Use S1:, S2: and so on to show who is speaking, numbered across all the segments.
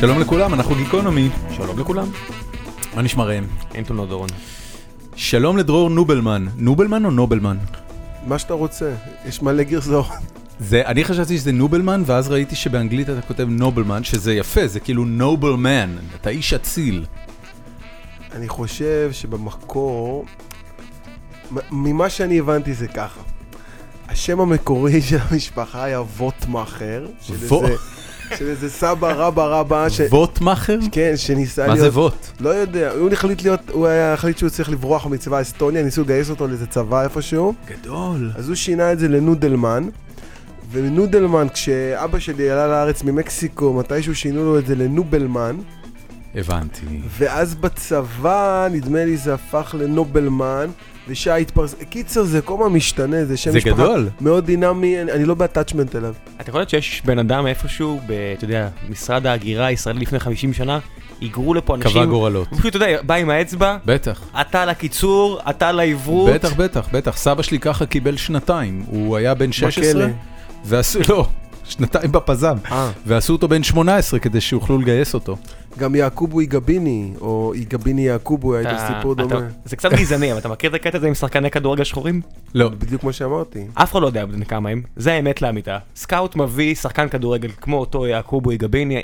S1: שלום לכולם, אנחנו גיקונומי. שלום לכולם. מה נשמע ראם?
S2: אין תאונות דורון.
S1: שלום לדרור נובלמן. נובלמן או נובלמן?
S3: מה שאתה רוצה, יש מלא גרסאות.
S1: זה, אני חשבתי שזה נובלמן, ואז ראיתי שבאנגלית אתה כותב נובלמן, שזה יפה, זה כאילו נובלמן, אתה איש אציל.
S3: אני חושב שבמקור, מ- ממה שאני הבנתי זה ככה. השם המקורי של המשפחה היה ווטמאכר, של
S1: ו-
S3: איזה- של איזה סבא רבא רבא,
S1: אה,
S3: ש-
S1: ווטמאכר?
S3: כן, שניסה
S1: מה
S3: להיות...
S1: זה ווט?
S3: לא יודע, הוא החליט להיות, הוא היה החליט שהוא צריך לברוח מצבא אסטוניה, ניסו לגייס אותו לאיזה צבא איפשהו,
S1: גדול.
S3: אז הוא שינה את זה לנודלמן, ונודלמן, כשאבא שלי עלה לארץ ממקסיקו, מתישהו שינו לו את זה לנובלמן,
S1: הבנתי.
S3: ואז בצבא, נדמה לי זה הפך לנובלמן, ושי התפרס... קיצר, זה כל הזמן משתנה, זה שם
S1: זה
S3: משפחה
S1: גדול.
S3: מאוד דינמי, אני, אני לא בטאצ'מנט אליו.
S2: אתה יכול להיות שיש בן אדם איפשהו, ב- אתה יודע, משרד ההגירה הישראלי לפני 50 שנה, היגרו לפה אנשים,
S1: קבע גורלות.
S2: הוא פשוט, אתה יודע, בא עם האצבע,
S1: בטח.
S2: אתה לקיצור, אתה לעברות,
S1: בטח, בטח, בטח. סבא שלי ככה קיבל שנתיים. הוא היה בן 16.
S3: בכלא.
S1: ועשו, לא, שנתיים בפזם.
S3: אה,
S1: ועשו אותו בן 18 כדי שיוכלו לגייס אותו.
S3: גם יעקובו איגביני, או איגביני יעקובו, היה איתו
S2: אתה-
S3: סיפור
S2: אה, אתה-
S3: דומה.
S2: זה קצת גזעני, אבל אתה מכיר את הקטע הזה עם שחקני כדורגל שחורים?
S1: לא,
S3: בדיוק כמו שאמרתי.
S2: אף אחד לא יודע בני כמה הם, זה האמת לאמיתה. סקאוט מביא שחקן כדורגל כמו אותו יעקובו יגביני,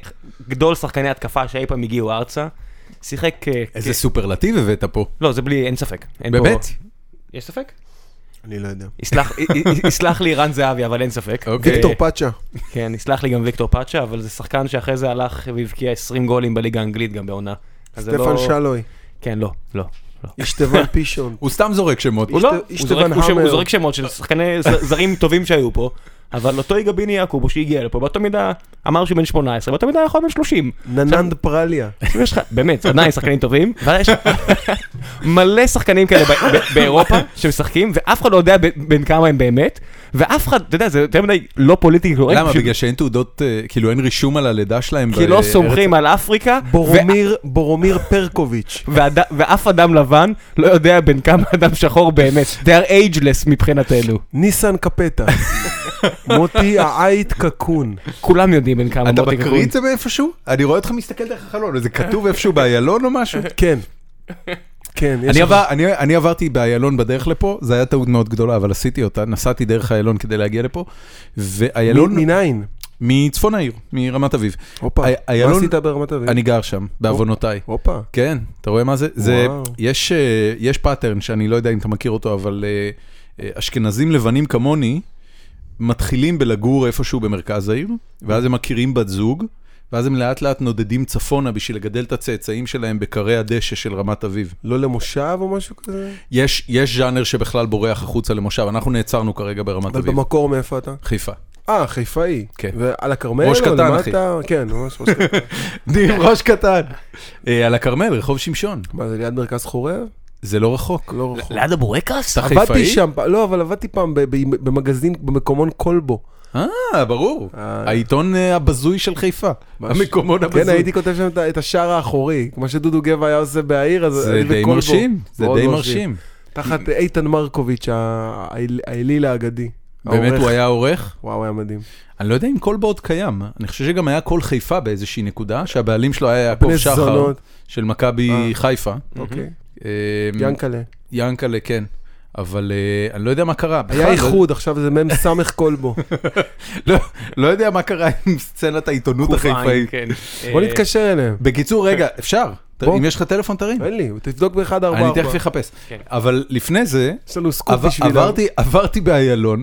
S2: גדול שחקני התקפה שאי פעם הגיעו ארצה, שיחק... אה, כ-
S1: איזה סופרלטיב הבאת פה.
S2: לא, זה בלי, אין ספק. אין
S1: באמת?
S2: פה- יש ספק?
S3: אני לא יודע.
S2: יסלח- י- י- יסלח לי רן זהבי, אבל אין ספק.
S1: אוקיי.
S3: ויקטור
S2: אה,
S3: פאצ'ה.
S2: כן, יסלח לי גם ויקטור פאצ'ה, אבל זה שחקן שאחרי זה הלך והבקיע 20 גולים בליגה האנגלית גם בעונה. אז זה
S3: סטפן
S2: לא-
S3: שלוי.
S2: כן, לא, לא.
S3: אשתבן פישון.
S1: הוא סתם זורק שמות.
S2: הוא לא,
S3: איש-
S2: הוא
S3: איש
S2: זורק-
S3: תבן
S2: הוא ש- הוא
S3: המר.
S2: זורק שמות של שחקני ז- זרים טובים שהיו פה, אבל אותו יגאל ביני יעקובו שהגיע לפה, באותה מידה אמר שהוא בן 18, באותה מידה יכול להיות בן 30.
S3: נננד פרליה.
S2: עכשיו יש לך, באמת, עדיין שחקנים טובים, אבל יש מלא שחקנים כאלה ב- ב- באירופה שמשחקים, ואף אחד לא יודע ב- בין כמה הם באמת, ואף אחד, אתה יודע, זה יותר מדי לא פוליטי קורקט.
S1: למה?
S2: פשוט-
S1: בגלל שאין תעודות, אה, כאילו אין רישום על הלידה שלהם?
S2: כי
S1: ב-
S2: לא סומכים על אפריקה, ו-
S3: בורומיר, בורומיר פרקוביץ'.
S2: ואד- ואף אדם לבן לא יודע בין כמה אדם שחור באמת. They are ageless מבחינתנו.
S3: ניסן קפטה. מוטי העית קקון.
S2: כולם יודעים בין כמה
S1: אתה
S2: מוטי
S1: מקריא
S2: קקון.
S1: את זה מאיפשהו? אני רואה אותך מסתכל דרך החלון, וזה כתוב איפשהו באיילון או משהו?
S3: כן. כן, יש
S1: אני,
S3: לך-
S1: עבר, אני, אני עברתי באיילון בדרך לפה, זו הייתה טעות מאוד גדולה, אבל עשיתי אותה, נסעתי דרך איילון כדי להגיע לפה, ואיילון,
S3: מ- מניין?
S1: מצפון העיר, מרמת אביב.
S3: הופה,
S1: אי-
S3: מה
S1: איילון-
S3: עשית ברמת אביב?
S1: אני גר שם, בעוונותיי.
S3: הופה.
S1: כן, אתה רואה מה זה? זה
S3: וואו.
S1: יש, אה, יש פאטרן שאני לא יודע אם אתה מכיר אותו, אבל אה, אה, אשכנזים לבנים כמוני מתחילים בלגור איפשהו במרכז העיר, ואז הם מכירים בת זוג, ואז הם לאט לאט נודדים צפונה בשביל לגדל את הצאצאים שלהם בקרי הדשא של רמת אביב.
S3: לא למושב או משהו כזה?
S1: יש, יש ז'אנר שבכלל בורח החוצה למושב, אנחנו נעצרנו כרגע ברמת
S3: אבל
S1: אביב.
S3: במקור מאיפה אתה?
S1: חיפה.
S3: אה, חיפאי.
S1: כן.
S3: ועל הכרמל?
S1: ראש
S3: או
S1: קטן,
S3: למטה?
S1: אחי.
S3: כן, ממש ראש קטן.
S1: עם ראש קטן. אה, על הכרמל, רחוב שמשון.
S3: מה, זה ליד מרכז חורב?
S1: זה לא רחוק.
S3: לא רחוק.
S2: ליד הבורקס?
S1: אתה חיפאי?
S3: עבדתי שם, פ- לא, אבל עבדתי פעם ב- ב- במגזין, במקומון כלבו.
S1: אה, ברור.
S3: אה.
S1: העיתון אה, הבזוי של חיפה.
S3: ממש.
S1: המקומון הבזוי.
S3: כן, הייתי כותב שם את ה- את השער האחורי, כמו שדודו גבע היה עושה בעיר, אז
S1: זה
S3: אני
S1: די
S3: בכלבו.
S1: מרשים, זה
S3: מאוד
S1: די מרשים.
S3: תחת איתן מרקוביץ', ה- האל- האליל האגדי.
S1: באמת
S3: העורך.
S1: הוא היה עורך?
S3: וואו, היה מדהים.
S1: אני לא יודע אם קולבו עוד קיים, אני חושב שגם היה קול חיפה באיזושהי נקודה, שהבעלים שלו היה יעקב
S3: בני
S1: שחר,
S3: זונות.
S1: של מכבי
S3: אה.
S1: חיפה.
S3: אוקיי.
S1: אמ,
S3: ינקלה.
S1: ינקלה, כן. אבל אה, אני לא יודע מה קרה. בכלל,
S3: היה איחוד, עכשיו זה מ"ם סמ"ך כלבו.
S1: לא- לא יודע מה קרה עם סצנת העיתונות החיפאית.
S2: כן.
S3: בוא
S2: אה,
S3: נתקשר אליהם.
S1: בקיצור, רגע, אפשר.
S3: כן. בוא.
S1: אם יש לך טלפון תרים.
S3: אין לי, תבדוק באחד ארבע
S1: אני
S3: ארבע.
S1: תכף אחפש.
S2: כן.
S1: אבל לפני זה,
S3: יש לנו סקופ
S1: עבר-
S3: בשבילם.
S1: עברתי, עברתי באיילון,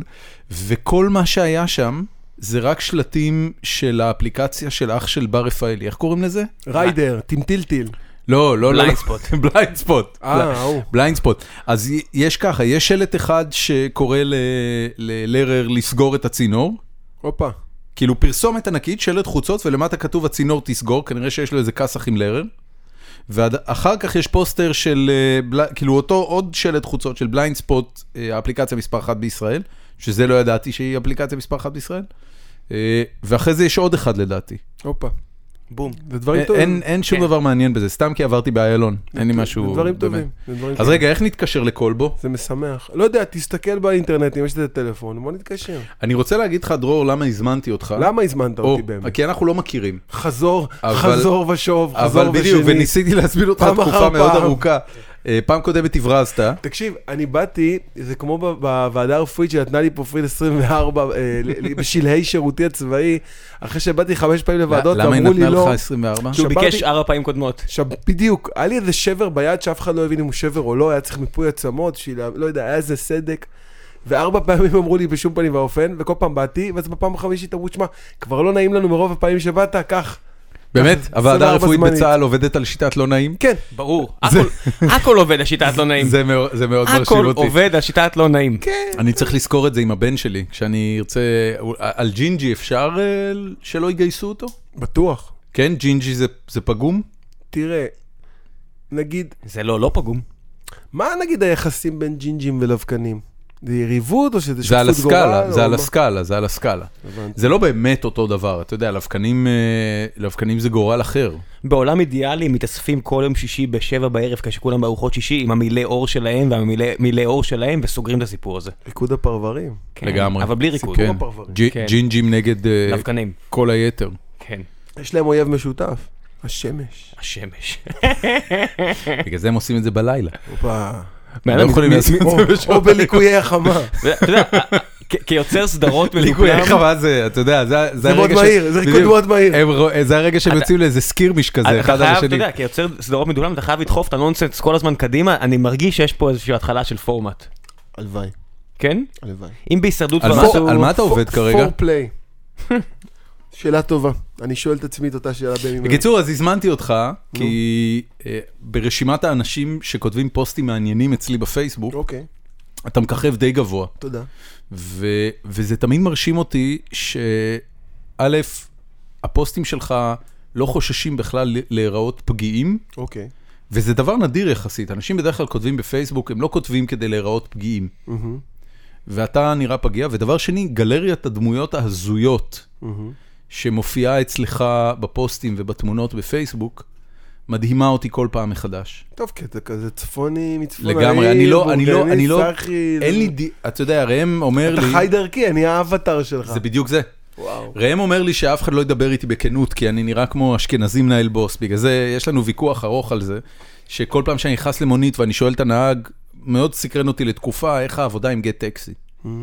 S1: וכל מה שהיה שם זה רק שלטים של האפליקציה של אח של בר רפאלי, איך קוראים לזה?
S3: ריידר, טמטילטיל.
S1: לא, לא, לא.
S2: בליינד ספוט.
S1: בליינד ספוט.
S3: אה, ההוא.
S1: בליינד ספוט. אז י- יש ככה, יש שלט אחד שקורא ל- ללרר לסגור את הצינור.
S3: הופה.
S1: כאילו פרסומת ענקית, שלט חוצות, ולמטה כתוב הצינור תסגור, כנראה שיש לו איזה כסח עם לרר. ואחר כך יש פוסטר של, אה, בל- כאילו אותו עוד שלט חוצות של בליינד ספוט, אה, האפליקציה מספר אחת בישראל, שזה לא ידעתי שהיא אפליקציה מספר אחת בישראל. אה, ואחרי זה יש עוד אחד לדעתי.
S3: הופה.
S4: בום.
S3: זה דברים
S1: אין-
S3: טובים.
S1: אה, אין- אין שום
S4: כן.
S1: דבר מעניין בזה, סתם כי עברתי באיילון, אין לי
S3: זה
S1: משהו...
S3: דברים
S1: דומה.
S3: טובים. זה דברים
S1: אז
S3: טובים.
S1: רגע, איך נתקשר לקולבו?
S3: זה משמח. לא יודע, תסתכל באינטרנט, אם יש לזה טלפון, בוא נתקשר.
S1: אני רוצה להגיד לך, דרור, למה הזמנתי אותך?
S3: למה הזמנת
S1: אה. או,
S3: אותי באמת?
S1: כי אנחנו לא מכירים.
S3: חזור,
S1: אבל-
S3: חזור ושוב, חזור
S1: אבל בדיוק,
S3: ושני.
S1: וניסיתי להזמין אותך
S3: פעם
S1: תקופה
S3: אחר
S1: מאוד
S3: פעם.
S1: ארוכה. אה, פעם קודמת הברזת,
S3: תקשיב, אני באתי, זה כמו ב- בוועדה הרפואית שנתנה לי פה פריד 24 אה, ל- ל- בשלהי שירותי הצבאי, אחרי שבאתי חמש פעמים לוועדות,
S1: למה היא
S3: ואמרו לי
S1: נתנה
S3: לא.
S1: לך 24?
S2: שהוא
S3: שברתי-
S2: ביקש ארבע פעמים קודמות.
S3: עכשיו, בדיוק, היה לי איזה שבר ביד שאף אחד לא הבין אם הוא שבר או לא, היה צריך מיפוי עצמות, בשביל, ה- לא יודע, היה איזה סדק. וארבע פעמים אמרו לי בשום פנים ואופן, וכל פעם באתי, ואז בפעם החמישית אמרו, שמע, כבר לא נעים לנו מרוב הפעמים שבאת, קח.
S1: באמת? הוועדה
S3: 24
S1: הרפואית
S3: כן, זמנית.
S1: בצה"ל עובדת על שיטת לא נעים?
S3: כן,
S2: ברור. הכל- הכל עובד, השיטת לא נעים.
S1: זה מאוד- זה מאוד מרשים
S2: הכל
S1: אותי. כן.
S2: עובד, השיטת לא נעים.
S3: כן.
S1: אני צריך לזכור את זה עם הבן שלי, כשאני ארצה... על ג'ינג'י אפשר אה, שלא יגייסו אותו?
S3: בטוח.
S1: כן, ג'ינג'י זה- זה פגום?
S3: תראה, נגיד,
S2: זה לא, לא פגום.
S3: מה נגיד היחסים בין ג'ינג'ים ולבקנים? זה יריבות או שזה
S1: זה על
S3: שותפות גורל?
S1: הסקאלה, זה
S3: או
S1: על
S3: מה?
S1: הסקאלה, זה על הסקאלה.
S3: הבנתי.
S1: זה לא באמת אותו דבר, אתה יודע, לבקנים, אה, לבקנים זה גורל אחר.
S2: בעולם אידיאלי מתאספים כל יום שישי בשבע בערב כשכולם בארוחות שישי עם המילי אור שלהם והמילי אור שלהם וסוגרים את הסיפור הזה.
S3: ריקוד הפרברים.
S2: כן,
S1: לגמרי.
S2: אבל בלי ריקוד.
S1: כן.
S3: הפרברים.
S1: ג'י-
S2: כן.
S1: ג'ינג'ים נגד אה,
S2: לבקנים.
S1: כל היתר.
S2: כן.
S3: יש להם אויב משותף, השמש.
S2: השמש.
S1: בגלל זה הם עושים את זה בלילה.
S3: הופה.
S1: לא יכולים לעשות את זה בשעות.
S3: או בליקויי החמה.
S2: אתה יודע, אה, כ- כיוצר סדרות
S1: ליקוי
S2: מליקוים,
S1: חווה זה, אתה יודע, זה
S3: זה מאוד מהיר, זה ריקוד מאוד מהיר.
S1: הם רוא- זה הרגע שהם
S2: אתה-
S1: יוצאים לאיזה סקירמיש כזה,
S2: אתה
S1: אחד
S2: חייב,
S1: על
S2: אתה
S1: השני.
S2: יודע, כיוצר סדרות מדולם אתה חייב לדחוף את הנונסנס כל הזמן קדימה, אני מרגיש שיש פה איזושהי התחלה של פורמט.
S3: הלוואי,
S2: כן?
S3: הלוואי.
S2: אם בהישרדות
S1: על
S2: כבר
S1: מה-
S2: עשו...
S1: על מה אתה עובד כרגע?
S3: פורפליי. שאלה טובה. אני שואל את עצמי את אותה שאלה בימים אלה.
S1: בקיצור, אז הזמנתי אותך, כי אה, ברשימת האנשים שכותבים פוסטים מעניינים אצלי בפייסבוק,
S3: אוקיי,
S1: אתה מככב די גבוה.
S3: תודה.
S1: ו, וזה תמיד מרשים אותי שא', הפוסטים שלך לא חוששים בכלל ל- להיראות פגיעים,
S3: אוקיי.
S1: וזה דבר נדיר יחסית. אנשים בדרך כלל כותבים בפייסבוק, הם לא כותבים כדי להיראות פגיעים.
S3: מהמם,
S1: ואתה נראה פגיע, ודבר שני, גלריית הדמויות ההזויות
S3: מהמם.
S1: שמופיעה אצלך בפוסטים ובתמונות בפייסבוק, מדהימה אותי כל פעם מחדש.
S3: טוב, כי אתה כזה צפוני מצפון
S1: לגמרי, אני לא, אני לא, אני לא,
S3: סחי,
S1: אין לי, די- אתה יודע, ראם אומר
S3: אתה
S1: לי,
S3: חי דרכי, אני האבטר שלך.
S1: זה בדיוק זה.
S3: וואו.
S1: ראם אומר לי שאף אחד לא ידבר איתי בכנות, כי אני נראה כמו אשכנזי מנהל בוס. בגלל זה יש לנו ויכוח ארוך על זה, שכל פעם שאני נכנס למונית ואני שואל את הנהג, מאוד סקרן אותי לתקופה, איך העבודה עם גט טקסי.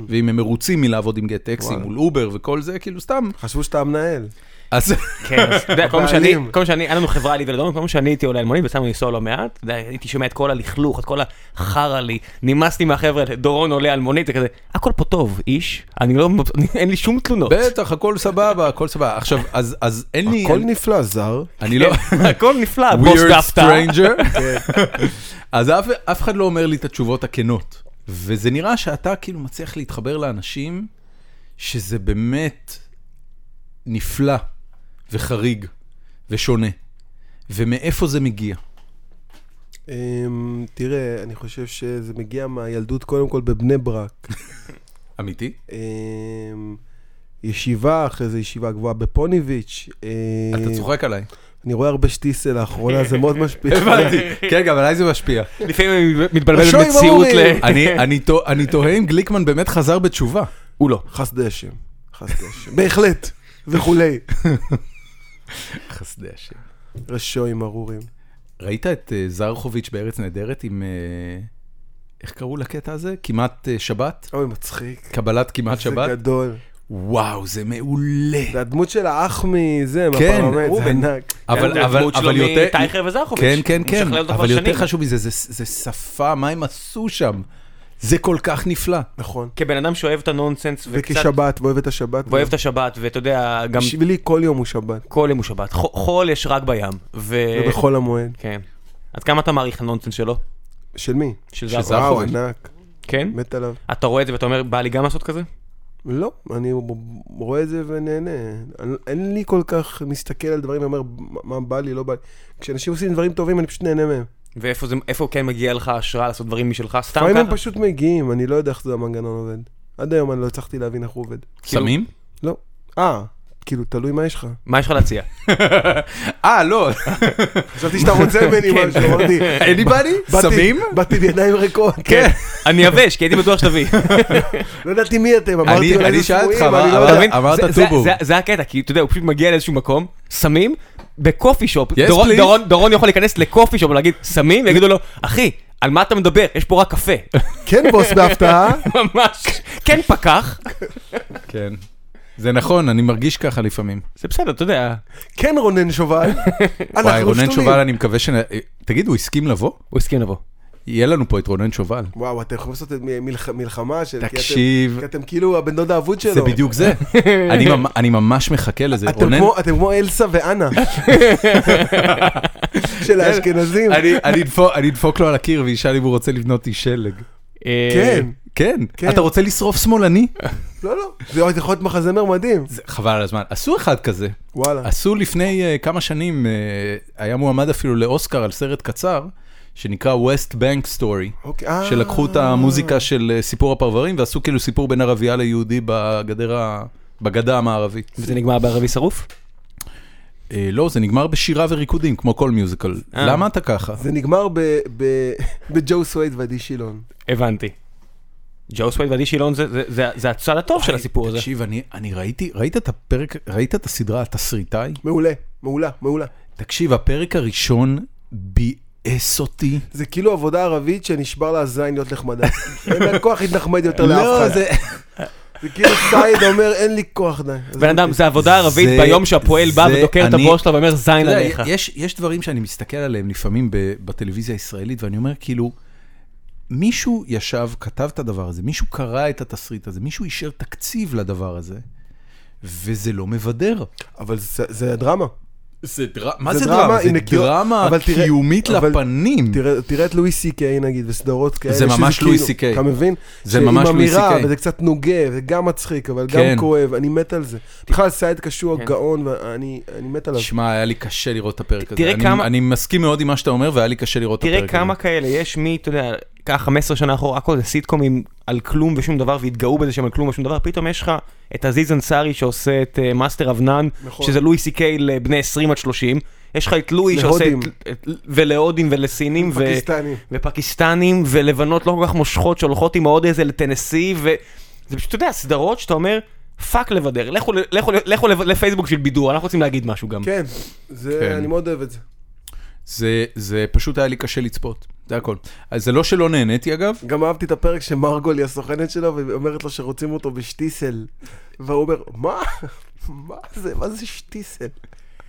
S1: ואם הם מרוצים מלעבוד עם גט טקסי,
S3: Mm. וואלה. לא.
S1: מול אובר וכל זה, כאילו סתם.
S3: חשבו שאתה המנהל.
S1: אז
S2: כן, אז אתה יודע, כל מה שאני,
S3: הבעלים.
S2: כל מה שאני, היה לנו חברה לי ולדון, כל מה שאני הייתי עולה על מונית, וסתם לנסוע לא מעט, אתה יודע, הייתי שומע את כל הלכלוך, את כל החרא לי, נמאס לי מהחבר'ה, האלה, דורון עולה על מונית, זה כזה, הכל פה טוב, איש, אני לא, אני- אין לי שום תלונות.
S1: בטח, הכל סבבה, הכל סבבה. עכשיו, אז- אז אין לי...
S3: הכל כן. נפלא, זר.
S1: אני לא...
S2: כן, הכל נפלא, בוס
S1: weird
S2: דפתא.
S1: stranger. אז אף, אף אחד לא אומר לי את התשובות הכנות. וזה נראה שאתה כאילו מצליח להתחבר לאנשים שזה באמת נפלא וחריג ושונה. ומאיפה זה מגיע?
S3: אמ, תראה, אני חושב שזה מגיע מהילדות קודם כל בבני ברק.
S1: אמיתי?
S3: אמ, ישיבה, אחרי זה ישיבה גבוהה בפוניביץ'. אמ,
S1: אתה צוחק עליי.
S3: אני רואה הרבה שטיסל לאחרונה, זה מאוד משפיע.
S1: הבנתי. כן, גם עליי זה משפיע.
S2: לפעמים אני מתבלבל
S3: השוי
S2: בין מציאות
S3: ברור לי.
S2: ל...
S1: אני, אני, תוה- אני תוהה אם גליקמן באמת חזר בתשובה.
S3: הוא לא. חס דשם. חס דשם. בהחלט. וכולי.
S1: חסדי השם.
S3: רשועים ארורים.
S1: ראית את אה, זרחוביץ' בארץ נהדרת עם... אה, איך קראו לקטע הזה? כמעט אה, שבת?
S3: אוי, מצחיק.
S1: קבלת כמעט שבת?
S3: זה גדול.
S1: וואו, זה מעולה.
S3: זה הדמות של האח מזה,
S1: כן,
S3: מהפרלמנט, זה
S1: רובן.
S3: ענק.
S1: אבל, אבל,
S2: הדמות כן, שלו
S1: אבל יותר...
S2: מטייכר וזרחוביץ'.
S1: כן, כן,
S2: הוא
S1: כן.
S2: משכלל אותו כבר
S1: אבל יותר
S2: שנים.
S1: חשוב מזה, זה, זה שפה, מה הם עשו שם? זה כל כך נפלא.
S3: נכון.
S2: כבן כן, אדם שאוהב את הנונסנס, וקצת,
S3: וכשבת, ואוהב את השבת.
S2: ואוהב את השבת, ואתה יודע, גם
S3: בשבילי כל יום הוא שבת.
S2: כל יום הוא שבת, חו- חול יש רק בים. ו...
S1: אה,
S3: ובחול המועד.
S2: כן. אז כמה אתה מעריך הנונסנס שלו?
S3: של מי?
S2: של
S1: של
S2: זרחוביץ'.
S1: זרחוביץ'.
S3: וואו, ענק.
S2: כן?
S3: מת עליו.
S2: אתה רואה את זה ואתה אומר, בא לי גם לעשות כזה?
S3: לא, אני רואה את זה ונהנה. אני- אין לי כל כך מסתכל על דברים ואומר, "מה- מה בא לי, לא בא לי. כשאנשים עושים דברים טובים, אני פשוט נהנה מהם.
S2: ואיפה זה, איפה כן מגיע לך השראה לעשות דברים משלך? סתם
S3: לפעמים הם
S2: ככה?
S3: פשוט מגיעים, אני לא יודע איך זה המנגנון עובד. עד היום אני לא הצלחתי להבין איך הוא עובד.
S2: כאילו-
S1: סמים?
S3: אה, כאילו, תלוי מה יש לך.
S2: מה יש לך להציע?
S1: אה, לא,
S3: חשבתי שאתה רוצה ממני
S2: כן.
S3: משהו, אמרתי.
S1: anybody?
S3: באתי-
S1: סמים?
S3: באתי בידיים ריקות.
S2: כן. אני יבש, כי הייתי בטוח שתביא.
S3: לא ידעתי מי אתם, אמרתי
S1: אני-
S3: אולי
S1: אני
S3: זה
S1: שאלתי
S3: סמויים,
S1: אותך, מה-
S3: אני לא
S1: אבל-
S2: אתה
S3: יודע.
S2: מבין?
S1: אמרת
S2: זה- זה-
S1: טובו.
S2: זה- זה הקטע, כי אתה יודע, הוא פשוט מגיע לאיזשהו מקום, סמים, בקופי שופ.
S1: Yes,
S2: דורון-
S1: please.
S2: דורון- דורון יכול להיכנס לקופי שופ ולהגיד סמים, ויגידו לו, אחי, על מה אתה מדבר? יש פה רק קפה.
S3: כן, בוס, בהפתעה.
S2: ממש. כן פקח.
S1: כן. זה נכון, אני מרגיש ככה לפעמים.
S2: זה בסדר, אתה יודע.
S3: כן, רונן שובל.
S1: וואי,
S3: אנחנו
S1: רונן
S3: שתולים.
S1: שובל, אני מקווה ש... תגיד, הוא הסכים לבוא?
S2: הוא הסכים לבוא.
S1: יהיה לנו פה את רונן שובל.
S3: וואו, אתם יכולים לעשות את מ- מלח- מלחמה של... כי אתם-
S1: תקשיב.
S3: כי אתם כאילו הבן דוד האבוד שלו.
S1: זה בדיוק זה. אני ממ- אני ממש מחכה לזה.
S3: אתם
S1: רונן...
S3: כמו- אתם כמו אלסה ואנה. של האשכנזים.
S1: אני- אני אדפוק- אני אדפוק לו על הקיר וישאל אם הוא רוצה לבנות לי שלג.
S2: אה,
S3: כן.
S1: כן.
S3: כן.
S1: אתה רוצה לשרוף שמאלני?
S3: לא, לא. זה עוד יכול להיות מחזמר מדהים.
S1: זה- חבל על הזמן. עשו אחד כזה.
S3: וואלה.
S1: עשו לפני אה, כמה שנים, אה, היה מועמד אפילו לאוסקר על סרט קצר, שנקרא West Bank Story,
S3: אוקיי, אה.
S1: שלקחו את המוזיקה של אה, סיפור הפרברים ועשו כאילו סיפור בין ערבייה ליהודי בגדר ה... בגדה המערבית.
S2: וזה נגמר בערבי שרוף?
S1: אה, לא, זה נגמר בשירה וריקודים, כמו כל מיוזיקל.
S2: אה.
S1: למה אתה ככה?
S3: זה נגמר ב- ב- בג'ו סווייד ועדי שילון.
S2: הבנתי. ג'ו סווייד ועדי שילון זה- זה- זה- זה הצד הטוב של הסיפור הזה.
S1: תקשיב, אני, אני ראיתי, ראית את הפרק, ראית את הסדרה התסריטאי?
S3: מעולה, מעולה, מעולה.
S1: תקשיב, הפרק הראשון ביאס אותי.
S3: זה כאילו עבודה ערבית שנשבר לה הזין להיות נחמדה. אין לה כוח להתנחמד יותר לאף לא אחד.
S1: לא, זה...
S3: זה כאילו סייד אומר, אין לי כוח די. אז
S2: בן אדם, זה עבודה ערבית
S1: זה-
S2: ביום שהפועל בא
S1: זה
S2: ודוקר את
S1: אני-
S2: הבוס שלו ואומר זין
S1: אתה יודע,
S2: עליך.
S1: יש, יש דברים שאני מסתכל עליהם לפעמים ב, בטלוויזיה הישראלית, ואני אומר, כאילו, מישהו ישב, כתב את הדבר הזה, מישהו קרא את התסריט הזה, מישהו אישר תקציב לדבר הזה, וזה לא מבדר.
S3: אבל זה- זה הדרמה.
S1: זה דרמה, מה
S3: זה
S1: זה
S3: דרמה
S1: דרמה? זה
S3: עם נגיעות,
S1: דרמה
S3: אבל תראה-
S1: קיומית
S3: אבל
S1: לפנים.
S3: תראה- תראה את לואי סי קיי נגיד, וסדרות כאלה.
S1: זה
S3: שזה
S1: ממש
S3: כאילו-
S1: לואי סי קיי.
S3: אתה מבין?
S1: זה ממש לואי
S3: שעם
S1: סי.קיי.
S3: אמירה, וזה קצת נוגה, זה גם מצחיק, אבל
S1: כן.
S3: גם כואב, אני מת על זה. בכלל, סייד קשוח,
S2: כן.
S3: גאון, ואני אני מת עליו.
S1: שמע, היה לי קשה לראות את הפרק הזה.
S2: תראה
S1: אני-
S2: כמה-
S1: אני מסכים מאוד עם מה שאתה אומר, והיה לי קשה לראות את הפרק
S2: תראה
S1: הזה.
S2: כמה כאלה יש מי, אתה יודע, ככה 15 שנה אחורה, הכל זה סיטקומים על כלום ושום דבר, והתגאו בזה שהם על כלום ושום דבר, פתאום יש לך את עזיז אנסארי שעושה את אה, מאסטר אבנן,
S3: נכון.
S2: שזה לואי סי קיי לבני 20 עד 30, יש לך את לואי שעושה
S3: להודים.
S2: את- את- ולהודים ולסינים ו-
S3: פקיסטני.
S2: ופקיסטנים ולבנות לא כל כך מושכות שהולכות עם עוד איזה לטנסי, וזה פשוט, אתה יודע, סדרות שאתה אומר, פאק לבדר, לכו ל- לכו ל- לכו ל- לפייסבוק של בידור, אנחנו רוצים להגיד משהו גם.
S3: כן, זה-
S1: כן.
S3: אני מאוד אוהב את זה.
S1: זה, זה פשוט היה לי קשה לצפות, זה הכל. אז זה לא שלא נהניתי אגב,
S3: גם אהבתי את הפרק שמרגול היא הסוכנת שלו, והיא אומרת לו שרוצים אותו בשטיסל. והוא אומר, מה? מה זה? מה זה שטיסל?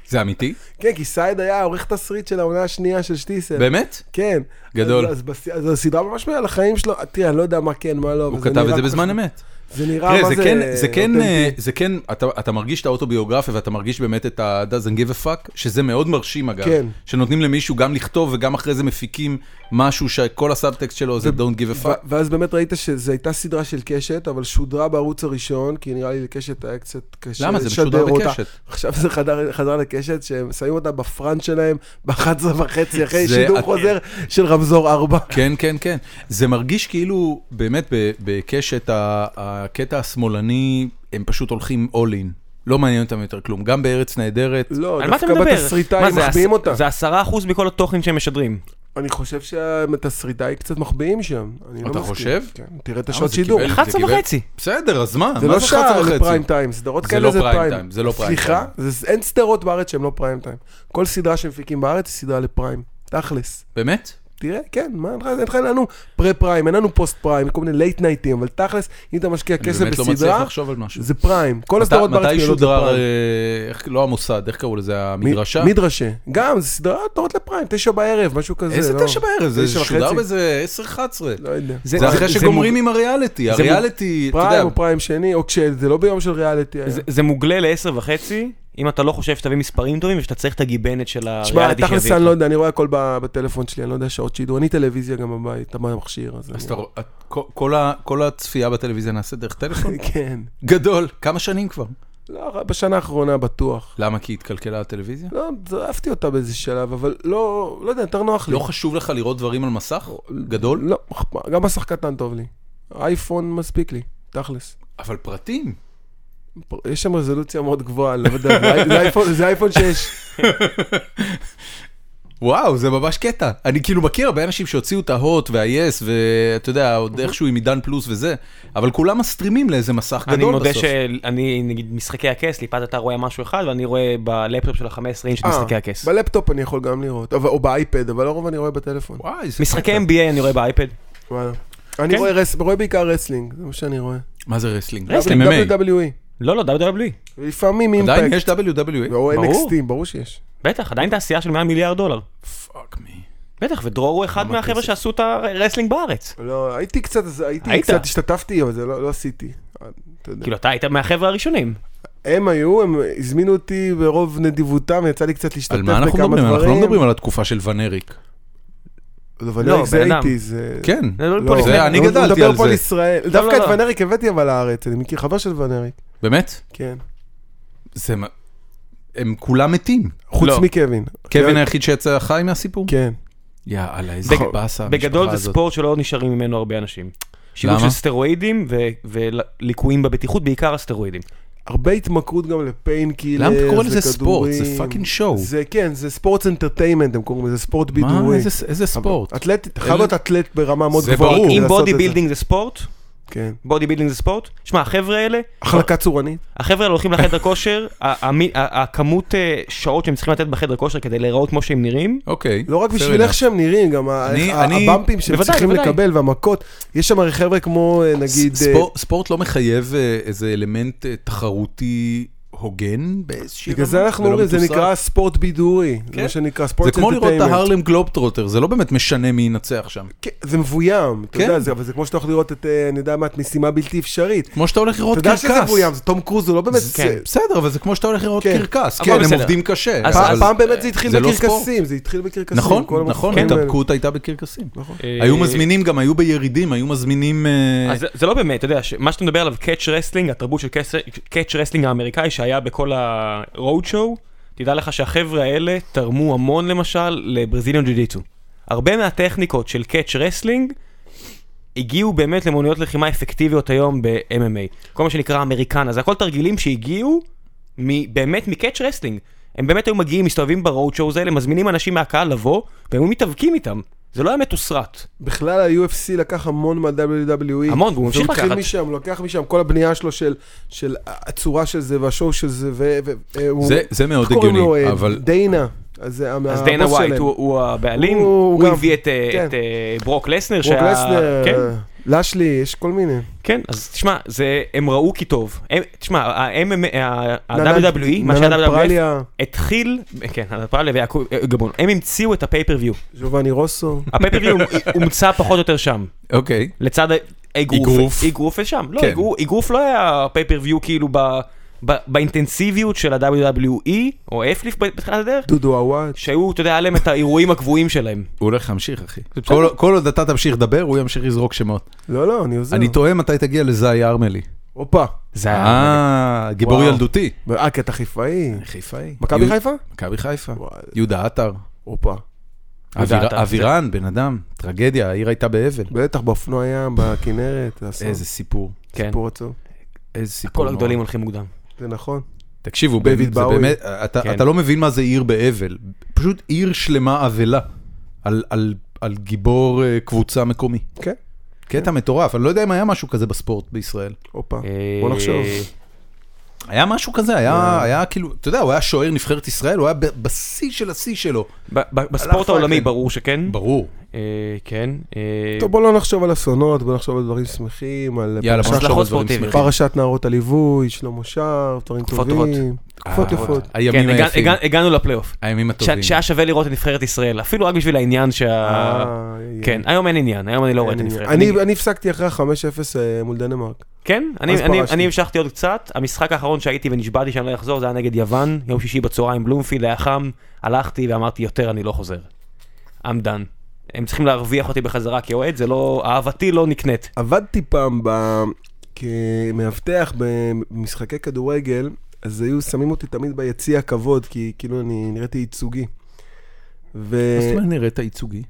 S1: זה אמיתי,
S3: כן, כי סייד היה עורך תסריט של העונה השנייה של שטיסל.
S1: באמת?
S3: כן.
S1: גדול.
S3: אז, אז, בס- אז הסדרה ממש על החיים שלו, תראה, אני לא יודע מה כן, מה לא.
S1: הוא
S3: וזה
S1: כתב
S3: נראה
S1: את זה
S3: כל
S1: בזמן
S3: כך-
S1: אמת.
S3: זה נראה,
S1: תראה,
S3: מה
S1: זה
S3: זה...
S1: כן, זה כן,
S3: אותנטי.
S1: אה, זה כן, אתה- אתה מרגיש את האוטוביוגרפיה ואתה מרגיש באמת את ה- doesn't give a fuck, שזה מאוד מרשים אגב.
S3: כן.
S1: שנותנים למישהו גם לכתוב וגם אחרי זה מפיקים משהו שכל הסאבטקסט שלו זה don't give a
S3: ו-
S1: fuck.
S3: ואז באמת ראית שזו הייתה סדרה של קשת, אבל שודרה בערוץ הראשון, כי נראה לי לקשת היה קצת קשה
S1: למה? זה
S3: לשדר
S1: משודר
S3: אותה.
S1: בקשת.
S3: עכשיו זה חדר, חדר לקשת, שהם שמים אותה בפרנט שלהם ב-11 וחצי, אחרי
S1: זה-
S3: שידור
S1: את-
S3: חוזר של רמזור 4.
S1: כן, כן, כן. זה מרגיש כאילו, באמת, ב- בקשת ה- הקטע השמאלני, הם פשוט הולכים all in. לא מעניין אותם יותר כלום. גם בארץ נהדרת,
S3: לא,
S2: על מה אתה
S3: דווקא
S2: מדבר? מה
S3: בתסריטאי
S2: זה,
S3: מחביאים
S2: הס-
S3: אותה.
S2: זה עשרה אחוז מכל התוכן שהם משדרים.
S3: אני חושב שהתסריטאי קצת מחביאים שם. אני לא
S1: אתה
S3: מסכים.
S1: חושב?
S3: כן, תראה את
S1: למה,
S3: השעות
S1: זה
S3: שידור.
S1: קיבל-
S2: 11
S1: קיבל-
S2: וחצי.
S1: בסדר, אז מה?
S3: זה
S1: מה
S3: לא
S1: זה 11
S3: שעה, זה
S1: וחצי?
S3: פריים טיים, סדרות
S1: זה
S3: כאלה
S1: לא
S3: זה
S1: פריים
S3: פריים.
S1: טיים, זה לא פריים
S3: סליחה,
S1: טיים.
S3: זה- אין סדרות בארץ שהן לא פריים טיים. כל סדרה שמפיקים בארץ היא סדרה לפריים. תכלס.
S1: באמת?
S3: תראה, כן, מה, אין לך- אין לך, אין לנו פרה פריים, אין לנו פוסט פריים, כל מיני לייט נייטים, אבל תכלס, אם אתה משקיע
S1: אני
S3: כסף
S1: באמת לא מצליח
S3: בסדרה,
S1: לחשוב על משהו.
S3: זה פריים. כל
S1: מתי-
S3: הסדרות בארץ
S1: מתי
S3: פעילות
S1: שודר,
S3: לפריים.
S1: אה, איך- לא המוסד, איך קראו לזה,
S3: מ-
S1: המדרשה?
S3: מדרשה. גם, זה סדרה טובות לפריים, תשע בערב, משהו כזה.
S1: איזה
S3: לא-
S1: תשע בערב? זה
S3: תשע
S1: שודר
S3: וחצי?
S1: באיזה 10-11.
S3: לא יודע.
S1: זה אחרי שגומרים עם הריאליטי.
S2: זה מוג-
S1: הריאליטי, אתה
S3: פריים
S1: יודע,
S3: או פריים שני, או כשזה לא ביום של ריאליטי. היה.
S2: זה- זה מוגלה לעשר וחצי, אם אתה לא חושב שתביא מספרים טובים ושאתה צריך את הגיבנת של
S3: תשמע,
S2: הריאליטי
S3: תכלס
S2: שיביא.
S3: אני לא יודע, אני רואה הכל ב- בטלפון שלי, אני לא יודע שעות שידור, אני טלוויזיה גם בבית, אתה במכשיר, אז...
S1: אז
S3: אני-
S1: אתה רוא- את- כל- כל ה- כל הצפייה בטלוויזיה נעשית דרך טלפון?
S3: כן.
S1: גדול. כמה שנים כבר?
S3: לא, בשנה האחרונה בטוח.
S1: למה? כי התקלקלה הטלוויזיה?
S3: לא, זה- אהבתי אותה באיזה שלב, אבל לא, לא יודע, יותר נוח לי.
S1: לא חשוב לך לראות דברים על מסך? גדול?
S3: לא, אכפ- גם מסך קטן טוב לי. אייפון מספיק לי, תכלס.
S1: אבל פרטים.
S3: יש שם רזולוציה מאוד גבוהה, אני לא יודע, זה אי- זה אייפון- זה אייפון 6.
S1: וואו, זה ממש קטע. אני כאילו מכיר הרבה אנשים שהוציאו את ההוט והיס, ואתה יודע, עוד איכשהו עם עידן פלוס וזה, אבל כולם מסטרימים לאיזה מסך גדול
S2: אני
S1: בסוף.
S2: מודה שאני, נגיד, משחקי הכס, ליפת אתה רואה משהו אחד, ואני רואה בלפטופ של ה-15 אינץ' את משחקי
S3: אה,
S2: הכס.
S3: בלפטופ אני יכול גם לראות, אבל- או באייפד, אבל לרוב אני רואה בטלפון.
S1: וואי, זה
S2: משחקי
S1: קטע.
S2: NBA אני רואה באייפד.
S3: וואלה. אני
S2: כן.
S3: רואה רס- רואה בעיקר רסלינג, זה מה שאני רואה.
S1: מה זה רסלינג?
S2: רסלינג,
S1: MMA.
S3: WWE.
S2: לא, לא, WWE.
S3: לפעמים
S1: עדיין
S3: אימפקט.
S1: יש E? WWE?
S3: או
S2: ברור.
S3: NXT, ברור שיש.
S2: בטח, עדיין תעשייה של 100 מיליארד דולר.
S1: פאק מי.
S2: בטח, ודרור הוא אחד
S1: כמה
S2: מהחבר'ה
S1: כסף.
S2: שעשו את הרסלינג בארץ.
S3: לא, הייתי קצת, אז הייתי
S2: היית.
S3: קצת, השתתפתי, אבל זה לא לא עשיתי. אתה יודע.
S2: כאילו, אתה היית מהחבר'ה הראשונים.
S3: הם היו, הם הזמינו אותי ברוב נדיבותם, יצא לי קצת להשתתף
S1: על מה
S3: בכמה
S1: אנחנו
S3: דברים.
S1: מדברים? אנחנו לא מדברים על התקופה של ונריק.
S3: אבל
S2: לא,
S3: לא, זה
S2: בן אדם.
S3: הייתי, זה...
S1: כן.
S2: זה לא
S3: לא,
S2: פה
S1: זה
S2: לפני-
S1: אני
S3: הוא-
S1: גדלתי
S3: הוא מדבר
S1: על זה.
S3: פה על ישראל.
S2: לא,
S3: דווקא
S2: לא.
S3: את ונריק הבאתי אבל לארץ, אני מכיר חבר של ונריק.
S1: באמת?
S3: כן.
S1: זה... מה- הם כולם מתים.
S3: חוץ
S2: לא.
S3: מקווין.
S1: קווין
S3: כן.
S1: היחיד שיצא חי מהסיפור?
S3: כן.
S1: יאללה, איזה
S2: בג-
S1: באסה
S2: בגדול
S1: המשפחה
S2: זה
S1: הזאת.
S2: ספורט שלא נשארים ממנו הרבה אנשים. שילוב
S1: למה?
S2: של סטרואידים ו- וליקויים בבטיחות, בעיקר הסטרואידים.
S3: הרבה התמכרות גם לפיינקילר,
S1: למה אתה קורא לזה ספורט? זה פאקינג שואו.
S3: זה כן, זה ספורט אנטרטיימנט, הם קוראים לזה ספורט בידורי.
S1: מה? איזה- איזה ספורט?
S3: אתלטית, חייב להיות אתלט ברמה מאוד
S1: זה
S3: גבוהה.
S1: ברור.
S3: כדי
S2: אם
S3: לעשות
S2: בודי
S3: את זה.
S2: בילדינג זה ספורט,
S3: כן.
S2: בודי בילדינג זה ספורט, שמע, החבר'ה האלה,
S3: החלקה צורנית.
S2: החבר'ה האלה הולכים לחדר כושר, ה- המי- ה- הכמות אה, שעות שהם צריכים לתת בחדר כושר כדי להיראות כמו שהם נראים,
S1: אוקיי.
S3: לא רק
S1: fair
S3: בשביל איך
S1: enough.
S3: שהם נראים, גם ה-
S1: אני-
S3: ה-
S1: אני-
S3: הבמפים שהם
S2: בוודאי,
S3: צריכים
S2: בוודאי.
S3: לקבל והמכות. יש שם הרי חבר'ה כמו אה, נגיד...
S1: ס- ספור- ספורט לא מחייב אה, איזה אלמנט אה, תחרותי הוגן באיזושהי
S3: אה, בגלל זה אנחנו
S1: ולא
S3: אומרים, זה
S1: מתוסרט?
S3: נקרא ספורט בידורי. זה
S1: כן.
S3: מה שנקרא
S1: לא זה
S3: ספורט
S1: כמו לראות את
S3: entertainment.
S1: ההרלם גלובטרוטר, זה לא באמת משנה מי ינצח שם.
S3: כן, זה מבוים, אתה
S1: כן.
S3: יודע, זה- אבל זה כמו שאתה הולך לראות את, אה, אני יודע מה, את משימה בלתי אפשרית.
S1: כמו שאתה הולך לראות
S3: אתה יודע
S1: קרקס.
S3: שזה מבוים, זה תום קרוז, הוא לא באמת...
S2: זה-
S3: זה-
S2: כן.
S1: בסדר, אבל זה כמו שאתה הולך לראות
S3: כן.
S1: קרקס.
S2: אבל
S1: כן, הם
S2: בסדר.
S1: עובדים קשה.
S2: אז-
S1: אבל-
S3: פעם- פעם באמת זה התחיל
S1: זה לא
S3: בקרקסים, זה התחיל בקרקסים.
S1: נכון,
S3: כל המופעים
S1: נכון,
S3: האלה.
S1: ההתאבקות הייתה בקרקסים.
S3: נכון.
S1: היו
S2: כן. אה,
S1: מזמינים, גם היו בירידים, היו מזמינים... אה,
S2: אז זה- זה לא באמת, אתה יודע, ש- מה שאתה מדבר עליו, קאץ' רסלינג, התרבות של קאץ' רסלינג האמריקאי שהיה בכל ה-road show, תדע לך שהחבר'ה האלה תרמו המון למשל לברזיליון ג'ו-ג'יצו. הרבה מהטכניקות של קאץ' רסלינג הגיעו באמת למוניות לחימה אפקטיביות היום ב-MMA. כל מה שנקרא אמריקנה, זה הכל תרגילים שהגיעו מ- באמת מקאץ' רסלינג. הם באמת היו מגיעים, מסתובבים ברוד שואוז האלה, מזמינים אנשים מהקהל לבוא, והם היו מתאבקים איתם. זה לא היה מתוסרט.
S3: בכלל ה-UFC לקח המון מה-WWE.
S2: המון, והוא ממשיך
S3: הוא
S2: לקחת.
S3: התחיל משם, הוא לוקח משם, כל הבנייה שלו של, של הצורה של זה והשואו של זה, ו... ו- הוא-
S1: זה- זה מאוד
S3: איך קוראים לו?
S1: הגיוני,
S3: אה,
S1: אבל...
S3: דיינה. אז זה
S2: אז
S3: הבוס
S2: דיינה ווייט
S3: שלהם.
S2: הוא, הוא הבעלים,
S3: הוא-
S2: הוא,
S3: הוא גם-
S2: הביא את, אה,
S3: כן.
S2: את אה, ברוק לסנר,
S3: ברוק לסנר,
S2: כן,
S3: אה, לשלי, יש כל מיני.
S2: כן, אז תשמע, זה, הם ראו כי טוב, הם, תשמע, ה-MMA,
S3: ננד-
S2: ה-WWE, E, מה
S3: ננד
S2: שה-WWF,
S3: פרליה,
S2: התחיל, כן, הפרליה ויעקוב אה, גבון, הם המציאו את הפייפריוויו,
S3: ג'ובאני רוסו.
S2: הפייפריוויו הומצא פחות או יותר שם,
S1: אוקיי.
S2: לצד ה-
S1: אגרוף.
S2: אגרוף, אגרוף שם, לא,
S1: כן.
S2: אגרוף- אגרוף לא היה פייפריוויו כאילו ב- ב- באינטנסיביות של ה-WWE, או אפליף בתחילת הדרך,
S3: דודו עוואט.
S2: שהיו, אתה יודע, היה להם את האירועים הקבועים שלהם.
S1: הוא הולך להמשיך, אחי. כל- כל עוד אתה תמשיך לדבר, הוא ימשיך לזרוק שמות.
S3: לא, לא, אני עוזר.
S1: אני תוהה מתי תגיע לזאי ארמלי.
S3: הופה.
S2: זה
S1: אה, גיבור
S3: וואו.
S1: ילדותי.
S3: אה, כי אתה חיפאי.
S1: חיפאי.
S3: מכבי
S1: יהוד-
S3: חיפה?
S1: מכבי חיפה.
S3: וואי,
S1: יהודה עטר.
S3: הופה.
S2: יהודה
S1: אוויר-
S2: עטר.
S1: אבירן, בן אדם, טרגדיה, העיר הייתה באבל.
S3: בטח, באופנוע ים, בכנרת, זה אסון.
S1: איזה סיפור.
S2: כן.
S3: סיפור עצוב.
S1: איזה סיפור.
S2: כל
S1: נורא.
S2: הגדולים הולכים מוקדם.
S3: זה נכון.
S1: תקשיבו,
S3: דיוויד
S1: באמת, זה
S3: באוי.
S1: באמת, אתה,
S2: כן.
S1: אתה לא מבין מה זה עיר באבל. פשוט עיר שלמה אבלה על, על, על גיבור אה, קבוצה מקומי.
S3: כן.
S1: קטע מטורף, אני לא יודע אם היה משהו כזה בספורט בישראל.
S3: הופה.
S2: אה,
S3: בוא נחשוב.
S1: היה משהו כזה,
S2: לא.
S1: היה, היה כאילו, אתה יודע, הוא היה שוער נבחרת ישראל, הוא היה ב- בשיא של השיא שלו.
S2: ב- ב-
S1: הלך
S2: בספורט העולמי
S1: פרנקלין.
S2: ברור שכן.
S1: ברור.
S2: אה, כן. אה,
S3: טוב, בוא לא נחשוב על אסונות, בוא נחשוב על דברים שמחים, על
S1: יאללה, בוא
S2: הצלחות
S1: נחשוב על דברים
S2: ספורטיביות.
S1: שמחים.
S3: פרשת נערות הליווי, שלמה שר, דברים
S2: תקופות
S3: טובים. תקופות
S1: אה,
S3: יפות.
S1: הימים
S2: כן, הגע-
S1: היפים,
S2: הגע- הגענו לפלייאוף.
S1: הימים
S2: ש-
S1: הטובים.
S2: שהיה שווה לראות את נבחרת ישראל, אפילו רק בשביל העניין שה...
S3: אה, יהיה.
S2: כן, היום אין עניין, היום אני לא רואה את
S3: אין
S2: הנבחרת.
S3: עניין.
S2: אני-
S3: אני- אני הפסקתי אחרי ה-5-0 אה, מול דנמרק.
S2: כן, אני-
S3: אז
S2: אני-
S3: פרשתי.
S2: אני המשכתי עוד קצת, המשחק האחרון שהייתי ונשבעתי שאני לא אחזור זה היה נגד יוון, יום שישי בצהריים בלומפילד היה חם, הלכתי ואמרתי יותר אני לא חוזר. I'm done. הם צריכים להרוויח אותי בחזרה כאוהד, זה לא, אהבתי לא נקנית.
S3: עבדתי פעם ב- כמאבטח במשחקי כדורגל, אז היו שמים אותי תמיד ביציע הכבוד, כי כאילו אני נראיתי ייצוגי. ו-
S1: אז מה נראית הייצוגי?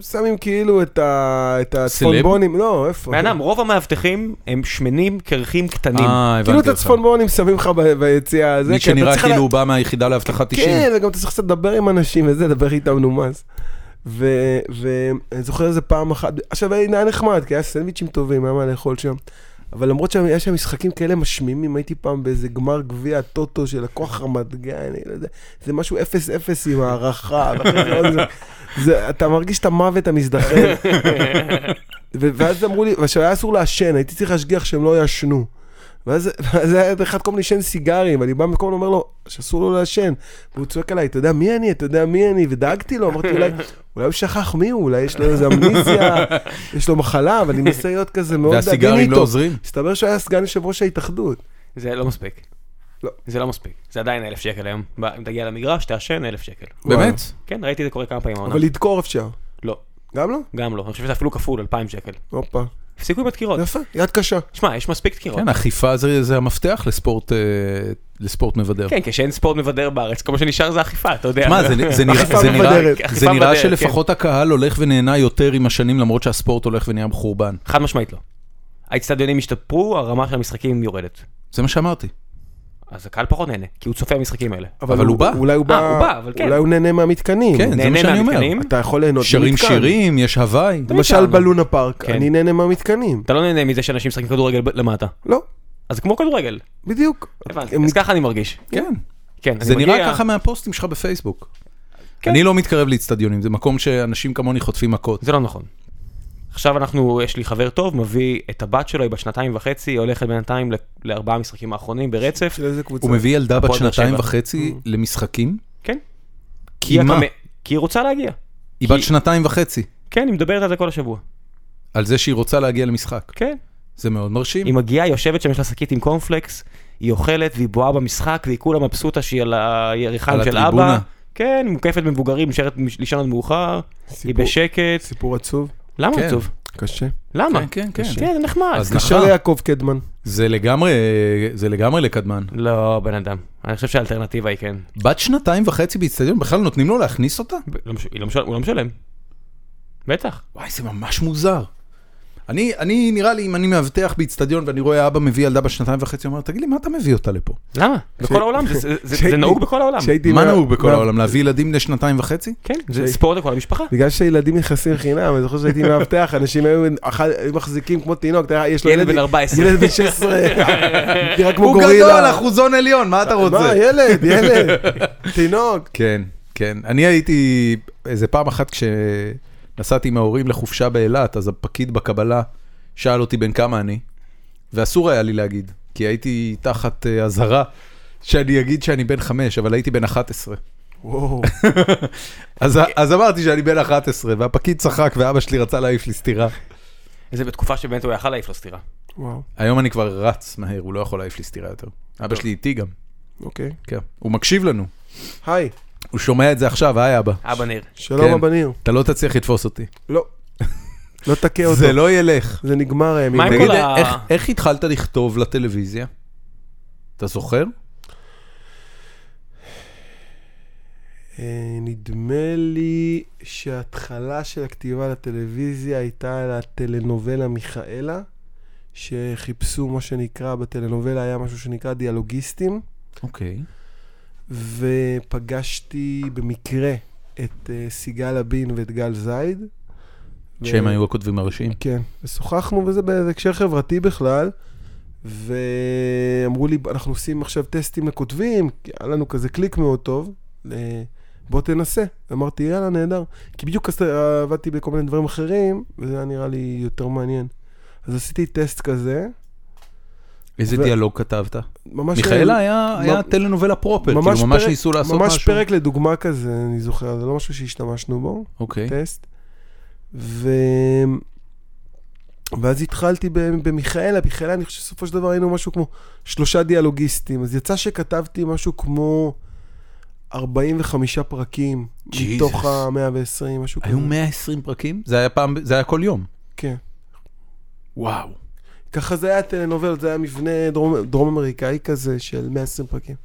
S3: שמים כאילו את ה- את הצפונבונים, לא, איפה?
S1: אוקיי.
S2: בן אדם, רוב המאבטחים הם שמנים, קרחים קטנים.
S1: אה.
S3: כאילו את הצפונבונים שמים לך ב- ביציע הזה.
S1: מי
S2: כן,
S3: כי אתה
S1: שנראה
S3: צריך לה-
S1: כאילו הוא בא מהיחידה לאבטחת אישית.
S3: כן, וגם אתה צריך קצת לדבר עם אנשים וזה, לדבר איתם נומס. ואני זוכר איזה פעם אחת, עכשיו היה נחמד, כי היה סנדוויצ'ים טובים, היה מה לאכול שם. אבל למרות שהיה שם משחקים כאלה משמימים, הייתי פעם באיזה גמר גביע טוטו של לקוח רמת גן, אני לא יודע, זה משהו 0-0 עם הערכה, ואחרי זה עוד זה- זה- אתה מרגיש את המוות המזדחל. ו- ואז אמרו לי, עכשיו היה אסור לעשן, הייתי צריך להשגיח שהם לא יעשנו. ואז ואז היה אחד קודם לעשן סיגרים, אני בא במקום ואומר לו שאסור לו לעשן. והוא צועק עליי, אתה יודע מי אני, אתה יודע מי אני, ודאגתי לו, אמרתי אולי, אולי הוא שכח מי הוא, אולי יש לו איזה אמניזיה, יש לו מחלה, אבל אני מנסה להיות כזה מאוד דאגן
S1: והסיגרים לא
S3: איתו.
S1: עוזרים?
S3: הסתבר שהוא היה סגן יושב ראש ההתאחדות.
S2: זה לא מספיק.
S3: לא.
S2: זה לא מספיק. זה עדיין אלף שקל היום. ב- אם תגיע למגרש, תעשן אלף שקל.
S3: וואו.
S1: באמת?
S2: כן, ראיתי את זה קורה כמה פעמים העונה.
S3: אבל לדקור אפשר.
S2: לא,
S3: גם לא?
S2: גם לא. אני חושב שזה אפילו כפול, אלפיים שקל.
S3: הופה.
S2: הפסיקו עם הדקירות.
S3: יפה, יד קשה.
S2: שמע, יש מספיק דקירות.
S1: כן, אכיפה זה זה המפתח לספורט, אה, לספורט מבדר.
S2: כן, כשאין ספורט מבדר בארץ, כל מה שנשאר זה אכיפה, אתה יודע.
S1: מה, זה- זה נראה-
S3: אכיפה
S1: זה נראה-
S3: מבדרת.
S1: זה
S2: אכיפה
S1: נראה
S2: מבדרת, כן.
S1: שלפחות הקהל הולך ונהנה יותר עם השנים, למרות שהספורט הולך ונהיה מחורבן.
S2: חד משמעית לא. האצטדיונים השתפרו, הרמה של המשחקים יורדת.
S1: זה מה שאמרתי.
S2: אז הקהל פחות נהנה, כי הוא צופה במשחקים האלה.
S1: אבל הוא בא.
S3: אולי הוא
S2: אה, הוא בא,
S3: בא,
S2: אבל כן.
S3: אולי הוא נהנה מהמתקנים.
S1: כן, זה מה
S2: נהנה לא
S1: שאני אומר.
S2: מהמתקנים?
S3: אתה יכול ליהנות
S1: שרים
S3: ממתקן.
S1: שירים, יש הוואי.
S3: למשל
S2: איתנו.
S3: בלונה פארק,
S2: כן.
S3: אני נהנה מהמתקנים.
S2: אתה לא נהנה מזה שאנשים משחקים כדורגל ב- למטה.
S3: לא,
S2: אז זה כמו כדורגל.
S3: בדיוק.
S2: הבנתי.
S3: הם-
S2: אז ככה אני מרגיש.
S1: כן.
S2: כן,
S1: זה
S2: אני
S1: נראה
S2: מגיע-
S1: ככה מהפוסטים שלך בפייסבוק.
S2: כן.
S1: אני לא מתקרב לאיצטדיונים, זה מקום שאנשים כמוני חוטפים מכות.
S2: זה לא נכון. עכשיו אנחנו, יש לי חבר טוב, מביא את הבת שלו, היא בת שנתיים וחצי, היא הולכת בינתיים ל- לארבעה משחקים האחרונים ברצף.
S3: של איזה קבוצה?
S1: הוא מביא ילדה בת
S2: הפועל באר
S1: שנתיים
S2: שבע. Mm.
S1: וחצי למשחקים?
S2: כן.
S1: כי
S2: היא
S1: מה?
S2: הקמ- כי היא רוצה להגיע.
S1: היא בת
S2: כי-
S1: שנתיים וחצי,
S2: כן, היא מדברת על זה כל השבוע.
S1: על זה שהיא רוצה להגיע למשחק.
S2: כן.
S1: זה מאוד מרשים.
S2: היא מגיעה, היא יושבת שם, יש לה שקית עם קורנפלקס, היא אוכלת והיא בואה במשחק, והיא כולה מבסוטה שהיא על
S1: על
S2: היריחם של
S1: הטריבונה.
S2: אבא. כן, היא מוקפת במבוגרים, נשארת לישון עד מאוחר, היא
S3: סיפור-
S2: בשקט.
S3: סיפור עצוב,
S2: למה
S1: כן.
S2: עצוב?
S3: קשה.
S2: למה?
S1: כן, כן, כן.
S2: כן, זה נחמד.
S1: אז
S3: קשה
S1: נכון.
S3: ליעקב קדמן.
S1: זה לגמרי, זה לגמרי לקדמן.
S2: לא, בן אדם. אני חושב שהאלטרנטיבה היא כן.
S1: בת שנתיים וחצי באיצטדיון, בכלל נותנים לו להכניס אותה?
S2: ב- לא מש- היא לא משל- הוא לא משלם. בטח.
S1: וואי, זה ממש מוזר. אני, אני נראה לי, אם אני מאבטח באיצטדיון ואני רואה אבא מביא ילדה בת שנתיים וחצי, אומר, תגיד לי, מה אתה מביא אותה לפה?
S2: למה? בכל העולם, זה- זה- זה- זה נהוג בכל העולם.
S3: כשהייתי
S1: מה
S3: מה-
S1: נהוג בכל
S3: מה-
S1: העולם, להביא ילדים בני שנתיים וחצי?
S2: כן, זה
S3: כשהי-
S2: ספורט לכל המשפחה.
S3: בגלל שילדים נכנסים חינם, אני זוכר שהייתי מאבטח, אנשים היו אחד- היו מחזיקים כמו תינוק, אתה יודע, יש לו
S2: ילד בן 14.
S3: ילד בן 16, נראה כמו
S1: הוא
S3: גורילה. אה,
S1: גדול, אחוזון עליון, מה אתה
S2: לא
S1: רוצה?
S3: מה, ילד, ילד, תינוק.
S1: כן, כן. אני הייתי איזה פעם אחת כשנסעתי עם ההורים לחופשה באילת, אז הפקיד בקבלה שאל אותי בן כמה אני, ואסור היה לי להגיד, כי הייתי תחת אה, אזהרה שאני אגיד שאני בן חמש, אבל הייתי בן 11.
S3: וואו,
S1: אז, אז אמרתי שאני בן 11, והפקיד צחק ואבא שלי רצה להעיף לי סטירה.
S2: זה בתקופה שבאמת הוא יכל להעיף לו סטירה.
S3: וואו,
S1: היום אני כבר רץ מהר, הוא לא יכול להעיף לי סטירה יותר. אבא שלי איתי גם,
S3: אוקיי.
S1: כן. הוא מקשיב לנו,
S3: היי,
S1: הוא שומע את זה עכשיו, היי אבא.
S2: אבא ניר.
S1: כן.
S3: שלום הבניר.
S1: אתה לא תצליח לתפוס אותי.
S3: לא, לא תכה אותו.
S1: זה לא ילך.
S3: זה נגמר הימים.
S2: מה עם
S3: האלה.
S1: תגיד,
S2: כל ה-
S1: אה, איך, איך התחלת לכתוב לטלוויזיה? אתה זוכר?
S3: אה, נדמה לי שההתחלה של הכתיבה לטלוויזיה הייתה על הטלנובלה מיכאלה, שחיפשו מה שנקרא, בטלנובלה היה משהו שנקרא דיאלוגיסטים,
S1: אוקיי.
S3: ופגשתי במקרה את אה, סיגל אבין ואת גל זייד.
S1: שהם
S3: ו-
S1: היו הכותבים הראשיים.
S3: כן, ושוחחנו וזה בהקשר חברתי בכלל, ואמרו לי, אנחנו עושים עכשיו טסטים לכותבים, כי היה לנו כזה קליק מאוד טוב, אה, בוא תנסה. אמרתי, יאללה, נהדר. כי בדיוק אז, אה, עבדתי בכל מיני דברים אחרים, וזה היה נראה לי יותר מעניין. אז עשיתי טסט כזה,
S1: איזה
S3: ו-
S1: דיאלוג כתבת?
S3: ממש...
S1: מיכאלה היה, היה
S3: ממ-
S1: טלנובלה פרופר,
S3: ממש
S1: כאילו ממש
S3: פרק-
S1: ניסו לעשות משהו.
S3: ממש פרק לדוגמה כזה, אני זוכר, זה לא משהו שהשתמשנו בו.
S1: אוקיי.
S3: טסט. ו... ואז התחלתי ב- במיכאלה, מיכאלה, אני חושב שבסופו של דבר היינו משהו כמו שלושה דיאלוגיסטים. אז יצא שכתבתי משהו כמו 45 פרקים
S1: Jesus.
S3: מתוך ה-120, משהו
S1: היו 120 פרקים? זה היה פעם, זה היה כל יום.
S3: כן.
S1: וואו.
S3: ככה זה היה טלנובל, זה היה מבנה דרום, דרום אמריקאי כזה של 120 פרקים.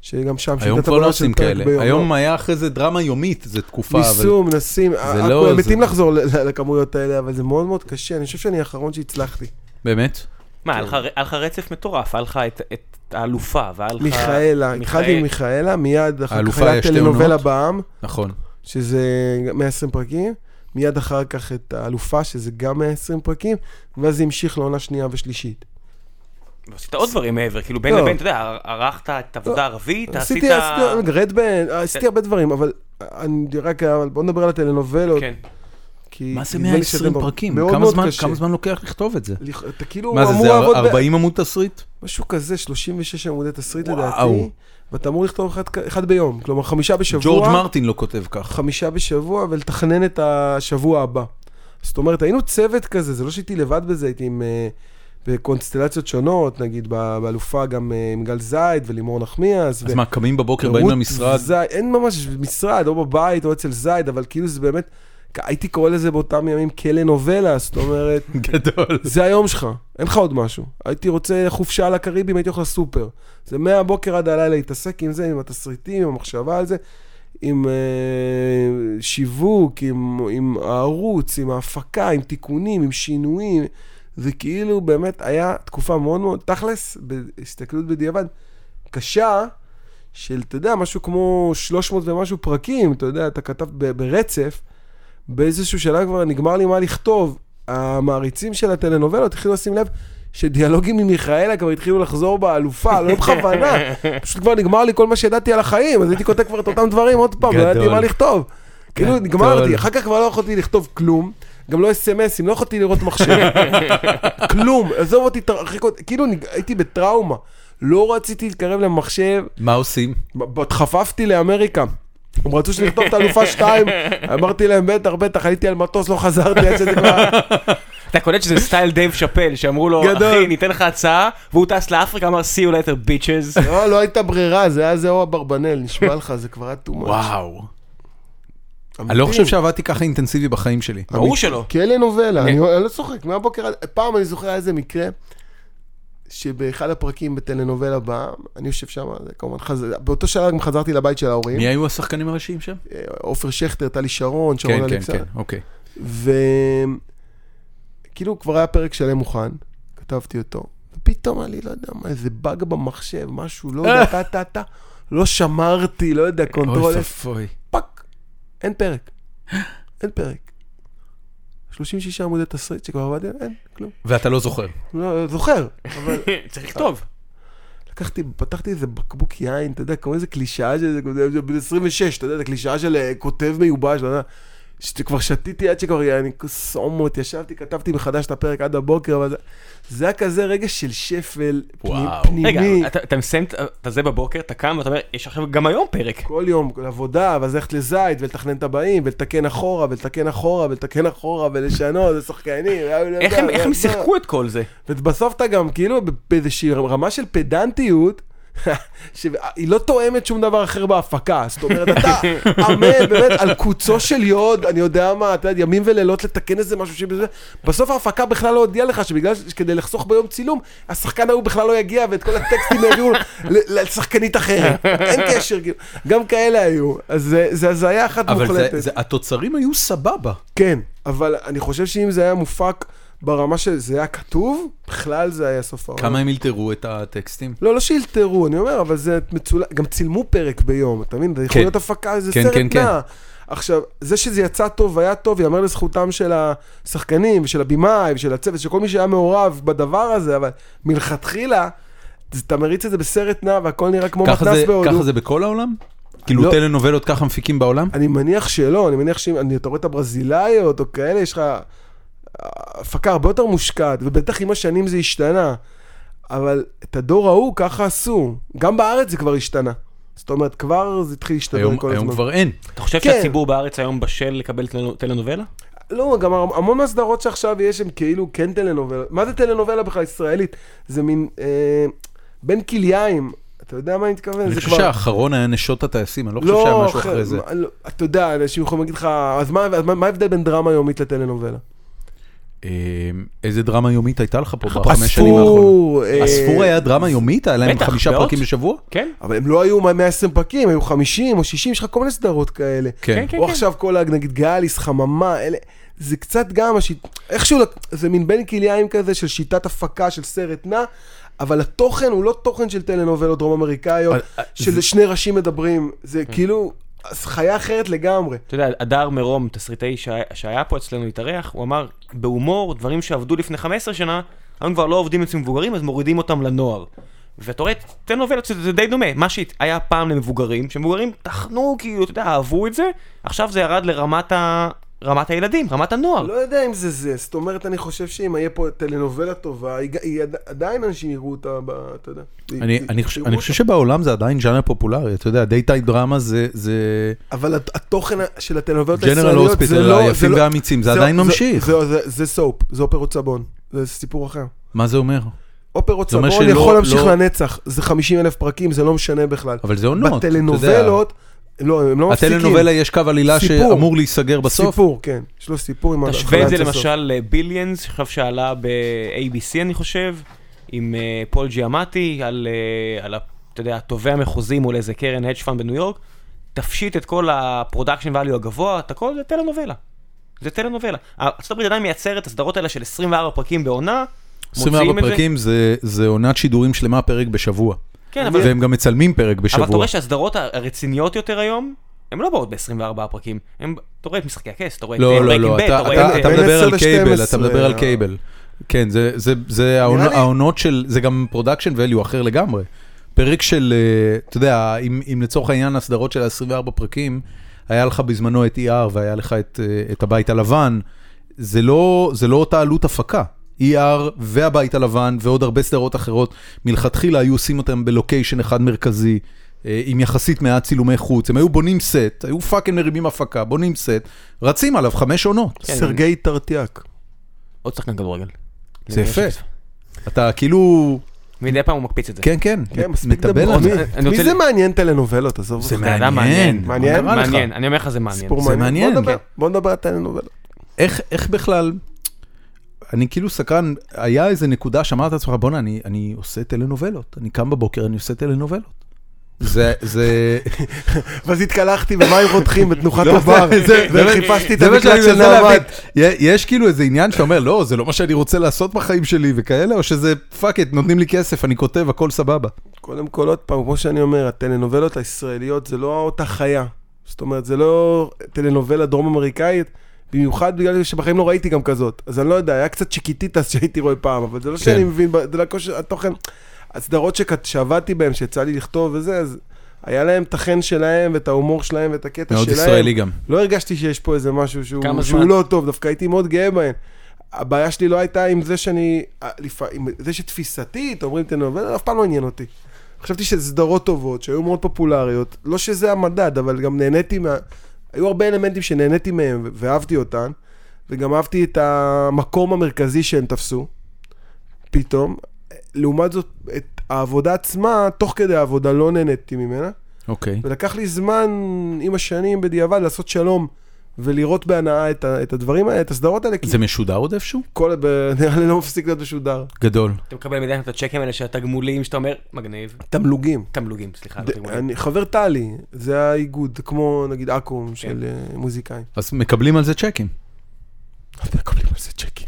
S3: שגם שם
S1: היום
S3: שיטת
S1: כבר לא
S3: עבודה
S1: עושים
S3: של פרק
S1: כאלה.
S3: ביום,
S1: היום
S3: לא.
S1: היה אחרי זה דרמה יומית, זו תקופה, אבל...
S3: ניסום, נסים, אנחנו
S1: לא-
S3: הם מתים
S1: זה-
S3: לחזור ל- ל- לכמויות האלה, אבל זה מאוד מאוד קשה, אני חושב שאני האחרון שהצלחתי.
S1: באמת?
S2: מה, היה לך- היה לך רצף מטורף, היה לך את- את האלופה, והיה לך...
S3: מיכאלה, התחלתי עם
S2: מיכאל.
S3: מיכאלה, מיד אחר כך
S1: האלופה
S3: היה
S1: יש שתי
S3: טלנובלה
S1: עונות?
S3: בעם,
S1: נכון.
S3: שזה 120 פרקים, מיד אחר כך את האלופה, שזה גם 120 פרקים, ואז זה המשיך לעונה שנייה ושלישית.
S2: ועשית עוד דברים מעבר, כאילו בין
S3: לא.
S2: לבין, אתה יודע, ערכת את העבודה הערבית, עשית...
S3: עשיתי, עשיתי- רדבן,
S1: אה,
S3: עשיתי הרבה דברים, אבל אני רק, אבל בוא נדבר על הטלנובלות,
S2: כן.
S3: כי...
S1: מה זה
S3: נדמה לי
S1: 120
S3: שאתם-
S1: פרקים?
S3: מאוד
S1: כמה
S3: מאוד
S1: זמן-
S3: קשה.
S1: כמה זמן לוקח לכתוב את זה?
S3: לכ- אתה כאילו
S1: מה זה,
S3: אמור
S1: זה
S3: לעבוד ב-
S1: 40 עמוד תסריט?
S3: משהו כזה, 36 עמודי תסריט
S1: וואו.
S3: לדעתי, ואתה אמור לכתוב אחד כ- אחד ביום, כלומר חמישה בשבוע.
S1: ג'ורג' מרטין לא כותב כך.
S3: חמישה בשבוע ולתכנן את השבוע הבא. זאת אומרת, היינו צוות כזה, זה לא שהייתי לבד בזה, הייתי עם... אה, בקונסטלציות שונות, נגיד ב- באלופה גם אה, עם גל זייד ולימור נחמיאס.
S1: אז
S3: ו-
S1: מה, קמים בבוקר, באים
S3: רות
S1: למשרד?
S3: זי... אין ממש משרד, או בבית או אצל זייד, אבל כאילו זה באמת, הייתי קורא לזה באותם ימים כלא נובלה, זאת אומרת,
S1: גדול.
S3: זה היום שלך, אין לך עוד משהו. הייתי רוצה חופשה על הקריבים, הייתי הולך לסופר. זה מהבוקר עד הלילה להתעסק עם זה, עם התסריטים, עם המחשבה על זה, עם אה, שיווק, עם, עם הערוץ, עם ההפקה, עם תיקונים, עם שינויים. זה כאילו באמת היה תקופה מאוד מאוד, תכלס, בהסתכלות בדיעבד, קשה, של, אתה יודע, משהו כמו 300 ומשהו פרקים, אתה יודע, אתה כתב ב- ברצף, באיזשהו שלב כבר נגמר לי מה לכתוב. המעריצים של הטלנובלות התחילו לשים לב שדיאלוגים עם מיכאלה כבר התחילו לחזור באלופה, לא בכוונה, פשוט כבר נגמר לי כל מה שידעתי על החיים, אז הייתי כותב כבר את אותם דברים עוד פעם, לא ידעתי
S1: גדול.
S3: מה לכתוב. כאילו
S1: גדול.
S3: נגמרתי, אחר כך כבר לא יכולתי לכתוב כלום, גם לא אס.אם.אסים, לא יכולתי לראות מחשב, כלום, עזוב אותי, תרחיק אותי, כאילו נג- הייתי בטראומה, לא רציתי להתקרב למחשב,
S1: מה עושים?
S3: ב- דחפפתי לאמריקה. הם רצו שנכתוב את אלופה 2, אמרתי להם בטח, בטח, עליתי על מטוס, לא חזרתי עד שזה כבר...
S2: אתה קולט שזה סטייל דייב שאפל, שאמרו לו,
S1: גדול.
S2: אחי, ניתן לך הצעה, והוא טס לאפריקה, אמר, see you later, bitches.
S3: לא, לא הייתה ברירה, זה היה זה או אברבנל, נשבע לך, זה כבר היה too much.
S1: וואו. אני לא
S3: אוקיי.
S1: חושב שעבדתי ככה אינטנסיבי בחיים שלי.
S2: ברור שלא.
S3: כלא נובלה,
S1: כן.
S3: אני אני לא צוחק, מהבוקר, עד- פעם אני זוכר היה איזה מקרה, שבאחד הפרקים בטלנובלה הבאה, אני יושב שם, זה כמובן, חז- באותו שלב גם חזרתי לבית של ההורים,
S1: מי היו השחקנים הראשיים שם?
S3: אה, עופר שכטר, טלי שרון, שרון
S1: כן, כן,
S3: אלכסנדר.
S1: כן, אוקיי.
S3: וכאילו כאילו כבר היה פרק שלם מוכן, כתבתי אותו, ופתאום היה לי, לא יודע מה, איזה באג במחשב, משהו, לא יודע, טה טה טה, לא שמרתי, לא יודע, קונטרול,
S1: אה. אוי ספוי.
S3: פאק, אין פרק, אין פרק. 36 עמודי תסריט שכבר עבדתי, אין, כלום.
S1: ואתה לא זוכר.
S3: לא, לא זוכר.
S2: צריך לכתוב.
S3: לקחתי, פתחתי איזה בקבוק יין, אתה יודע, כמו איזה קלישאה של, זה בן 26, אתה יודע, את הקלישאה של אה, כותב מיובש, אתה יודע, שכבר שתיתי עד שכבר, אה, אני סומות, ישבתי, כתבתי מחדש את הפרק עד הבוקר, אבל זה, זה היה כזה רגע של שפל פני-
S1: וואו.
S3: פנימי.
S2: רגע, אתה- אתה מסיים את- את זה בבוקר, אתה קם ואתה אומר, יש עכשיו גם היום פרק.
S3: כל יום כל עבודה, ואז ללכת לזית, ולתכנן את הבאים, ולתקן אחורה, ולתקן אחורה, ולתקן אחורה, ולשנות, ושחקנים.
S2: איך הם- איך הם שיחקו את כל זה?
S3: ובסוף אתה גם כאילו באיזושהי רמה של פדנטיות. שהיא לא תואמת שום דבר אחר בהפקה, זאת אומרת, אתה עמד באמת על קוצו של יוד, אני יודע מה, אתה יודע, ימים ולילות לתקן איזה משהו שבזה, בסוף ההפקה בכלל לא הודיעה לך שבגלל, ש- כדי לחסוך ביום צילום, השחקן ההוא בכלל לא יגיע ואת כל הטקסטים העבירו ל- לשחקנית אחרת, אין קשר, כאילו, גם כאלה היו, אז זה- זה הזיה אחת
S1: אבל
S3: מוחלטת.
S1: זה- זה- התוצרים היו סבבה.
S3: כן, אבל אני חושב שאם זה היה מופק ברמה שזה היה כתוב, בכלל זה היה סוף העולם.
S1: כמה הם אלתרו את הטקסטים?
S3: לא, לא שאילתרו, אני אומר, אבל זה מצול... גם צילמו פרק ביום, אתה מבין? זה יכול
S1: כן.
S3: להיות הפקה, זה
S1: כן,
S3: סרט
S1: כן, כן.
S3: נע. עכשיו, זה שזה יצא טוב והיה טוב, ייאמר לזכותם של השחקנים, ושל הבמאי, ושל הצוות, של כל מי שהיה מעורב בדבר הזה, אבל מלכתחילה, זה- אתה מריץ את זה בסרט נע והכל נראה כמו
S1: ככה
S3: מתנ"ס
S1: זה-
S3: בהודו.
S1: ככה זה בכל העולם? כאילו
S3: לא.
S1: טלנובלות ככה מפיקים בעולם?
S3: אני מניח שלא, אני מניח שאם אני- אתה רואה את הברזילאיות או כאלה, יש לך אה, הפקה הרבה יותר מושקעת, ובטח עם השנים זה השתנה. אבל את הדור ההוא ככה עשו. גם בארץ זה כבר השתנה. זאת אומרת, כבר זה התחיל להשתדר
S1: היום
S3: כל
S1: היום
S3: הזמן.
S1: כבר אין.
S2: אתה חושב
S3: כן.
S2: שהציבור בארץ היום בשל לקבל טלנו- טלנובלה?
S3: לא, גם הר- המון מהסדרות שעכשיו יש הם כאילו כן טלנובלה. מה זה טלנובלה בכלל ישראלית? זה מין אה, בין כליים. אתה יודע מה אני מתכוון?
S1: אני
S3: זה
S1: חושב
S3: כבר-
S1: שהאחרון היה נשות הטייסים, אני לא חושב שהיה משהו
S3: אחר-
S1: אחרי זה.
S3: מה- לא, אתה יודע, אנשים יכולים להגיד לך, אז מה- אז מה מה ההבדל בין דרמה יומית לטלנובלה?
S1: אה, איזה דרמה יומית הייתה לך פה בחמש שנים האחרונות?
S3: הספור... אה,
S1: הספור היה דרמה יומית? היה להם
S2: בטח,
S1: חמישה
S2: מאות.
S1: פרקים בשבוע?
S2: כן?
S3: אבל הם לא היו מה- 120 פרקים, היו 50 או 60, יש לך כל מיני סדרות כאלה.
S1: כן.
S2: כן,
S3: או עכשיו כל, ה- נגיד גאליס, חממה, אלה, זה קצת גם, השיט... איכשהו, לק- זה מין בין כלאיים כזה של שיטת הפקה של סרט נע, אבל התוכן הוא לא תוכן של טלנובלות דרום אמריקאיות,
S1: אה,
S3: של
S1: זה- כן.
S3: שני ראשים מדברים, זה כאילו חיה אחרת לגמרי.
S2: אתה יודע, הדר מרום, תסריטאי שהיה- שהיה פה אצלנו התארח, הוא אמר, בהומור, דברים שעבדו לפני 15 שנה, היום כבר לא עובדים אצל מבוגרים, אז מורידים אותם לנוער. ואתה רואה, תן נובלות, זה די דומה, מה שהיה פעם למבוגרים, שמבוגרים טחנו, כאילו, אתה יודע, אהבו את זה, עכשיו זה ירד לרמת ה... רמת הילדים, רמת הנוער.
S3: לא יודע אם זה זה, זאת אומרת, אני חושב שאם יהיה פה טלנובלה טובה, היא ג- היא עד- עדיין אנשים יראו אותה, ב- אתה יודע.
S1: אני, אני,
S3: י- יראו
S1: חושב,
S3: אותה.
S1: אני חושב שבעולם זה עדיין ז'אנר פופולרי, אתה יודע, דייטייט דרמה זה, זה
S3: אבל הת- התוכן של הטלנובלות
S1: ג'נרל
S3: הישראליות זה
S1: הוספיטל,
S3: לא... זה
S1: היפים
S3: לא-
S1: והאמיצים, זה עדיין ממשיך.
S3: זה- זה- זה סופ, זה אופרות סבון, זה סיפור אחר.
S1: מה זה אומר?
S3: אופרות
S1: זה אומר
S3: סבון
S1: שלא-
S3: יכול להמשיך
S1: לא-
S3: לנצח, זה 50 אלף פרקים, זה לא משנה בכלל.
S1: אבל זה עונות, אתה יודע.
S3: בטלנובלות, לא, הם לא מפסיקים.
S1: הטלנובלה יש קו עלילה
S3: סיפור.
S1: שאמור להיסגר בסוף.
S3: סיפור, כן, יש לו סיפור עם
S2: תשווה את זה
S3: התחלת הסוף.
S2: למשל לביליאנס, עכשיו שעלה ב-ABC אני חושב, עם אה, פול ג'יאמטי, על, אה, על ה- אתה יודע, התובע המחוזי מול איזה קרן הדג' פאנד בניו יורק, תפשיט את כל הפרודקשן value הגבוה, את הכל זה טלנובלה. זה טלנובלה. ארה"ב עדיין מייצרת את הסדרות האלה של 24 פרקים בעונה, מוציאים
S1: 24
S2: את זה.
S1: פרקים זה, זה עונת שידורים שלמה פרק בשבוע.
S2: כן, אבל,
S1: והם גם מצלמים פרק
S2: אבל אתה
S1: בשבוע.
S2: רואה שהסדרות הרציניות יותר היום, הן לא באות ב-24 פרקים, הם- אתה רואה את משחקי הכס, אתה רואה את אה,
S1: לא, לא,
S2: Breaking
S1: לא,
S2: Bad,
S1: אתה,
S2: רואה את,
S1: אתה,
S2: אה,
S1: אתה
S3: בין
S1: מדבר
S3: עשר
S1: על קייבל, אתה
S3: ל-12,
S1: מדבר על
S3: אה.
S1: קייבל. כן, זה, זה, זה העונו-
S3: לי-
S1: העונות של, זה גם פרודקשן value אחר לגמרי. פרק של, אה, אתה יודע, אם, אם לצורך העניין הסדרות של ה-24 פרקים, היה לך בזמנו את ER והיה לך את, אה, את הבית הלבן, זה לא, זה לא אותה עלות הפקה. ER והבית הלבן ועוד הרבה סדרות אחרות, מלכתחילה היו עושים אותם בלוקיישן אחד מרכזי, אה, עם יחסית מעט צילומי חוץ, הם היו בונים סט, היו פאקינג מרימים הפקה, בונים סט, רצים עליו חמש עונות.
S2: כן.
S3: סרגי טרטיאק.
S2: עוד שחקן כדורגל.
S1: זה יפה. אתה כאילו,
S2: מדי פעם הוא מקפיץ את זה.
S1: כן, כן,
S3: כן, מספיק
S1: מתאבל על
S3: דברות.
S1: זה.
S2: אני- אני
S3: מי-
S2: רוצה
S3: מי זה
S2: ל-
S3: מעניין טלנובלות? עזוב
S1: זה
S3: אותך.
S2: אתה יודע,
S1: מעניין.
S3: מעניין.
S1: מה קרה לך?
S2: אוקיי, מעניין, אני אומר לך זה מעניין.
S3: סיפור
S1: זה מעניין,
S3: בוא נדבר-
S1: כן.
S3: בוא נדבר על טלנובלות.
S1: איך, איך בכלל, אני כאילו סקרן, היה איזה נקודה שאמרת לעצמך, בואנה, אני, אני עושה טלנובלות, אני קם בבוקר, אני עושה טלנובלות. זה, זה,
S3: ואז התקלחתי במים רותחים בתנוחת
S1: לא,
S3: הבר,
S1: זה- זה- זה-
S3: וחיפשתי את
S1: זה מה
S3: המקלט
S1: שאני
S3: של
S1: מנסה
S3: נעמד.
S1: להבין. י- יש כאילו איזה עניין שאתה אומר, לא, זה לא מה שאני רוצה לעשות בחיים שלי וכאלה, או שזה פאק את, נותנים לי כסף, אני כותב, הכל סבבה.
S3: קודם כל, עוד פעם, כמו שאני אומר, הטלנובלות הישראליות זה לא אותה חיה. זאת אומרת, זה לא טלנובלה דרום אמריקאית, במיוחד בגלל שבחיים לא ראיתי גם כזאת. אז אני לא יודע, היה קצת צ'יקיטיטה שהייתי רואה פעם, אבל זה לא שאני
S1: כן.
S3: מבין, ב- זה לא כושר, התוכן, הסדרות שכת- שעבדתי בהן, שיצא לי לכתוב וזה, אז היה להם את החן שלהם, ואת ההומור שלהם, ואת הקטע שלהם.
S1: מאוד ישראלי גם.
S3: לא הרגשתי שיש פה איזה משהו
S2: כמה
S3: שהוא,
S2: זמן?
S3: שהוא לא טוב, דווקא הייתי מאוד גאה בהן. הבעיה שלי לא הייתה עם זה שאני, אה, לפע- עם זה שתפיסתית, אומרים טלנובלה, אף פעם לא עניין אותי. חשבתי שזה סדרות טובות, שהיו מאוד פופולריות, לא שזה המדד, אבל גם נהניתי מה... היו הרבה אלמנטים שנהניתי מהם ו- ואהבתי אותן, וגם אהבתי את המקום המרכזי שהם תפסו, פתאום. לעומת זאת, את העבודה עצמה, תוך כדי העבודה לא נהניתי ממנה.
S1: אוקיי.
S3: ולקח לי זמן עם השנים בדיעבד לעשות שלום ולראות בהנאה את, ה- את הדברים האלה, את הסדרות האלה, כי
S1: זה משודר עוד איפשהו?
S3: כל... ב- נראה לי לא מפסיק להיות משודר.
S1: גדול.
S2: אתה מקבל מדי פעם את הצ'קים האלה של התגמולים, שאתה אומר, מגניב.
S3: תמלוגים.
S2: תמלוגים, סליחה, לא
S3: ד-
S2: תגמולים.
S3: אני, חבר טלי, זה האיגוד, כמו נגיד אקו"ם
S2: כן.
S3: של אה, מוזיקאים.
S1: אז מקבלים על זה צ'קים.
S3: אתם מקבלים על זה צ'קים.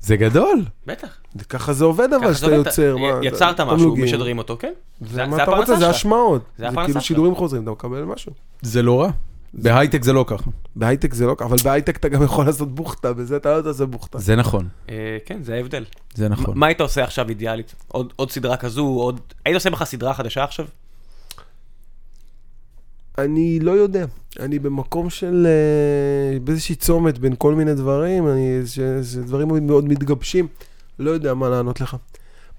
S1: זה גדול.
S2: בטח.
S3: זה- ככה זה עובד אבל,
S2: ככה
S3: שאתה
S2: זה עובד,
S3: יוצר.
S2: י-
S3: מה,
S2: יצרת
S3: אתה-
S2: משהו,
S3: תמלוגים.
S2: משדרים אותו, כן?
S3: זה
S2: זה
S3: מה אתה
S2: הפרנסה
S3: רוצה, זה
S2: שלך.
S3: השמעות.
S2: זה
S3: זה
S2: הפרנסה
S3: כאילו
S2: שלך.
S3: שידורים חוזרים, אתה מקבל משהו.
S1: זה לא רע. בהייטק זה לא ככה.
S3: בהייטק זה לא ככה, אבל בהייטק אתה גם יכול לעשות בוכטה, בזה אתה לא יודע לעשות בוכטה.
S1: זה נכון.
S2: אה, כן, זה ההבדל.
S1: זה נכון.
S2: מה היית עושה עכשיו אידיאלית? עוד עוד סדרה כזו, עוד... היית עושה בך סדרה חדשה עכשיו?
S3: אני לא יודע. אני במקום של... אה, באיזושהי צומת בין כל מיני דברים, אני... ש- שדברים מאוד- מאוד מתגבשים. לא יודע מה לענות לך.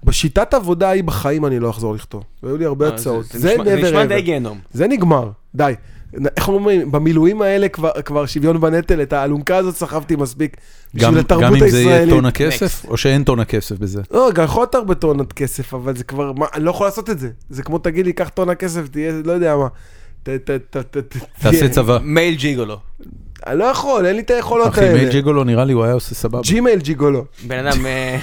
S3: בשיטת עבודה ההיא בחיים אני לא אחזור לכתוב. והיו לי הרבה
S2: אה,
S3: הצעות.
S2: זה
S3: זה
S2: נשמע- זה נשמע די
S3: never ever.
S2: גיהנום.
S3: זה נגמר. די. נ- איך אומרים, במילואים האלה כבר, כבר שוויון בנטל, את האלונקה הזאת סחבתי מספיק.
S1: גם,
S3: בשביל
S1: גם
S3: התרבות
S1: אם זה יהיה
S3: הישראלית.
S1: טון הכסף, או שאין טון הכסף בזה.
S3: לא, גם יכול להיות הרבה טונות כסף, אבל זה כבר, מה, אני לא יכול לעשות את זה. זה כמו תגיד לי, קח טונה כסף, תהיה, לא יודע מה. ת- ת- ת- ת- ת-
S1: תעשה
S3: תהיה-
S1: צבא.
S2: מייל ג'יגולו.
S3: אני לא יכול, אין לי את היכולות
S1: אחי, מייל
S3: האלה.
S1: ג'יגולו נראה לי הוא היה עושה סבבה.
S3: ג'ימייל ג'יגולו.
S2: בן אדם... אה,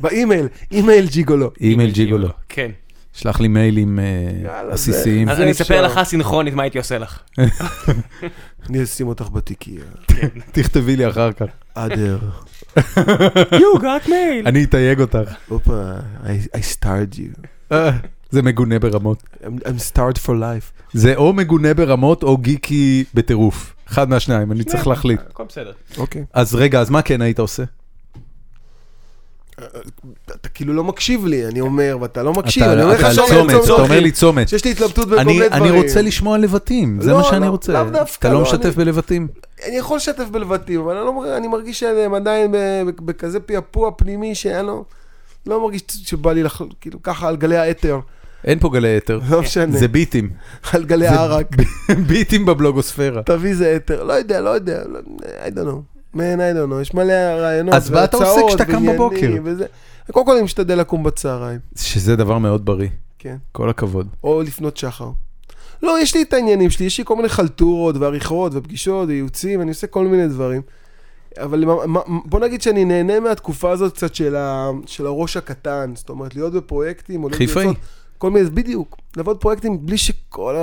S3: באימייל, אימייל ג'יגולו.
S1: אימייל ג'יגולו.
S2: כן.
S1: שלח לי מיילים אה,
S3: יאללה, זה-
S1: עסיסיים.
S2: אז
S3: זה
S2: אני
S3: אפשר.
S2: אספר לך סינכרונית מה הייתי עושה לך.
S3: אני אשים אותך בתיקייה.
S1: תכתבי לי אחר כך.
S3: אדר.
S2: You got mail.
S1: אני אתייג אותך.
S3: הופה, I- I starred you.
S1: אה, זה מגונה ברמות.
S3: I'm I'm starred for life.
S1: זה או מגונה ברמות או גיקי בטירוף. אחד מהשניים, אני צריך להחליט.
S2: הכל בסדר.
S3: אוקיי.
S1: אז רגע, אז מה כן היית עושה?
S3: אתה כאילו לא מקשיב לי, אני אומר, ואתה לא מקשיב.
S1: אתה-
S3: אני אומר לך
S1: אתה על
S3: שאני
S1: צומת, אתה
S3: צומת,
S1: אומר לי צומת.
S3: שיש לי התלבטות בכל מיני
S1: אני,
S3: דברים.
S1: אני רוצה לשמוע לבטים, זה
S3: לא,
S1: מה שאני
S3: לא,
S1: רוצה.
S3: לאו דווקא,
S1: אתה לא
S3: לא,
S1: משתף בלבטים.
S3: אני יכול לשתף בלבטים, אבל אני, לא, אני מרגיש שהם עדיין ב- ב- בכזה פעפוע פנימי שאני לא, לא מרגיש שבא לי לחל... כאילו ככה על גלי האתר.
S1: אין פה גלי יתר.
S3: לא משנה.
S1: זה ביטים.
S3: על גלי
S1: זה
S3: הערק.
S1: ב- ביטים בבלוגוספירה.
S3: תביא זה אתר. לא יודע, לא יודע. לא, I don't know. Man, I don't know. יש מלא רעיונות.
S1: אז מה אתה עושה
S3: והצעות,
S1: כשאתה קם
S3: ועניינים
S1: בבוקר?
S3: וזה. קודם כל אני משתדל לקום בצהריים,
S1: שזה דבר מאוד בריא.
S3: כן.
S1: כל הכבוד.
S3: או לפנות שחר. לא, יש לי את העניינים שלי, יש לי כל מיני חלטורות ועריכות ופגישות וייעוצים, אני עושה כל מיני דברים. אבל מה- מה- בוא נגיד שאני נהנה מהתקופה הזאת קצת של, ה, של הראש הקטן, זאת אומרת, להיות בפרויקטים, או להיות
S1: חיפאי.
S3: ביוצאות, כל מיני, בדיוק, לעבוד פרויקטים בלי שכל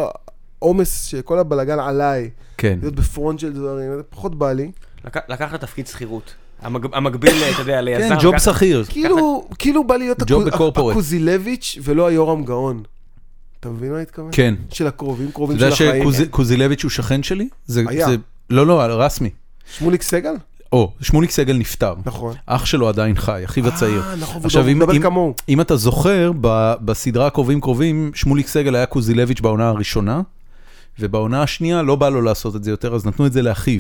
S3: העומס, שכל הבלגן עליי,
S1: כן.
S3: להיות בפרונט של דברים, זה פחות בא לי.
S2: לק- לקחת תפקיד שכירות. המג- המקביל, אתה יודע, ליזם.
S1: כן, ג'וב
S2: לקחת-
S1: שכיר.
S3: כאילו, כאילו בא לי להיות
S1: ג'וב
S3: הקו-
S1: בקורפורט.
S3: הקוזילביץ' ולא היורם גאון. אתה מבין מה התכוון?
S1: כן.
S3: של הקרובים,
S1: אתה
S3: קרובים של
S1: יודע
S3: החיים.
S1: שקוזילביץ' הוא שכן שלי? זה-
S3: היה.
S1: זה- לא, לא, רסמי.
S3: שמוליק סגל?
S1: או, שמוליק סגל נפטר.
S3: נכון.
S1: אח שלו עדיין חי, אחיו הצעיר.
S3: אה, נכון,
S1: עכשיו,
S3: עכשיו,
S1: אם-
S3: הוא מדבר
S1: אם-
S3: כמוהו.
S1: אם אתה זוכר, ב- בסדרה קרובים קרובים, שמוליק סגל היה קוזילביץ' בעונה הראשונה, ובעונה השנייה לא בא לו לעשות את זה יותר, אז נתנו את זה לאחיו.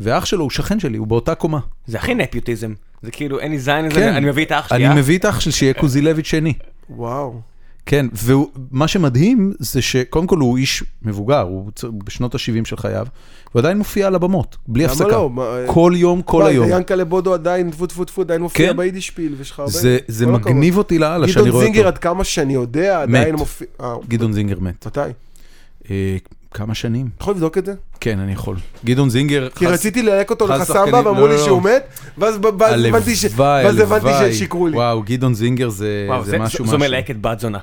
S1: ואח שלו הוא שכן שלי, הוא באותה קומה.
S2: זה הכי נפיוטיזם. זה כאילו, אין לי זין
S1: כן.
S2: לזה, אני מביא את האח שלי.
S1: אני
S2: אה?
S1: מביא את האח שלי שיהיה קוזילביץ' שני.
S3: וואו.
S1: כן, ומה שמדהים זה שקודם כל הוא איש מבוגר, הוא צ- בשנות ה-70 של חייו, והוא עדיין מופיע על הבמות, בלי
S3: למה
S1: הפסקה.
S3: לא? מה, אה,
S1: כל יום, כל
S3: מה,
S1: היום.
S3: ינקלה בודו עדיין, טפו טפו טפו, עדיין מופיע
S1: כן.
S3: ביידישפיל, ויש לך הרבה...
S1: זה- זה
S3: כל הכבוד.
S1: מגניב אותי לאללה שאני
S3: גדעון
S1: רואה
S3: זינגר,
S1: אותו.
S3: עד כמה שאני יודע, עדיין
S1: מת.
S3: מופיע... אה,
S1: גדעון זינגר מת.
S3: מתי? אתה
S1: אה, כמה שנים?
S3: יכול לבדוק את זה?
S1: כן, אני יכול. גדעון זינגר...
S3: כי
S1: חס-
S3: רציתי ללהק אותו
S1: חס
S3: לחסמבה,
S1: שחקנים-
S3: ואמרו
S1: לא,
S3: לי
S1: לא,
S3: שהוא
S1: לא.
S3: מת, ואז ב- ואז הבנתי ש- ואז הבנתי ששיקרו לי.
S1: וואו, גדעון זינגר זה,
S2: וואו,
S1: זה
S2: זה-
S1: משהו
S2: זו-
S1: משהו.
S2: זו מלהקת בת זונה.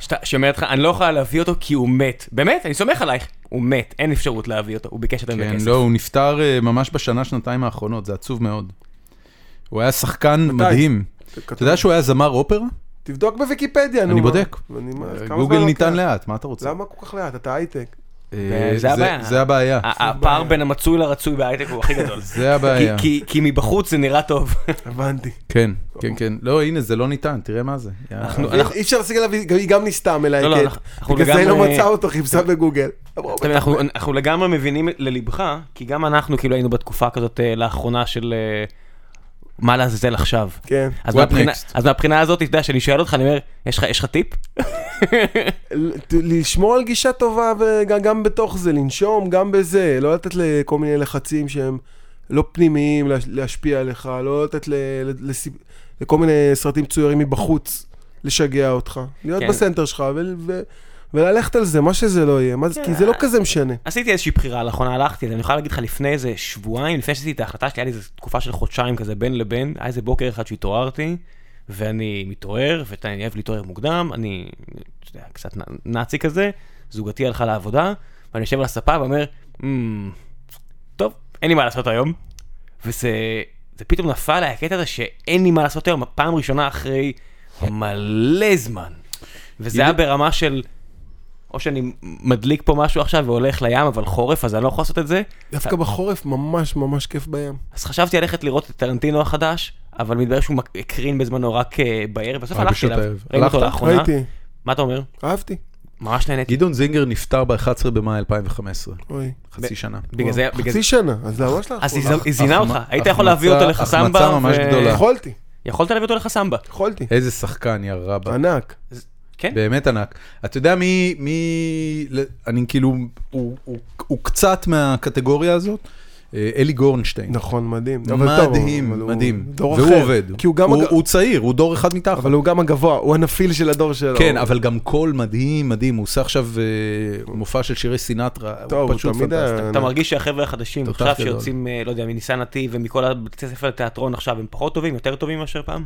S2: שאתה- שאומרת לך, אני לא יכולה להביא אותו כי הוא מת. באמת, אני סומך עלייך. הוא מת, אין אפשרות להביא אותו. הוא ביקש אותנו
S1: כן,
S2: בכסף.
S1: לא, הוא נפטר אה, ממש בשנה, שנתיים האחרונות, זה עצוב מאוד. הוא היה שחקן מדהים.
S3: כתוב.
S1: אתה יודע שהוא היה זמר אופרה?
S3: תבדוק בוויקיפדיה, נו.
S1: אני
S3: מה.
S1: בודק. אה,
S3: ואני- מה, כמה
S1: גוגל
S3: זמן
S1: ניתן
S3: לוקח?
S1: לאט, מה אתה רוצה?
S3: למה כל כך לאט? אתה הייטק.
S1: אה,
S2: זה הבעיה. אה.
S1: זה הבעיה.
S2: ה- הפער בין המצוי לרצוי בהייטק הוא הכי גדול.
S1: זה הבעיה.
S2: כי- כי- כי מבחוץ זה נראה טוב.
S3: הבנתי.
S1: כן, כן, כן. לא, הנה, זה לא ניתן, תראה מה זה. אה,
S2: אנחנו-
S3: אי- אי אפשר להשיג עליו, היא גם- היא גם ניסתה
S2: לא,
S3: מלהקת.
S2: אנחנו- אנחנו
S3: בגלל זה היא לא
S2: לגמרי-
S3: מצאה אותו, חיפשה בגוגל. אמרו,
S2: אתה מבין, אנחנו- אנחנו לגמרי מבינים ללבך, כי גם אנחנו כאילו היינו בתקופה כזאת אה, לאחרונה של אה, מה לעזאזל עכשיו.
S3: כן.
S2: אז
S1: What
S2: מהבחינה-
S1: next?
S2: אז מהבחינה הזאת, אתה יודע, שאני שואל אותך, אני אומר, "יש לך- יש לך טיפ?
S3: ל- ת- לשמור על גישה טובה וגם גם בתוך זה, לנשום גם בזה, לא לתת לכל מיני לחצים שהם לא פנימיים להש- להשפיע עליך, לא לתת ל, ל, לס, לכל מיני סרטים צוירים מבחוץ לשגע אותך. להיות
S2: כן.
S3: כן. בסנטר שלך ו, ו, וללכת על זה, מה שזה לא יהיה, מה, זה-
S2: כן,
S3: כי זה
S2: אה-
S3: לא כזה משנה.
S2: עשיתי איזושהי בחירה לאחרונה, הלכתי, אז אני יכול להגיד לך לפני איזה שבועיים, לפני שעשיתי את ההחלטה שלי, היה לי איזו תקופה של חודשיים כזה בין לבין, היה איזה בוקר אחד שהתעוררתי, ואני מתעורר, ואני אוהב להתעורר מוקדם, אני, אתה יודע, קצת נ- נאצי כזה, זוגתי הלכה לעבודה, ואני יושב על הספה ואומר, "Hmm, טוב, אין לי מה לעשות היום. וזה זה פתאום נפל עליי הקטע הזה שאין לי מה לעשות היום, פעם ראשונה אחרי מלא זמן. וזה היה ברמה של, או שאני מדליק פה משהו עכשיו והולך לים, אבל חורף, אז אני לא יכול לעשות את זה.
S3: דווקא בחורף ממש ממש כיף בים.
S2: אז חשבתי ללכת לראות את טרנטינו החדש, אבל מתברר שהוא מק- הקרין בזמנו רק אה, בערב, בסוף
S1: רק
S2: הלכתי
S1: בשעות
S2: אליו,
S1: הערב.
S2: ראיתי אותו
S1: הלכת?
S2: לאחרונה.
S3: ראיתי,
S2: מה אתה אומר?
S3: אהבתי.
S2: ממש נהניתי.
S1: גדעון זינגר נפטר ב-11 במאי 2015,
S3: אוי.
S1: חצי שנה.
S2: בגלל זה, בגלל זה.
S3: חצי שנה, אז למה שלך?
S2: אז היא ז- היא זינה אותך,
S1: החמצה-
S2: היית יכול להביא אותו
S1: החמצה
S2: לחסמבה.
S1: ממש
S2: ו-
S1: גדולה.
S3: יכולתי,
S2: יכולת להביא אותו לחסמבה.
S3: יכולתי.
S1: איזה שחקן, יא
S2: אה,
S1: רבאק.
S3: ענק.
S2: כן?
S1: באמת ענק. אתה יודע מי, מי, אני כאילו, הוא, הוא, הוא קצת מהקטגוריה הזאת, אה, אלי גורנשטיין.
S3: נכון, מדהים. אבל טוב, אבל
S1: מדהים,
S3: הוא
S1: מדהים.
S3: דור
S1: והוא
S3: אחר.
S1: עובד.
S3: כי הוא גם...
S1: הוא-
S3: הג-
S1: הוא צעיר, הוא דור אחד מתחת.
S3: אבל הוא גם הגבוה, הוא הנפיל של הדור שלו.
S1: כן, אבל גם קול מדהים, מדהים. הוא עושה עכשיו אה, מופע של שירי סינטרה.
S3: טוב,
S1: הוא
S3: הוא
S1: פשוט
S3: תמיד... אה,
S1: פנטסטי.
S3: היה-
S2: אתה מרגיש שהחבר'ה החדשים
S1: תותח
S2: עכשיו
S1: גדול.
S2: שיוצאים, אה, לא יודע, מניסן נתיב ומכל הבתי ספר לתיאטרון עכשיו, הם פחות טובים, יותר טובים מאשר פעם?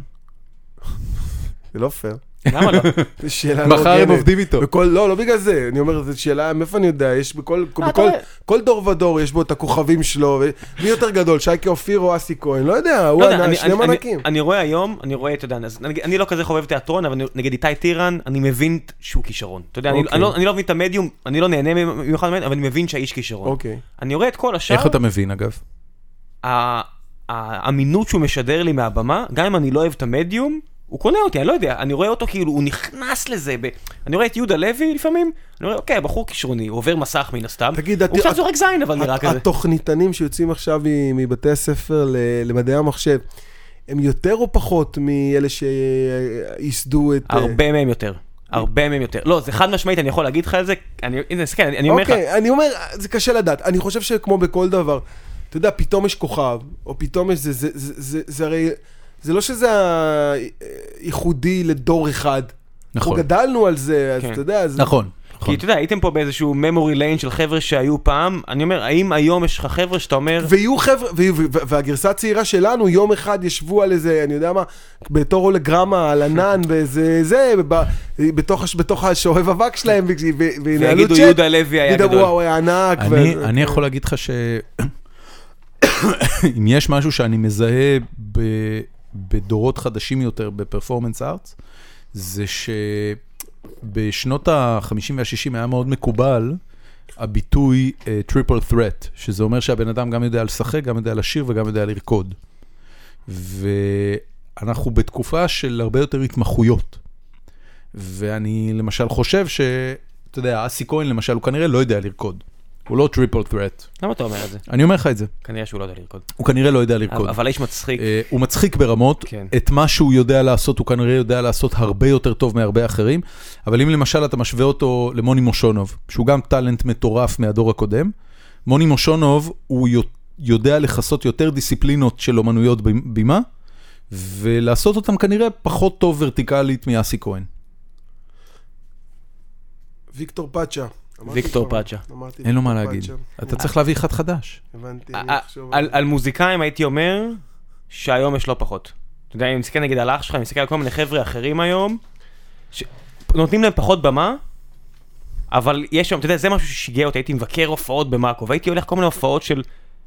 S3: זה לא פייר.
S2: למה לא?
S3: זו שאלה לא
S1: מחר הם
S3: הוגנת.
S1: עובדים איתו.
S3: בכל, לא, לא בגלל זה, אני אומר, זו שאלה, מאיפה אני יודע, יש בכל,
S2: אתה
S3: בכל,
S2: רואה.
S3: כל דור ודור יש בו את הכוכבים שלו, ו- מי יותר גדול, שייקי אופיר או אסי כהן, לא יודע, הוא
S2: לא יודע,
S3: ענק,
S2: אני-
S3: שני
S2: אני-
S3: מענקים.
S2: אני- אני רואה היום, אני רואה, אתה יודע, אז נגיד- אני לא כזה חובב תיאטרון, אבל נגיד איתי טירן, אני מבין שהוא כישרון. אתה יודע, אני-
S3: אוקיי.
S2: אני לא- אני לא מבין את המדיום, אני לא נהנה במיוחד ממנו, אבל אני מבין שהאיש כישרון.
S3: אוקיי.
S2: אני רואה את כל השאר,
S1: איך אתה מבין, אגב?
S2: ה- האמינות שהוא משדר לי מהבמה, גם אם אני לא אוהב את המדיום, הוא קונה אותי, אני לא יודע, אני רואה אותו כאילו, הוא נכנס לזה, ב... אני רואה את יהודה לוי לפעמים, אני אומר, אוקיי, בחור כישרוני, הוא עובר מסך מן הסתם,
S3: תגיד,
S2: הוא
S3: הת-
S2: קצת
S3: הת-
S2: זורק זין אבל נראה
S3: הת-
S2: כזה.
S3: התוכניתנים שיוצאים עכשיו מ- מבתי הספר ל- למדעי המחשב, הם יותר או פחות מאלה שייסדו את... אה,
S2: הרבה מהם יותר, הרבה מהם יותר. לא, זה חד משמעית, אני יכול להגיד לך את זה, אני, הנה, תסתכל, אני, אני אומר לך,
S3: אוקיי, אני אומר, זה קשה לדעת. אני חושב שכמו בכל דבר, אתה יודע, פתאום יש כוכב, או פתאום יש זה, זה, זה, זה, זה הרי, זה לא שזה ה- ייחודי לדור אחד.
S1: נכון.
S3: אנחנו גדלנו על זה, אז
S2: כן.
S3: אתה יודע, זה...
S1: נכון. נכון.
S2: כי אתה יודע, הייתם פה באיזשהו memory lane של חבר'ה שהיו פעם, אני אומר, האם היום יש לך חבר'ה שאתה אומר,
S3: ויהיו חבר'ה, ו- ו- ו- והגרסה הצעירה שלנו, יום אחד ישבו על איזה, אני יודע מה, בתור הולגרמה, על ענן, באיזה זה, ב- בתוך, הש- בתוך השואב אבק שלהם, ו- ו- וינהלו
S2: ויגידו
S3: צ'אט,
S2: יהודה לוי היה
S3: ידברו,
S2: גדול.
S3: וואו, היה ענק.
S1: אני,
S3: ו-
S1: אני יכול להגיד לך ש... אם יש משהו שאני מזהה ב, בדורות חדשים יותר בפרפורמנס ארטס, זה שבשנות ה-50 וה-60 היה מאוד מקובל הביטוי טריפל uh, threat, שזה אומר שהבן אדם גם יודע לשחק, גם יודע לשיר וגם יודע לרקוד. ואנחנו בתקופה של הרבה יותר התמחויות. ואני למשל חושב ש... אתה יודע, אסי כהן למשל, הוא כנראה לא יודע לרקוד. הוא לא טריפל threat.
S2: למה אתה אומר את זה?
S1: אני אומר לך את זה.
S2: כנראה שהוא לא יודע לרקוד.
S1: הוא כנראה לא יודע לרקוד.
S2: אבל האיש מצחיק.
S1: אה, הוא מצחיק ברמות,
S2: כן.
S1: את מה שהוא יודע לעשות, הוא כנראה יודע לעשות הרבה יותר טוב מהרבה אחרים, אבל אם למשל אתה משווה אותו למוני מושונוב, שהוא גם טאלנט מטורף מהדור הקודם, מוני מושונוב, הוא יו- יודע לכסות יותר דיסציפלינות של אומנויות ב- בימה, ולעשות אותם כנראה פחות טוב ורטיקלית מאסי כהן.
S3: ויקטור פאצ'ה. אמרתי
S2: ויקטור
S3: כבר,
S2: פאצ'ה.
S3: אמרתי
S1: אין לו מה
S3: ויקטור
S1: להגיד.
S3: פאצ'ה.
S1: אתה צריך להביא אחד חדש.
S3: הבנתי,
S2: א-
S3: אני
S2: א-
S3: אחשוב על
S2: על
S3: זה.
S2: על מוזיקאים הייתי אומר שהיום יש לא פחות. אתה יודע, אני מסתכל נגיד על אח שלך, אני מסתכל על כל מיני חבר'ה אחרים היום, שנותנים להם פחות במה, אבל יש שם, אתה יודע, זה משהו ששיגע אותי, הייתי מבקר הופעות במאקו, והייתי הולך כל מיני הופעות של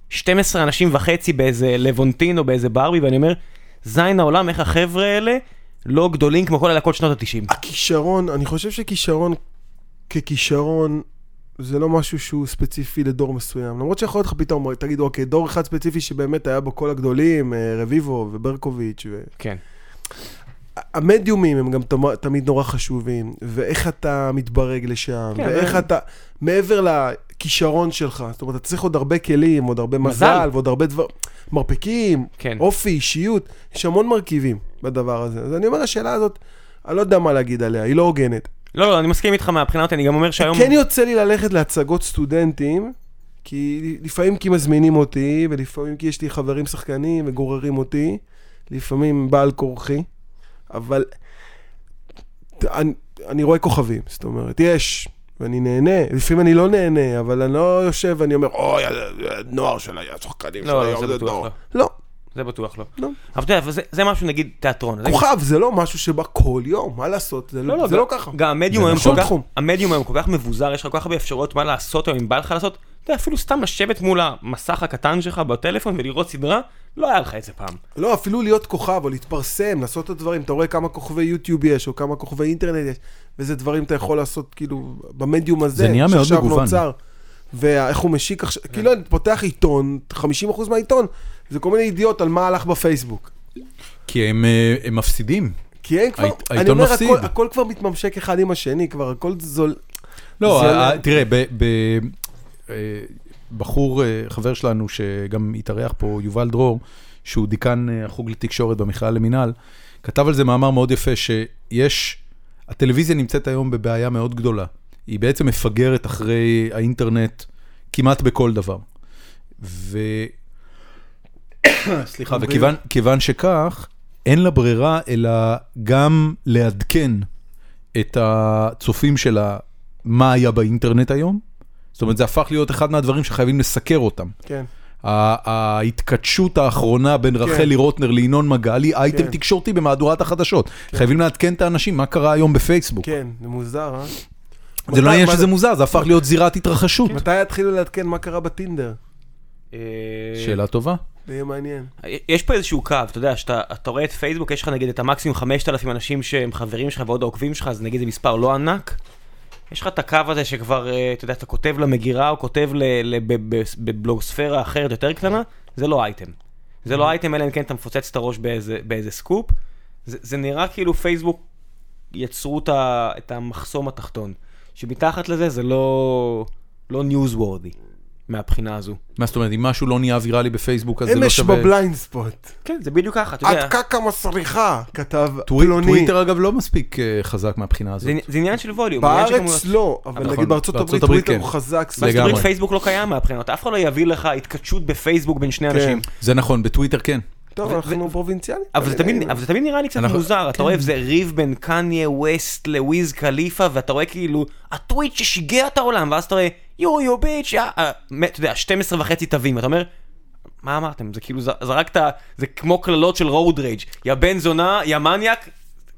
S2: 12 אנשים וחצי באיזה לבונטין או באיזה ברבי, ואני אומר, זין העולם, איך החבר'ה האלה לא גדולים כמו כל הלהקות שנות ה-90.
S3: הכישרון, אני חושב שכישרון ככישרון זה לא משהו שהוא ספציפי לדור מסוים. למרות שיכול להיות לך פתאום, תגיד, אוקיי, דור אחד ספציפי שבאמת היה בו כל הגדולים, אה, רביבו וברקוביץ' ו...
S2: כן.
S3: המדיומים הם גם תמ- תמיד נורא חשובים, ואיך אתה מתברג לשם,
S2: כן,
S3: ואיך
S2: אבל-
S3: אתה, מעבר לכישרון שלך, זאת אומרת, אתה צריך עוד הרבה כלים, עוד הרבה מזל,
S2: מזל.
S3: ועוד הרבה דבר, מרפקים,
S2: כן.
S3: אופי, אישיות, יש המון מרכיבים בדבר הזה. אז אני אומר, השאלה הזאת, אני לא יודע מה להגיד עליה, היא לא הוגנת.
S2: לא, לא, אני מסכים איתך מהבחינה הזאת, אני גם אומר שהיום...
S3: כן יוצא לי ללכת להצגות סטודנטים, כי לפעמים כי מזמינים אותי, ולפעמים כי יש לי חברים שחקנים וגוררים אותי, לפעמים בעל כורחי, אבל ת- אני, אני רואה כוכבים, זאת אומרת, יש, ואני נהנה, לפעמים אני לא נהנה, אבל אני לא יושב ואני אומר, אוי, הנוער של השחקנים של
S2: לא, לא,
S3: היום
S2: זה
S3: זה
S2: בטוח
S3: דור.
S2: לא.
S3: לא,
S2: זה בטוח לא.
S3: לא.
S2: אבל אתה יודע, אבל זה- זה משהו נגיד תיאטרון. זה-
S3: כוכב זה לא משהו שבא כל יום, מה לעשות, זה
S2: לא,
S3: לא
S2: לא,
S3: זה
S2: גם-
S3: לא ככה.
S2: גם המדיום
S3: זה
S2: היום
S3: בכל
S2: כל כך,
S3: תחום.
S2: המדיום היום כל כך מבוזר, יש לך כל כך הרבה אפשרויות מה לעשות היום אם בא לך לעשות, אתה יודע, אפילו סתם לשבת מול המסך הקטן שלך בטלפון ולראות סדרה, לא היה לך את זה פעם.
S3: לא, אפילו להיות כוכב או להתפרסם, לעשות את הדברים. אתה רואה כמה כוכבי יוטיוב יש, או כמה כוכבי אינטרנט יש, ואיזה דברים אתה יכול לעשות, כאילו, במדיום הזה.
S1: זה נהיה מאוד
S3: שעכשיו
S1: מגוון. כן.
S3: נוצר. ואיך הוא משיק עכשיו, כאילו, אני פותח עיתון, 50% מהעיתון, זה כל מיני ידיעות על מה הלך בפייסבוק.
S1: כי הם, אה, הם מפסידים.
S3: כי אין כבר,
S1: העית-
S3: אני
S1: העיתון
S3: אומר,
S1: מפסיד.
S3: הכל, הכל כבר מתממשק אחד עם השני, כבר הכל זול.
S1: לא,
S3: זה-
S1: ה- ה- תראה, ב- ב- אה, בחור, אה, חבר שלנו, שגם התארח פה, יובל דרור, שהוא דיקן אה, החוג לתקשורת במכלל למינהל, כתב על זה מאמר מאוד יפה, שיש, הטלוויזיה נמצאת היום בבעיה מאוד גדולה. היא בעצם מפגרת אחרי האינטרנט כמעט בכל דבר. ו...
S3: אה,
S1: סליחה, וכיוון כיוון שכך, אין לה ברירה אלא גם לעדכן את הצופים שלה מה היה באינטרנט היום. זאת אומרת, זה הפך להיות אחד מהדברים שחייבים לסקר אותם.
S3: כן.
S1: ה- ההתכתשות האחרונה בין רחלי רוטנר לינון מגלי, אייטם
S3: כן.
S1: תקשורתי במהדורת החדשות. חייבים לעדכן את האנשים מה קרה היום בפייסבוק.
S3: כן, זה מוזר, אה?
S1: זה לא
S3: מתי-
S1: עניין
S3: מה כן.
S1: שזה מוזר, זה הפך להיות זירת התרחשות.
S3: מתי יתחילו לעדכן מה קרה בטינדר?
S2: אה,
S1: שאלה טובה.
S3: זה יהיה מעניין.
S2: יש פה איזשהו קו, אתה יודע, שאתה אתה רואה את פייסבוק, יש לך נגיד את המקסימום 5,000 אנשים שהם חברים שלך ועוד העוקבים שלך, אז נגיד זה מספר לא ענק. יש לך את הקו הזה שכבר, אה, אתה יודע, אתה כותב למגירה או כותב ל- ל- ב- ב- בבלוגספירה אחרת יותר קטנה, זה לא אייטם. זה לא אייטם, אלא אם כן אתה מפוצץ את הראש באיזה- באיזה סקופ. זה זה נראה כאילו פייסבוק יצרו את ה- את המחסום התחתון. שמתחת לזה זה לא ניוזוורדי מהבחינה הזו.
S1: מה זאת אומרת, אם משהו לא נהיה ויראלי בפייסבוק, אז זה לא
S3: אמש
S1: שווה...
S3: בבליינד ספוט.
S2: כן, זה בדיוק ככה, אתה יודע.
S3: עד קקה מסריחה, כתב
S1: טווי-
S3: פלוני.
S1: טוויטר אגב לא מספיק אה, חזק מהבחינה הזאת.
S2: זה זה עניין של ווליום. עניין של
S3: בארץ
S2: כמויות.
S3: לא, אבל
S1: נכון,
S3: נגיד בארצות
S1: בארצות
S3: הברית
S1: הברית כן.
S3: טוויטר הוא חזק. סביב-
S2: בארצות
S1: לגמרי.
S2: הברית פייסבוק לא קיים מהבחינות, אף אחד לא יביא לך התכתשות בפייסבוק בין
S3: כן.
S2: שני אנשים.
S1: זה נכון, בטוויטר כן.
S3: טוב,
S2: ו-
S3: אנחנו פרובינציאליים.
S2: אבל זה, תמיד,
S3: עלינו.
S2: אבל זה תמיד נראה לי קצת
S1: אנחנו- כן.
S2: מוזר, אתה רואה איזה ריב בין קניה ווסט לוויז קליפה, ואתה רואה כאילו, הטוויט ששיגע את העולם, ואז אתה רואה, יו יו ביץ', יא, אה, מ- אתה יודע, 12 וחצי תווים, ואתה אומר, מה אמרתם? זה כאילו, ז- זרקת, זה כמו קללות של רוד רייג', יא בן זונה, יא מניאק,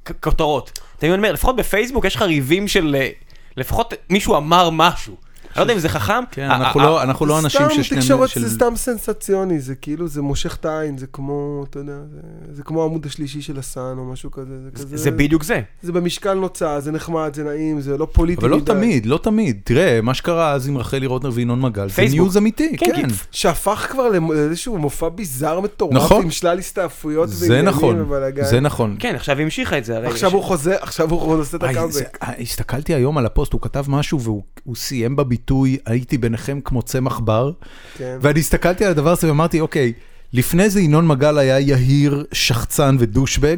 S2: כ- כותרות. אתה מבין מה אני אומר, לפחות בפייסבוק יש לך ריבים של, אה, לפחות מישהו אמר משהו. אני לא יודע אם זה חכם, אה,
S1: כן,
S2: ה-
S1: אנחנו
S2: ה-
S1: לא- אנחנו לא
S3: זה
S1: אנשים
S3: סתם
S1: ששניהם...
S3: תקשורת
S1: של-
S3: זה סתם סנסציוני, זה כאילו, זה מושך את העין, זה כמו, אתה יודע, זה- זה כמו העמוד השלישי של הסאן או משהו כזה. זה כזה-
S2: אה, זה בדיוק זה.
S3: זה במשקל נוצה, זה נחמד, זה נעים, זה לא פוליטי.
S1: אבל לא
S3: מדי.
S1: תמיד, לא תמיד. תראה, מה שקרה אז עם רחלי רוטנר וינון מגל, זה
S2: פייסבוק.
S1: ניוז אמיתי,
S2: כן,
S1: כן.
S2: כי-
S3: שהפך כבר למ- לאיזשהו מופע ביזאר מטורף,
S1: נכון.
S3: עם שלל הסתעפויות
S1: זה נכון,
S3: ובלאגן.
S1: זה נכון.
S2: כן, עכשיו היא המשיכה את זה. הרי
S3: עכשיו
S2: יש-
S3: הוא חוזר, עכשיו הוא עושה את
S1: וואי, זה-
S3: הקאמבק.
S1: אה, הסתכלתי היום על הפוסט, הוא כתב משהו והוא הוא סיים בביטוי, הייתי ביניכם כמו צמח בר,
S3: כן.
S1: ואני הסתכלתי על הדבר הזה ואמרתי, אוקיי, לפני זה ינון מגל היה יהיר, שחצן ודושבג,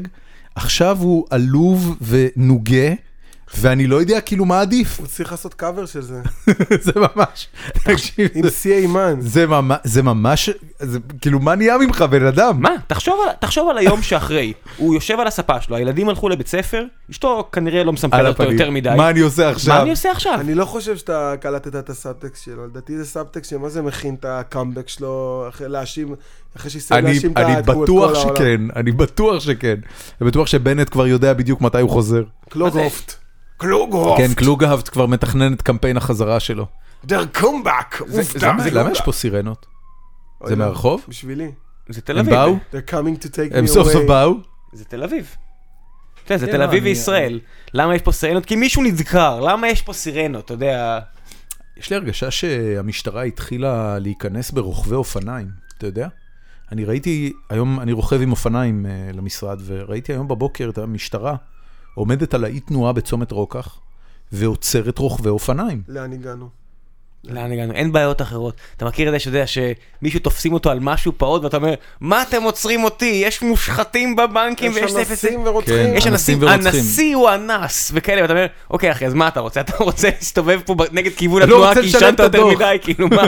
S1: עכשיו הוא עלוב ונוגה, ואני לא יודע כאילו מה עדיף,
S3: הוא צריך לעשות קאבר של זה,
S1: זה ממש, תקשיב,
S3: עם סי אימן.
S1: זה ממש, זה ממש, זה כאילו מה נהיה ממך בן אדם?
S2: מה? תחשוב על, תחשוב על היום שאחרי. הוא יושב על הספה שלו, הילדים הלכו לבית ספר, אשתו כנראה לא מסמפלת
S1: על
S2: אותו
S1: הפנים.
S2: יותר מדי.
S1: מה אני עושה עכשיו?
S2: מה אני עושה
S1: אה.
S2: עכשיו?
S3: אני לא חושב שאתה קלטת את הסאבטקסט שלו, לדעתי זה סאבטקסט שמה זה מכין את הקאמבק שלו, אחרי להאשים, אחרי שישראל
S1: אני,
S3: להאשים את ה-
S1: אני
S3: את כל
S1: בטוח
S3: העולם.
S1: שכן, אני בטוח שכן. אני בטוח שבנט כבר יודע בדיוק מתי הוא חוזר.
S3: קלוגהופט. קלוגהופט.
S1: כן, קלוגהפט כבר מתכנן את קמפיין החזרה שלו.
S3: דר קומבק. עובדה.
S1: למה- למה יש פה סירנות?
S3: לא.
S1: זה מהרחוב?
S3: בשבילי.
S2: זה
S1: הם
S2: תל אביב.
S1: באו?
S3: They're coming to take me away.
S1: הם סוף סוף באו?
S2: זה תל אביב. אתה יודע, זה
S1: כן,
S2: תל
S1: לא,
S2: אביב
S1: אני-
S2: וישראל. למה יש פה סירנות? כי מישהו נדקר. למה יש פה סירנות? אתה יודע...
S1: יש לי הרגשה שהמשטרה התחילה להיכנס ברוכבי אופניים, אתה יודע? אני ראיתי, היום אני רוכב עם אופניים אה, למשרד, וראיתי היום בבוקר את המשטרה עומדת על האי תנועה בצומת רוקח, ועוצרת רוכבי אופניים.
S3: לאן הגענו?
S2: לאן הגענו? אין בעיות אחרות. אתה מכיר את זה שאתה יודע שמישהו תופסים אותו על משהו פעוט ואתה אומר, מה אתם עוצרים אותי? יש מושחתים בבנקים
S3: יש
S2: ויש זה וזה.
S3: אנסים ורוצחים.
S1: כן.
S2: יש אנשים,
S1: אנסים ורוצחים.
S2: הנשיא הוא אנס, וכאלה, ואתה אומר, אוקיי אחי, אז מה אתה רוצה? אתה רוצה להסתובב פה ב- נגד כיוון
S1: לא
S2: התנועה
S1: רוצה
S2: כי
S1: לשלם
S2: עישנת
S1: את
S2: יותר
S1: הדוח.
S2: מדי, כאילו מה?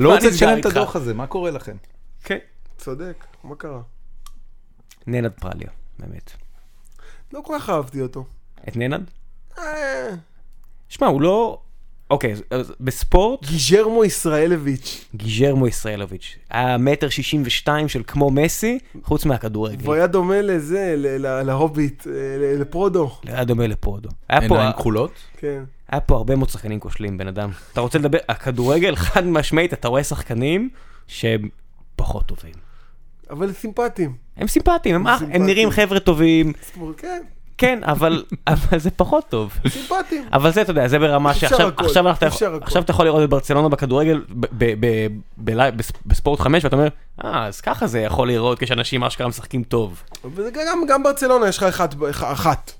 S1: לא
S2: מה
S1: רוצה
S2: נסגר
S1: לשלם את
S2: איתך?
S1: הדוח הזה, מה קורה לכם?
S2: כן.
S3: צודק, מה קרה?
S2: ננד פרליו, באמת.
S3: לא כל כך אהבתי אותו.
S2: את ננד?
S3: אה,
S2: שמע, הוא לא... אוקיי, אז- אז בספורט,
S3: גיז'רמו ישראלביץ'.
S2: גיז'רמו ישראלוביץ'. היה מטר שישים ושתיים של כמו מסי, חוץ מהכדורגל.
S1: כן.
S3: והוא היה דומה לזה, ל- ל- להוביט, אה, ל- לפרודו.
S2: היה דומה לפרודו. היה פה-
S1: עיניים כחולות?
S3: כן.
S2: היה פה הרבה מאוד שחקנים כושלים, בן אדם. אתה רוצה לדבר, הכדורגל חד משמעית, אתה רואה שחקנים שהם פחות טובים.
S3: אבל סימפטיים.
S2: הם סימפטיים, הם, אח-
S3: סימפטיים.
S2: הם נראים חבר'ה טובים,
S3: כן,
S2: כן, אבל, אבל זה פחות טוב.
S3: סימפטיים.
S2: אבל זה, אתה יודע, זה ברמה
S3: אפשר
S2: שעכשיו
S3: הכל,
S2: עכשיו אנחנו-
S3: אפשר הכל.
S2: עכשיו אתה יכול לראות את ברצלונה בכדורגל, ב- ב- ב- בלי- בס- בספורט 5, ואתה אומר, אה, אז ככה זה יכול להיראות כשאנשים אשכרה משחקים טוב.
S3: וזה גם, גם ברצלונה יש לך אחת, אחת.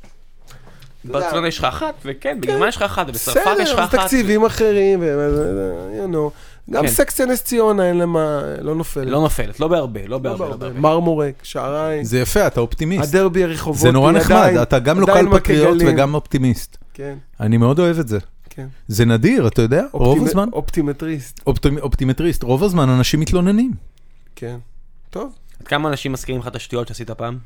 S2: ברצלונה יש לך אחת, וכן, בגרמניה יש לך אחת, ובצרפת
S3: כן. בסדר,
S2: יש לך
S3: אז
S2: אחת.
S3: תקציבים אחרים, ו- you know. גם
S2: כן.
S3: סקסיה נס ציונה, אין למה, לא נופלת.
S2: לא נופלת, לא בהרבה, לא
S3: לא
S2: בהרבה, לא
S3: בהרבה.
S2: בהרבה.
S3: מרמורק, שעריים,
S1: זה יפה, אתה אופטימיסט.
S3: הדרבי הרחובות.
S1: זה נורא נחמד, אתה גם לוקל פטריוט וגם אופטימיסט.
S3: כן,
S1: אני מאוד אוהב את זה.
S3: כן.
S1: זה נדיר, אתה יודע, רוב
S3: אופטימ-
S1: הזמן,
S3: אופטימטריסט,
S1: אופטומ- אופטימטריסט, רוב הזמן אנשים מתלוננים.
S3: כן. טוב.
S2: עד כמה אנשים מזכירים לך את השטויות שעשית פעם?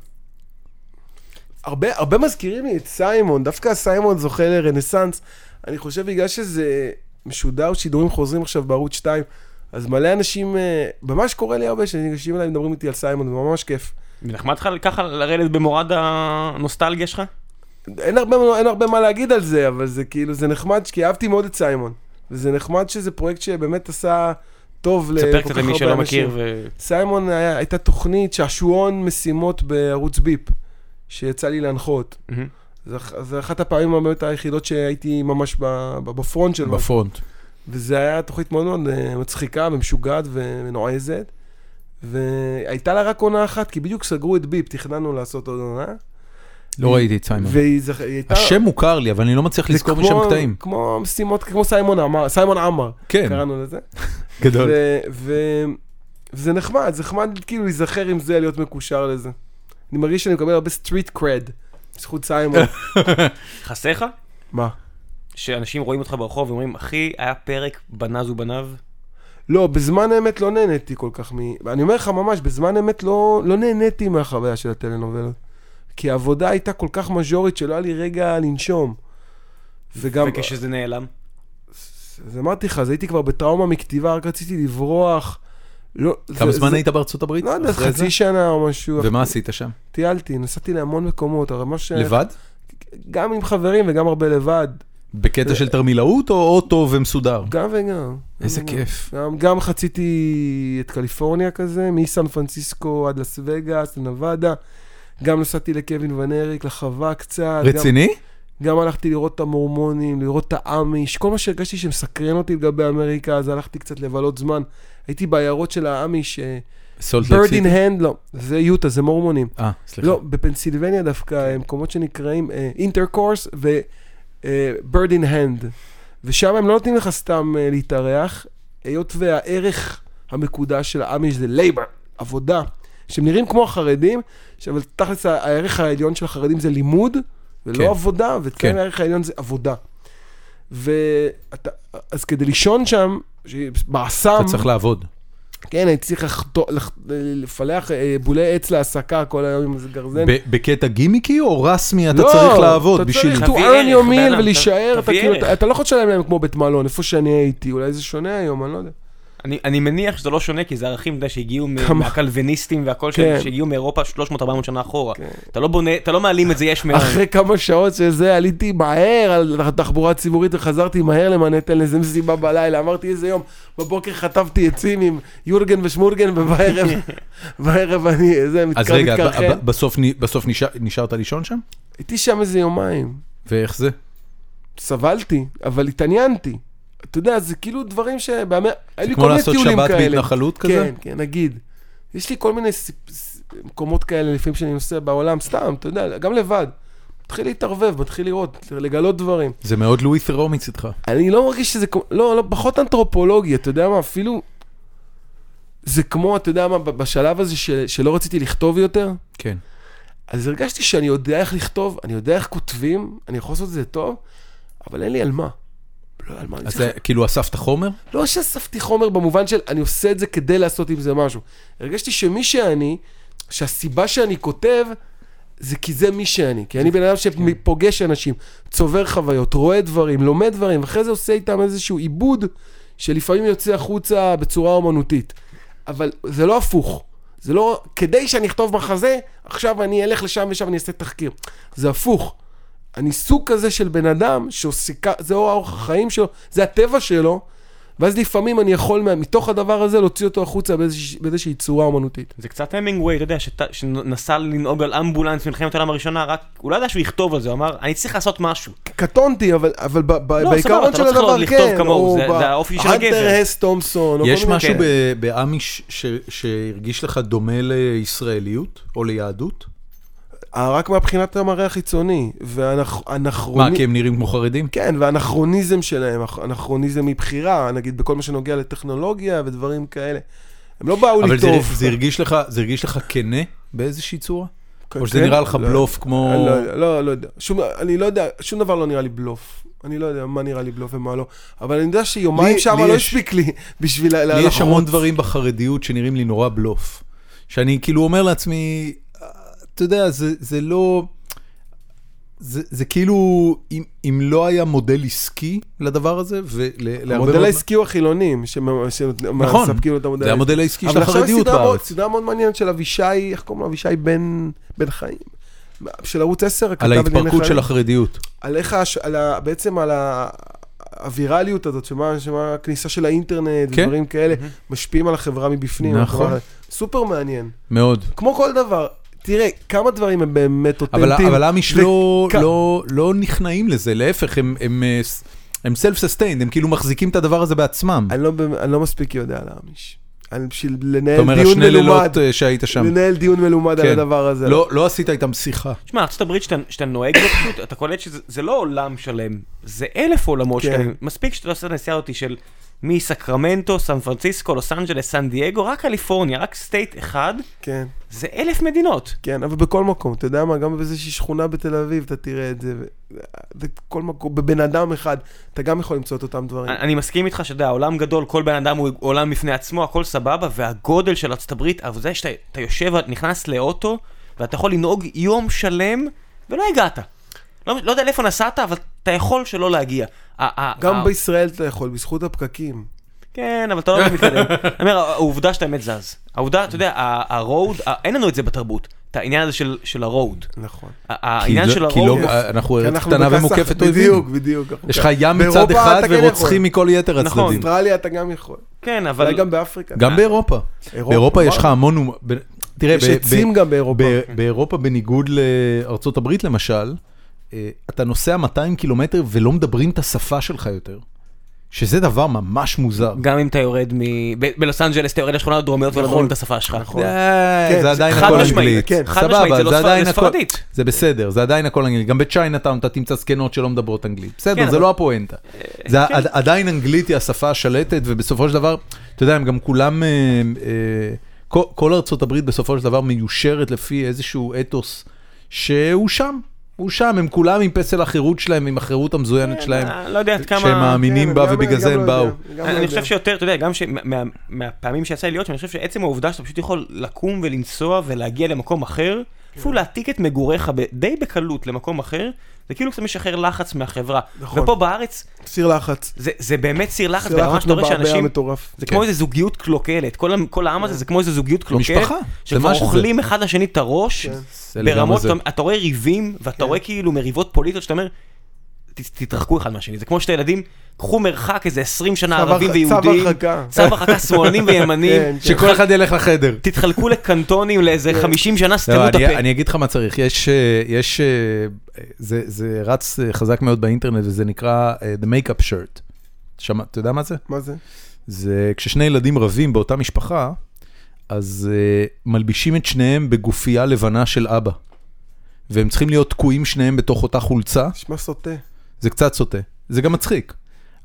S3: הרבה, הרבה מזכירים לי את סיימון, דווקא סיימון זוכה לרנסאנס. אני חושב בגלל שזה משודר, שידורים חוזרים עכשיו בערוץ 2, אז מלא אנשים, אה, ממש קורה לי הרבה שניגשים אליי ומדברים איתי על סיימון, זה ממש כיף.
S2: ונחמד לך ככה לרדת במורד הנוסטלגיה שלך?
S3: אין הרבה, אין הרבה מה להגיד על זה, אבל זה כאילו, זה נחמד, כי אהבתי מאוד את סיימון. וזה נחמד שזה פרויקט שבאמת עשה טוב לכל כך הרבה
S2: תספר
S3: אנשים.
S2: קצת למי שלא מכיר ו...
S3: סיימון היה, הייתה תוכנית שעשועון משימות בערוץ ביפ, שיצא לי להנחות.
S2: מהמם.
S3: זו אח- זו אחת הפעמים באמת היחידות שהייתי ממש ב- ב- בפרונט שלו.
S1: בפרונט.
S3: וזה היה תוכנית מאוד מאוד אה, מצחיקה ומשוגעת ונועזת. והייתה לה רק עונה אחת, כי בדיוק סגרו את ביפ, תכננו לעשות עוד עונה.
S1: לא ראיתי את סיימון.
S3: והיא זכ- היא הייתה...
S1: השם מוכר לי, אבל אני לא מצליח
S3: זה
S1: לזכור
S3: כמו-
S1: משם קטעים.
S3: כמו משימות, כמו סיימון עמר, סיימון עמר,
S1: כן, לא.
S3: קראנו לזה.
S1: גדול.
S3: ו- ו- וזה נחמד, זה נחמד כאילו להיזכר עם זה, להיות מקושר לזה. אני מרגיש שאני מקבל הרבה סטריט קרד, בזכות סיימון.
S2: חסר לך?
S3: מה?
S2: שאנשים רואים אותך ברחוב ואומרים, אחי, היה פרק בנז ובניו?
S3: לא, בזמן אמת לא נהניתי כל כך מ... אני אומר לך ממש, בזמן אמת לא, לא נהניתי מהחוויה של הטלנובלות. כי העבודה הייתה כל כך מז'ורית שלא היה לי רגע לנשום. וגם,
S2: וכשזה נעלם?
S3: אז אמרתי לך, אז הייתי כבר בטראומה מכתיבה, רק רציתי לברוח. לא,
S1: כמה
S3: זה-
S1: זמן
S3: זה-
S1: היית בארצות הברית?
S3: לא יודע,
S1: אחרי זה?
S3: חצי כן. שנה או משהו.
S1: ומה עשית שם?
S3: טיילתי, נסעתי להמון מקומות, אבל מה ש...
S1: לבד?
S3: גם עם חברים וגם הרבה לבד.
S1: בקטע של תרמילאות או אוטו ומסודר?
S3: גם וגם.
S1: איזה
S3: גם וגם.
S1: כיף.
S3: גם, גם חציתי את קליפורניה כזה, מסן פרנסיסקו עד לס וגאס, לנבדה. גם נסעתי לקווין ון אריק, לחווה קצת.
S1: רציני?
S3: גם, גם הלכתי לראות את המורמונים, לראות את האמיש. כל מה שהרגשתי שמסקרן אותי לגבי אמריקה, אז הלכתי קצת לבלות זמן. הייתי בעיירות של האמיש, אה,
S1: סולט לייק
S3: בירד אין
S1: סיטי?
S3: הנד, לא, זה יוטה, זה מורמונים.
S1: אה, סליחה.
S3: לא, בפנסילבניה דווקא,
S1: כן.
S3: אה, מקומות שנקראים אה, אינטרקורס ו-bird אה, in hand. ושם הם לא נותנים לך סתם אה, להתארח, היות והערך המקודש של האמיש זה labor, עבודה, שהם נראים כמו החרדים, ש- אבל תכלס ה- הערך העליון של החרדים זה לימוד, ולא
S1: כן.
S3: עבודה, ואצלם
S1: כן.
S3: הערך העליון זה עבודה. ואתה, אז כדי לישון שם, ש- באסם,
S1: אתה צריך לעבוד.
S3: כן, הייתי צריך לחתו- לח- לפלח אה, בולי עץ להסקה כל היום עם איזה גרזן.
S1: ב- בקטע גימיקי או רסמי אתה
S3: לא,
S1: צריך לעבוד בשביל...
S3: אתה
S2: תביא
S3: צריך to earn
S2: ערך,
S3: your
S2: בן
S3: meal
S2: אדם,
S3: ולהישאר, אתה
S2: תביא
S3: כאילו,
S2: ערך.
S3: אתה- אתה לא יכול לשלם להם כמו בית מלון, איפה שאני הייתי, אולי זה שונה היום, אני לא יודע.
S2: אני, אני מניח שזה לא שונה, כי זה ערכים, אתה יודע, שהגיעו מ-
S3: כמה?
S2: מהקלוויניסטים והכל,
S3: כן.
S2: כן. שהגיעו מאירופה 300-400 שנה אחורה. אתה לא בונה, אתה לא מעלים את זה יש מאין.
S3: אחרי כמה שעות של זה, עליתי מהר על התחבורה הציבורית וחזרתי מהר למנהטן לאיזה מסיבה בלילה, אמרתי איזה יום, בבוקר חטפתי עצים עם יורגן ושמורגן, ובערב, בערב אני, איזה,
S1: אז
S3: מתקר-
S1: רגע,
S3: מתקרחן.
S1: ב- ב- בסוף נ- בסוף נשאר- נשארת לישון שם?
S3: הייתי שם איזה יומיים.
S1: ואיך זה?
S3: סבלתי, אבל התעניינתי. אתה יודע, זה כאילו דברים שבאמר... היו לי
S1: כמו
S3: כל מיני
S1: לעשות
S3: טיולים
S1: שבת
S3: כאלה.
S1: בהתנחלות כזה?
S3: כן, כן, נגיד. יש לי כל מיני סיפ- ס- מקומות כאלה לפעמים שאני נוסע בעולם, סתם, אתה יודע, גם לבד. מתחיל להתערבב, מתחיל לראות, לגלות דברים.
S1: זה מאוד לואי פרו מצדך.
S3: אני לא מרגיש שזה כמו, לא, לא, פחות אנתרופולוגי, אתה יודע מה, אפילו... זה כמו, אתה יודע מה, ב- בשלב הזה ש- שלא רציתי לכתוב יותר,
S1: כן.
S3: אז הרגשתי שאני יודע איך לכתוב, אני יודע איך כותבים, אני יכול לעשות את זה טוב, אבל אין לי על מה. לא על מה. אני
S1: אז
S3: צריך-
S1: זה כאילו אספת חומר?
S3: לא שאספתי חומר במובן של אני עושה את זה כדי לעשות עם זה משהו. הרגשתי שמי שאני, שהסיבה שאני כותב, זה כי זה מי שאני. כי אני בן אדם שפוגש אנשים, צובר חוויות, רואה דברים, לומד דברים, ואחרי זה עושה איתם איזשהו עיבוד, שלפעמים יוצא החוצה בצורה אומנותית. אבל זה לא הפוך. זה לא, כדי שאני אכתוב מחזה, עכשיו אני אלך לשם ושם אני אעשה תחקיר. זה הפוך. אני סוג כזה של בן אדם שעוסקה, זה אורח החיים שלו, זה הטבע שלו, ואז לפעמים אני יכול מה- מתוך הדבר הזה להוציא אותו החוצה באיזושה- באיזושהי צורה אומנותית.
S2: זה קצת המינגווי, אתה יודע, שת- שנסע לנהוג על אמבולנס במלחמת העולם הראשונה, רק, הוא לא ידע שהוא יכתוב על זה, הוא אמר, אני צריך לעשות משהו.
S3: קטונתי, אבל, אבל ב- ב-
S2: לא, סבבה,
S3: בעיקרון
S2: אתה
S3: של
S2: לא צריך
S3: הדבר,
S2: לכתוב
S3: כן,
S2: כמוהו,
S3: או
S2: זה-
S3: ב-
S2: זה האופי של הגבר.
S3: הנטר הס תומסון, או
S1: יש
S3: כל מיני
S1: משהו
S2: כן.
S1: ב- באמיש ש- שהרגיש לך דומה לישראליות או ליהדות?
S3: אה, רק מהבחינת המראה החיצוני,
S1: מה,
S3: והאנכרוניזם,
S1: כי הם נראים כמו חרדים?
S3: כן, והאנכרוניזם שלהם, אנ- אנכרוניזם מבחירה, נגיד בכל מה שנוגע לטכנולוגיה ודברים כאלה. הם לא באו
S1: אבל
S3: לי
S1: זה-
S3: טוב.
S1: זה הרגיש לך- זה הרגיש לך כנה באיזושהי צורה?
S3: כן,
S1: או שזה
S3: כן?
S1: נראה לך
S3: לא.
S1: בלוף כמו...
S3: לא, לא, לא יודע. שום, אני לא יודע, שום דבר לא נראה לי בלוף. אני לא יודע מה נראה לי בלוף ומה לא, אבל אני יודע שיומיים
S1: לי-
S3: שם
S1: לי
S3: לא
S1: יש-
S3: הספיק לי בשביל לה-
S1: לי יש המון
S3: לחרוץ.
S1: דברים בחרדיות שנראים לי נורא בלוף. שאני כאילו אומר לעצמי, "אה, אתה יודע, זה, זה לא... זה, זה כאילו, אם, אם לא היה מודל עסקי לדבר הזה, ולהרבה
S3: המודל העסקי הוא לא החילונים,
S1: נכון,
S3: שמספקים לו את המודל
S1: זה המודל העסקי של
S3: אבל עכשיו יש
S1: החרדיות
S3: סדרה מאוד-
S1: בארץ.
S3: סדרה מאוד מעניינת של אבישי, איך קוראים לו? אבישי בן בן חיים. של ערוץ 10, הכתב
S1: על
S3: לענייני
S1: ההתפרקות של
S3: חיים.
S1: החרדיות.
S3: על איך, הש- על ה- בעצם על ה- הווירליות הזאת, שמה שמה הכניסה של האינטרנט
S1: כן.
S3: ודברים כאלה, משפיעים על החברה מבפנים.
S1: נכון.
S3: כלומר, סופר מעניין.
S1: מאוד.
S3: כמו כל דבר, תראה, כמה דברים הם באמת
S1: אבל,
S3: אותנטיים.
S1: אבל עמיש
S3: ו-
S1: לא,
S3: כ-
S1: לא, לא נכנעים לזה, להפך, הם, הם, אה, ס- הם self-sustained, הם כאילו מחזיקים את הדבר הזה בעצמם.
S3: אני לא במ- אני לא מספיק יודע על האמיש. אני בשביל לנהל
S1: אתה אומר,
S3: דיון
S1: השני
S3: מלומד,
S1: לילות אה, שהיית שם.
S3: לנהל דיון מלומד על
S1: כן.
S3: הדבר הזה.
S1: לא, לא עשית איתם שיחה.
S2: תשמע, ארצות הברית שאתה- שאתה נוהג בו פשוט, אתה קולט שזה זה לא עולם שלם, זה אלף עולמות
S3: כן.
S2: שלמים. מספיק שאתה עושה את הנסיעה אותי של מסקרמנטו, סן פרנסיסקו, לוס אנג'לס, סן דייגו, רק קליפורניה, רק סטייט אחד,
S3: כן.
S2: זה אלף מדינות.
S3: כן, אבל בכל מקום, אתה יודע מה, גם באיזושהי שכונה בתל אביב, אתה תראה את זה. ו- בכל מקום, בבן אדם אחד, אתה גם יכול למצוא את אותם דברים.
S2: אני- אני מסכים איתך שאתה יודע, העולם גדול, כל בן אדם הוא עולם בפני עצמו, הכל סבבה, והגודל של ארצות הברית, אבל זה שאתה אתה יושב, נכנס לאוטו, ואתה יכול לנהוג יום שלם, ולא הגעת. לא, לא יודע לאיפה נסעת, אבל אתה יכול שלא להגיע. ה- ה- ה-
S3: גם בישראל אתה יכול, בזכות הפקקים.
S2: כן, אבל אתה לא באמת מתקדם. אני אומר, העובדה שאתה באמת זז. העובדה, אתה יודע, ה- הרוד, ה- אין לנו את זה בתרבות. את העניין הזה של- של הרוד.
S3: נכון.
S2: ה- העניין
S1: כי
S2: של
S1: לא- כי לא-
S2: הרוד,
S1: אנחנו
S3: כי
S1: ארץ
S3: אנחנו
S1: קטנה
S3: בכסח-
S1: ומוקפת
S3: בדיוק,
S1: אויבים.
S3: בדיוק. כן.
S1: יש לך ים
S3: באירופה
S1: מצד אחד
S3: אתה כן
S1: ורוצחים
S3: יכול.
S1: מכל יתר
S2: נכון.
S1: הצדדים.
S3: באוסטרליה אתה גם יכול.
S2: כן, אבל...
S3: אולי גם באפריקה.
S1: גם באירופה. באירופה יש לך המון... אומ- ב- תראה,
S3: יש
S1: ב- ב-
S3: עצים גם באירופה.
S1: ב- באירופה, בניגוד לארצות הברית למשל, אה, אתה נוסע 200 קילומטר ולא מדברים את השפה שלך יותר. שזה דבר ממש מוזר.
S2: גם אם אתה יורד מ... ב- בלוס אנג'לס אתה יורד לשכונות הדרומיות ולא
S3: נכון.
S2: אומרים את השפה שלך.
S3: נכון.
S1: די,
S3: כן,
S1: זה עדיין
S2: חד
S1: הכל
S2: משמעית,
S1: אנגלית.
S3: כן,
S2: חד משמעית, זה
S1: סבבה,
S2: לא
S1: זה
S2: ספר-
S1: עדיין
S2: זה
S1: הכל...
S2: ספרדית.
S1: זה בסדר, זה עדיין הכל אנגלית. גם בצ'יינאטאון אתה תמצא זקנות שלא מדברות אנגלית.
S2: כן,
S1: בסדר, זה
S2: אבל- אה, כן.
S1: לא הפואנטה. זה עד- עדיין אנגלית היא השפה השלטת, ובסופו של דבר, אתה יודע, הם גם כולם... אה, אה, כל- כל ארצות הברית בסופו של דבר מיושרת לפי איזשהו אתוס שהוא שם. הוא שם, הם כולם עם פסל החירות שלהם, עם החירות המזוינת שלהם,
S2: אה, לא יודע עד כמה...
S1: שהם
S2: כן,
S1: מאמינים בה ובגלל זה הם באו.
S2: לא אני אני חושב שיותר, אתה יודע, גם ש- מה- מה- מהפעמים שיצא לי להיות שם, אני חושב שעצם העובדה שאתה פשוט יכול לקום ולנסוע ולהגיע למקום אחר, אפילו להעתיק את מגוריך ב- די בקלות למקום אחר, זה כאילו קצת משחרר לחץ מהחברה.
S3: נכון.
S2: ופה בארץ,
S3: סיר לחץ.
S2: זה זה באמת סיר לחץ,
S3: סיר
S2: ברמה
S3: לחץ
S2: שאתה רואה
S3: מבעבע
S2: שאנשים...
S3: מטורף.
S2: זה
S1: כן.
S2: כמו איזה זוגיות קלוקלת, כל ה- כל העם הזה זה כמו איזה זוגיות קלוקלת,
S1: משפחה, זה
S2: אוקיי. שכבר
S1: מה שזה.
S2: אוכלים אחד לשני את הראש,
S1: זה לגמרי
S2: ברמות,
S1: זה.
S2: אתה- אתה רואה ריבים, ואתה רואה כאילו מריבות פוליטיות, שאתה אומר, "ת- תתרחקו אחד מהשני, זה כמו שתי ילדים, קחו מרחק איזה 20 שנה
S3: צו
S2: ערבים
S3: הרחק-
S2: ויהודים,
S3: צו הרחקה.
S2: צו הרחקה שמאלנים וימנים,
S3: כן, כן.
S1: שכל אחד ילך לחדר.
S2: תתחלקו לקנטונים לאיזה 50 שנה,
S1: לא,
S2: סתמו את
S1: אני-
S2: הפה.
S1: אני אגיד לך מה צריך, יש, אה, יש, אה, זה, זה רץ אה, חזק מאוד באינטרנט וזה נקרא אה, The Makeup Shirt. שמע, אתה יודע מה זה?
S3: מה זה?
S1: זה כששני ילדים רבים באותה משפחה, אז אה, מלבישים את שניהם בגופייה לבנה של אבא. והם צריכים להיות תקועים שניהם בתוך אותה חולצה,
S3: נשמע סוטה.
S1: זה קצת סוטה, זה גם מצחיק.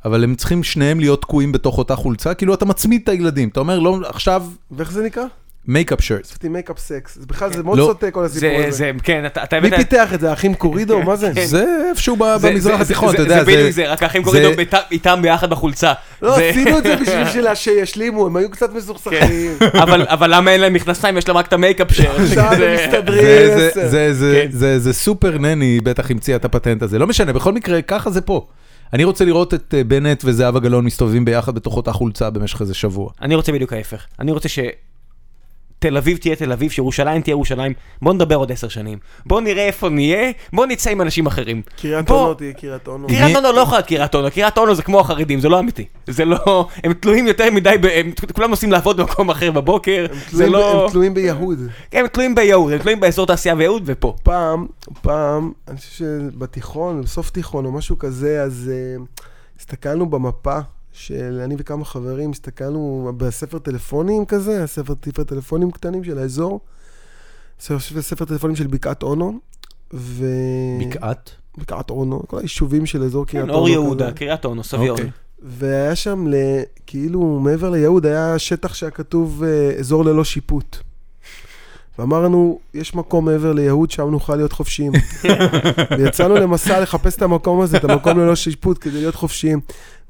S1: אבל הם צריכים שניהם להיות תקועים בתוך אותה חולצה, כאילו אתה מצמיד את הילדים, אתה אומר, לא, עכשיו
S3: ואיך זה נקרא?
S1: מייקאפ שירט.
S3: עשיתי מייקאפ סקס. זה בכלל, זה מאוד
S1: לא.
S3: סוטה כל הסיפור
S2: כן. זה,
S3: הזה.
S2: זה, כן, אתה אתה
S3: מי
S2: הבאת...
S3: פיתח את זה? האחים קורידו? מה זה?
S2: כן.
S1: זה איפשהו ב-
S2: זה-
S1: במזרח
S2: זה-
S1: התיכון,
S2: זה-
S1: אתה יודע,
S2: זה בדיוק זה, רק האחים קוראים
S1: זה-
S2: לו ביתם- איתם ביחד בחולצה.
S3: לא,
S2: זה-
S3: עשינו את זה בשביל שלה- שישלימו, הם היו קצת מסוכסכים.
S2: אבל אבל למה אין להם מכנסיים, יש להם רק את המייקאפ שלהם.
S3: עכשיו הם
S2: זה-
S3: מסתדרים.
S1: זה-
S3: עשר.
S1: זה- זה- זה-
S2: כן.
S1: זה- זה סופר נני בטח המציאה את הפטנט הזה, לא משנה, בכל מקרה, ככה זה פה. אני רוצה לראות את אה, בנט וזהבה גלאון מסתובבים ביחד בתוך אותה חולצה במשך איזה שבוע.
S2: אני רוצה בדיוק ההפך. אני רוצה ש... תל אביב תהיה תל אביב, שירושלים תהיה ירושלים. בוא נדבר עוד עשר שנים. בוא נראה איפה נהיה, בוא נצא עם אנשים אחרים.
S3: קריית
S2: בוא-
S3: אונו תהיה קריית אונו.
S2: קריית אונו לא יכולה להיות קריית אונו, קריית אונו זה כמו החרדים, זה לא אמיתי. זה לא... הם תלויים יותר מדי, ב... הם... כולם נוסעים לעבוד במקום אחר בבוקר, זה
S3: תלויים ב-
S2: לא...
S3: הם תלויים ביהוד.
S2: הם תלויים ביהוד, הם תלויים באזור תעשייה ויהוד ופה.
S3: פעם, פעם, אני חושב שבתיכון, בסוף תיכון או משהו כזה, אז אה, הסתכלנו במפה של אני וכמה חברים, הסתכלנו בספר טלפונים כזה, הספר ספר טלפונים קטנים של האזור, ספר, ספר טלפונים של בקעת אונו, ו...
S1: אה, בקעת?
S3: בקעת אונו, כל היישובים של אזור קריית
S2: כן,
S3: אונו.
S2: אור יהודה,
S3: כזה.
S2: קריית אונו, סביון.
S1: אוקיי.
S3: והיה שם, ל... כאילו, מעבר ליהוד, היה שטח שהיה כתוב אה, אזור ללא שיפוט. ואמרנו, יש מקום מעבר ליהוד, שם נוכל להיות חופשיים. ויצאנו למסע לחפש את המקום הזה, את המקום ללא שיפוט, כדי להיות חופשיים.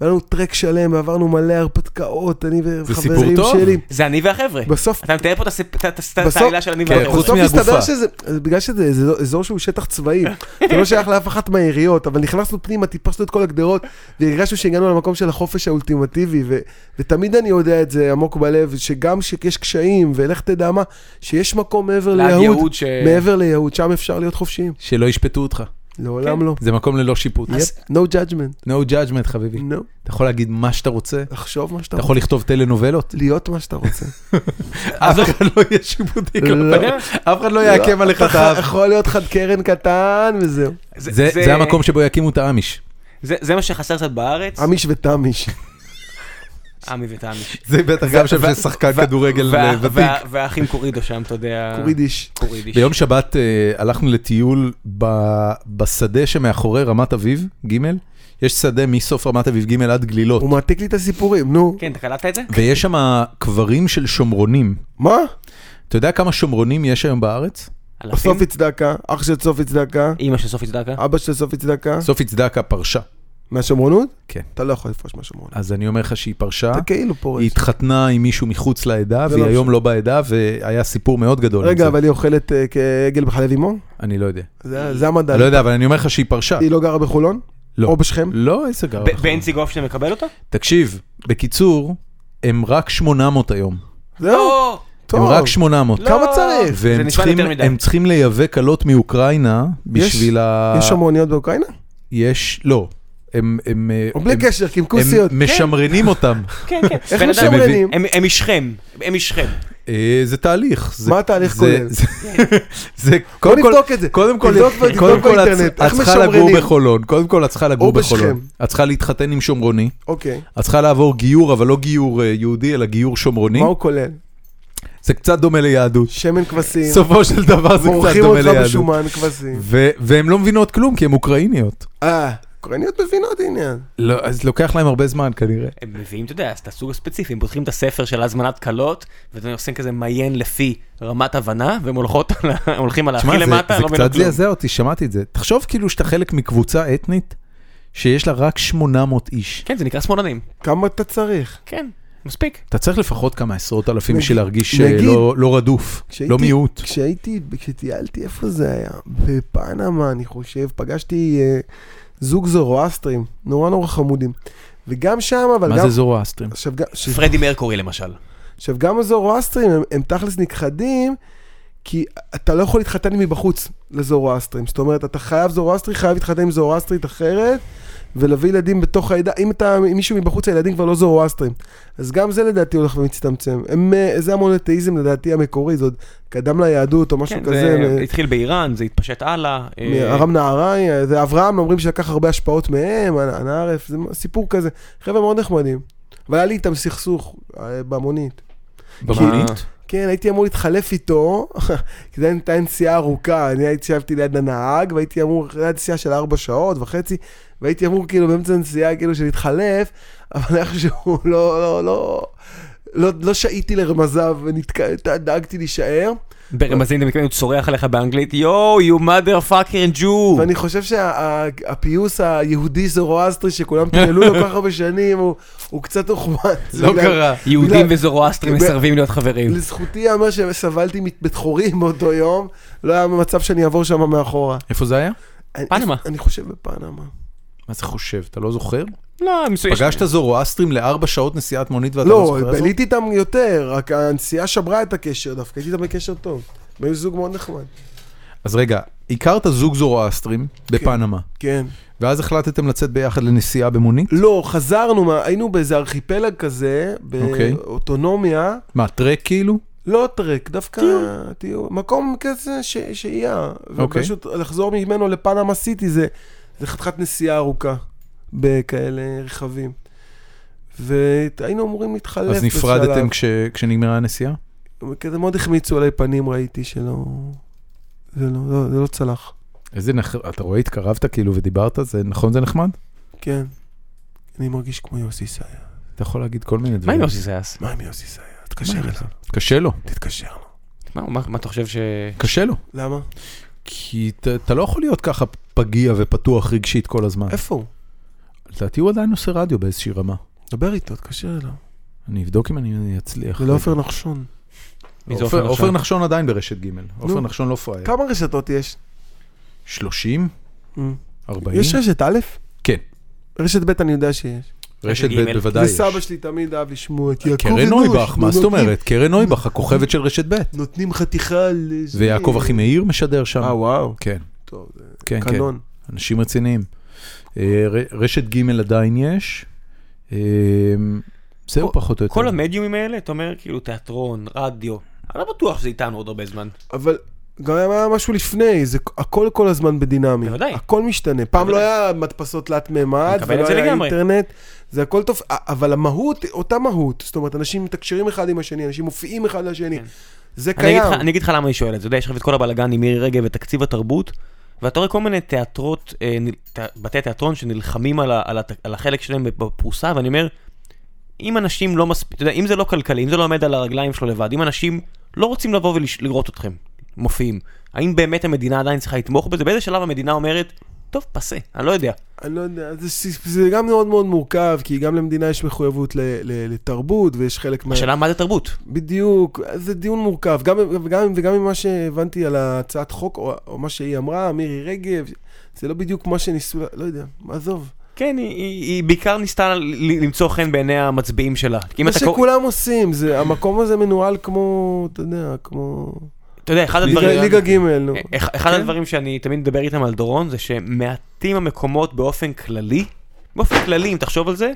S3: והיה לנו טרק שלם, ועברנו מלא הרפתקאות, אני
S1: סיפור
S3: וחברים
S1: טוב.
S3: שלי.
S2: זה אני והחבר'ה.
S3: בסוף
S2: אתה מתאר פה את הסיפ- את ה- את ה- את
S3: בסוף-
S2: העלילה של אני
S1: כן,
S2: והחבר'ה.
S1: חוץ
S3: בסוף
S1: מהגופה.
S3: מסתבר שזה, בגלל שזה זה לא- אזור שהוא שטח צבאי, זה לא שייך לאף אחת מהעיריות, אבל נכנסנו פנימה, טיפסנו את כל הגדרות, והרגשנו שהגענו למקום של החופש האולטימטיבי, ו, ותמיד אני יודע את זה עמוק בלב, שגם כשיש קשיים, ולך תדע מה, שיש מקום מעבר ליהוד,
S2: ליהוד ש...
S1: כן.
S3: מעבר ליהוד, שם אפשר להיות חופשיים,
S1: שלא ישפטו אותך.
S3: לעולם לא.
S1: זה מקום ללא שיפוט.
S3: Yep, No judgment,
S1: No judgment, חביבי.
S3: no,
S1: אתה יכול להגיד מה שאתה רוצה,
S3: לחשוב מה שאתה
S1: אתה
S3: רוצה,
S1: יכול לכתוב טלנובלות.
S3: להיות מה שאתה רוצה.
S1: אף אחד לא יהיה שיפוטי
S3: לא.
S1: כלפיך. אף אחד לא יעקם עליך את
S3: אתה
S1: האף.
S3: יכול להיות לך קרן קטן וזהו,
S1: זה זה המקום שבו יקימו את האמיש.
S2: זה זה מה שחסר קצת בארץ.
S3: אמיש
S1: אה.
S3: ותמיש.
S2: עמי ותמיש.
S1: זה בטח גם שם של שחקן כדורגל
S2: וה-
S1: אה, ותיק.
S2: וה- והאחים קורידו שם, אתה יודע.
S3: קורידיש.
S2: קורידיש.
S1: ביום שבת אה, הלכנו לטיול ב- בשדה שמאחורי רמת אביב ג', יש שדה מסוף רמת אביב ג' עד גלילות,
S3: הוא מעתיק לי את הסיפורים, נו.
S2: כן, אתה קלטת את זה?
S1: ויש שם קברים של שומרונים.
S3: מה?
S1: אתה יודע כמה שומרונים יש היום בארץ?
S2: אלפים?
S3: סופי צדקה, אח של סופי צדקה,
S2: אימא של סופי
S1: אה,
S2: צדקה?
S3: אבא של סופי צדקה.
S1: סופי צדקה פרשה.
S3: מהשומרונות?
S1: כן. אה?
S3: אתה לא יכול לפרוש מהשומרונות.
S1: אז אני אומר לך שהיא פרשה,
S3: אתה כאילו
S1: היא
S3: פורש.
S1: התחתנה עם מישהו מחוץ לעדה,
S3: זה
S1: והיא
S3: לא
S1: היום
S3: משנה.
S1: לא בעדה, והיה סיפור מאוד גדול. עם
S3: רגע,
S1: זה.
S3: אבל היא אוכלת אה, כעגל בחלב אימו?
S1: אני לא יודע.
S3: זה זה המדע.
S1: אני לא יודע, אבל אני אומר לך שהיא פרשה.
S3: היא לא גרה בחולון?
S1: לא.
S3: או בשכם?
S1: לא, איזה גר.
S2: ב- בנצי גופשטיין מקבל אותו?
S1: תקשיב, בקיצור, הם רק 800 היום.
S3: זהו,
S2: לא!
S1: הם
S3: טוב.
S1: רק 800.
S2: לא.
S3: כמה צריך?
S2: זה
S1: והם
S2: נשמע
S1: צריכים,
S2: יותר מדי.
S1: הם צריכים לייבא קלות מאוקראינה בשביל ה...
S3: יש המוניות באוקראינה?
S1: יש, לא. הם, הם, אה,
S3: או בלי
S1: הם,
S3: קשר, כן. קמקוסיות.
S1: הם משמרנים אותם.
S2: כן, כן.
S3: איך
S2: בן אדם-
S3: משמרנים?
S2: הם- הם משכם. הם משכם.
S1: אה, זה תהליך. זה,
S3: מה התהליך
S1: זה-
S3: כולל?
S1: זה- זה
S3: בוא
S1: קודם כל,
S3: נבדוק את זה.
S1: קודם כל,
S3: תבדוק ב-
S1: קודם
S3: תבדוק
S1: כל, את-
S3: באינטרנט,
S1: את
S3: איך
S1: צריכה לגור
S3: משמרנים?
S1: בחולון, קודם כל את צריכה לגור
S3: או בשכם.
S1: בחולון, את צריכה להתחתן עם שומרוני,
S3: אוקיי.
S1: את צריכה לעבור גיור, אבל לא גיור אה, יהודי, אלא גיור שומרוני,
S3: מה הוא כולל?
S1: זה קצת דומה ליהדות,
S3: שמן כבשים,
S1: בסופו של דבר זה קצת
S3: מורחים
S1: דומה
S3: אותך
S1: ליהדות,
S3: בשומן כבשים.
S1: ו- והן לא מבינות כלום, כי הן אוקראיניות,
S3: אה, אוקראיניות מבינות עניין.
S1: לא, אז לוקח להן הרבה זמן כנראה.
S2: הם מביאים, אתה יודע, אז את הסוג הספציפי, הם פותחים את הספר של הזמנת קלות, ואתם עושים כזה מיין לפי רמת הבנה, והם הולכות על ה- הם הולכים על הכי
S1: תשמע, זה-
S2: למטה,
S1: זה
S2: לא מבינים
S1: קצת
S2: כלום.
S1: זעזע אותי, שמעתי את זה. תחשוב כאילו שאתה חלק מקבוצה אתנית שיש לה רק 800 איש.
S2: כן, זה נקרא שמאלנים.
S3: כמה אתה צריך?
S2: כן, מספיק.
S1: אתה צריך לפחות כמה עשרות אלפים
S3: נגיד-
S1: בשביל להרגיש
S3: נגיד-
S1: שלא לא רדוף,
S3: כשהייתי-
S1: לא מיעוט.
S3: כשהייתי, כשטיילתי, איפה זה היה? בפנמה, אני חושב, פגשתי אה, זוג זורואסטרים, נורא נורא חמודים. וגם שם, אבל גם...
S1: מה זה זורואסטרים?
S3: עכשיו, גם- ש-
S2: פרדי מרקורי למשל.
S3: עכשיו, גם הזורואסטרים הם, הם תכלס נכחדים, כי אתה לא יכול להתחתן מבחוץ לזורואסטרים. זאת אומרת, אתה חייב זורואסטרי, חייב להתחתן עם זורואסטרית אחרת, ולהביא ילדים בתוך העדה. אם אתה עם מישהו מבחוץ, הילדים כבר לא זורואסטרים. אז גם זה לדעתי הולך ומצטמצם. הם, אה, זה המונותאיזם לדעתי המקורי, זה עוד קדם ליהדות או משהו
S2: כן,
S3: כזה.
S2: זה
S3: אה,
S2: התחיל באיראן, זה התפשט הלאה. אה,
S3: מארם נהריים, אה, זה אברהם, אומרים שלקח הרבה השפעות מהם, הנערף, זה סיפור כזה. חבר'ה מאוד נחמדים. אבל היה לי איתם סכסוך אה, במונית.
S1: במונית?
S3: כן, הייתי אמור להתחלף איתו, כי זה הייתה נסיעה ארוכה, אני הייתי ישבתי ליד הנהג, והייתי אמור, זו הייתה נסיעה של ארבע שעות וחצי, והייתי אמור כאילו באמצע הנסיעה כאילו שלהתחלף, אבל איכשהו לא, לא, לא, לא, לא שעיתי לרמזיו, ונתק- דאגתי להישאר.
S2: ברמזים אתה מתכוון, הוא צורח עליך באנגלית, יואו, you mother fucking Jew.
S3: ואני חושב שהפיוס היהודי זורואסטרי שכולם טרלו לו כל כך הרבה שנים, הוא, הוא קצת הוחמץ.
S1: לא
S3: בגלל-
S1: קרה.
S2: יהודים
S3: בגלל-
S2: וזורואסטרים
S3: בגלל-
S2: מסרבים להיות חברים.
S3: לזכותי ייאמר שסבלתי מבית חורים באותו יום, לא היה מצב שאני אעבור שם מאחורה.
S1: איפה זה היה?
S3: אני-
S2: פנמה.
S3: אני חושב בפנמה.
S1: מה זה חושב? אתה לא זוכר?
S2: לא, הם מסו- יש-
S1: פגשת זורואסטרים לארבע שעות נסיעת מונית ואתה לא
S3: לא,
S1: זוכר? את זה?
S3: בליתי איתם יותר, רק הנסיעה שברה את הקשר דווקא, הייתי איתם בקשר טוב. הם היו זוג מאוד נחמד.
S1: אז רגע, הכרת זוג זורואסטרים בפנמה,
S3: כן.
S1: ואז החלטתם לצאת ביחד לנסיעה במונית?
S3: לא, חזרנו, מה- היינו באיזה ארכיפלג כזה,
S1: אוקיי.
S3: באוטונומיה.
S1: מה, טרק כאילו?
S3: לא טרק, דווקא טיול, מקום כזה ש... שהייה.
S1: אוקיי.
S3: ופשוט לחזור ממנו לפנמה סיטי זה, זה חתיכת נסיעה ארוכה בכאלה רכבים. והיינו אמורים להתחלף
S1: אז נפרדתם כש- כשנגמרה הנסיעה?
S3: בשלב. כזה מאוד החמיצו עלי פנים, ראיתי שלא... זה לא, לא, זה לא צלח.
S1: איזה נחמד, אתה רואה, התקרבת כאילו ודיברת, זה נכון זה נחמד?
S3: כן. אני מרגיש כמו יוסי סייס.
S1: אתה יכול להגיד כל מיני דברים.
S2: מה עם יוסי זיאס?
S3: מה עם יוסי סייס? תתקשר אליו,
S1: קשה לו.
S3: תתקשר לו.
S2: מה, מה, מה אתה חושב ש...
S1: קשה לו.
S3: למה?
S1: כי ת- אתה לא יכול להיות ככה פגיע ופתוח רגשית כל הזמן.
S3: איפה הוא?
S1: לדעתי הוא עדיין עושה רדיו באיזושהי רמה.
S3: דבר איתו, תקשר אליו.
S1: אני אבדוק אם אני אצליח.
S3: זה לא עופר נחשון.
S2: מי זה
S1: עופר-
S2: עופר
S1: עופר
S2: נחשון?
S1: נחשון עדיין ברשת ג', עופר
S3: נו.
S1: נחשון לא פראייר.
S3: כמה רשתות יש?
S1: 30?
S3: אמ.
S1: 40?
S3: יש רשת א'?
S1: כן.
S3: רשת ב' אני יודע שיש.
S1: רשת
S2: ג'.
S1: ב' בוודאי
S3: זה
S1: יש.
S3: סבא שלי תמיד אהב לשמוע את יעקב
S1: קרן
S3: אנוש,
S1: נויבך, מה
S3: נו,
S1: זאת
S3: נותנים-
S1: אומרת? קרן נויבך, הכוכבת של רשת ב'.
S3: נותנים חתיכה ל...
S1: ויעקב אחימאיר משדר שם.
S3: אה, וואו.
S1: כן,
S3: טוב, זה
S1: כן, כן.
S3: קנון.
S1: אנשים רציניים. אה, ר- רשת ג' עדיין יש. אה, זהו פחות או יותר.
S2: כל המדיומים האלה, אתה אומר כאילו תיאטרון, רדיו, אני לא בטוח שזה איתנו עוד הרבה זמן.
S3: אבל גם היה משהו לפני, זה הכל כל הזמן בדינמי.
S2: בוודאי.
S3: הכל משתנה. פעם לא היה מדפסות תלת מימד,
S2: מקבל את
S3: ולא
S2: זה
S3: היה
S2: לגמרי.
S3: אינטרנט. זה הכל טוב, אבל המהות, אותה מהות. זאת אומרת, אנשים מתקשרים אחד עם השני, אנשים מופיעים אחד לשני.
S2: כן.
S3: זה
S2: אני אגיד,
S3: קיים.
S2: לך, אני אגיד לך למה אני שואל את זה, אתה יודע, יש לך את כל הבלאגן עם מירי רגב ותקציב התרבות, ואתה רואה כל מיני תיאטרות, אה, נל- ת- בתי תיאטרון שנלחמים על, ה, על, הת, על החלק שלהם בפרוסה, ואני אומר, אם אנשים לא מספיק, אתה יודע, אם זה לא כלכלי, אם זה לא עומד על הרגליים שלו לבד, אם אנשים לא רוצים לבוא ולראות אתכם מופיעים, האם באמת המדינה עדיין צריכה לתמוך בזה? באיזה שלב המדינה אומרת, טוב, פסה, אני לא יודע.
S3: אני לא יודע, זה, ס- זה גם מאוד מאוד מורכב, כי גם למדינה יש מחויבות ל, ל, לתרבות, ויש חלק מה...
S2: השאלה מה זה תרבות?
S3: בדיוק, זה דיון מורכב. גם, וגם, וגם ממה שהבנתי על הצעת חוק, או, או מה שהיא אמרה, מירי רגב, זה לא בדיוק מה שניסו, לה- לא יודע, עזוב.
S2: כן, היא, היא, היא בעיקר ניסתה ל- למצוא חן בעיני המצביעים שלה. אם
S3: מה
S2: אתה, קור...
S3: שכולם עושים, זה, המקום הזה מנוהל כמו, אתה יודע, כמו...
S2: אתה יודע, אחד הדברים...
S3: ליגה, ליגה ג', נו.
S2: אח- אה, אחד
S1: כן.
S2: הדברים שאני תמיד מדבר איתם על דורון זה שמעטים המקומות באופן כללי, באופן כללי אם תחשוב על זה,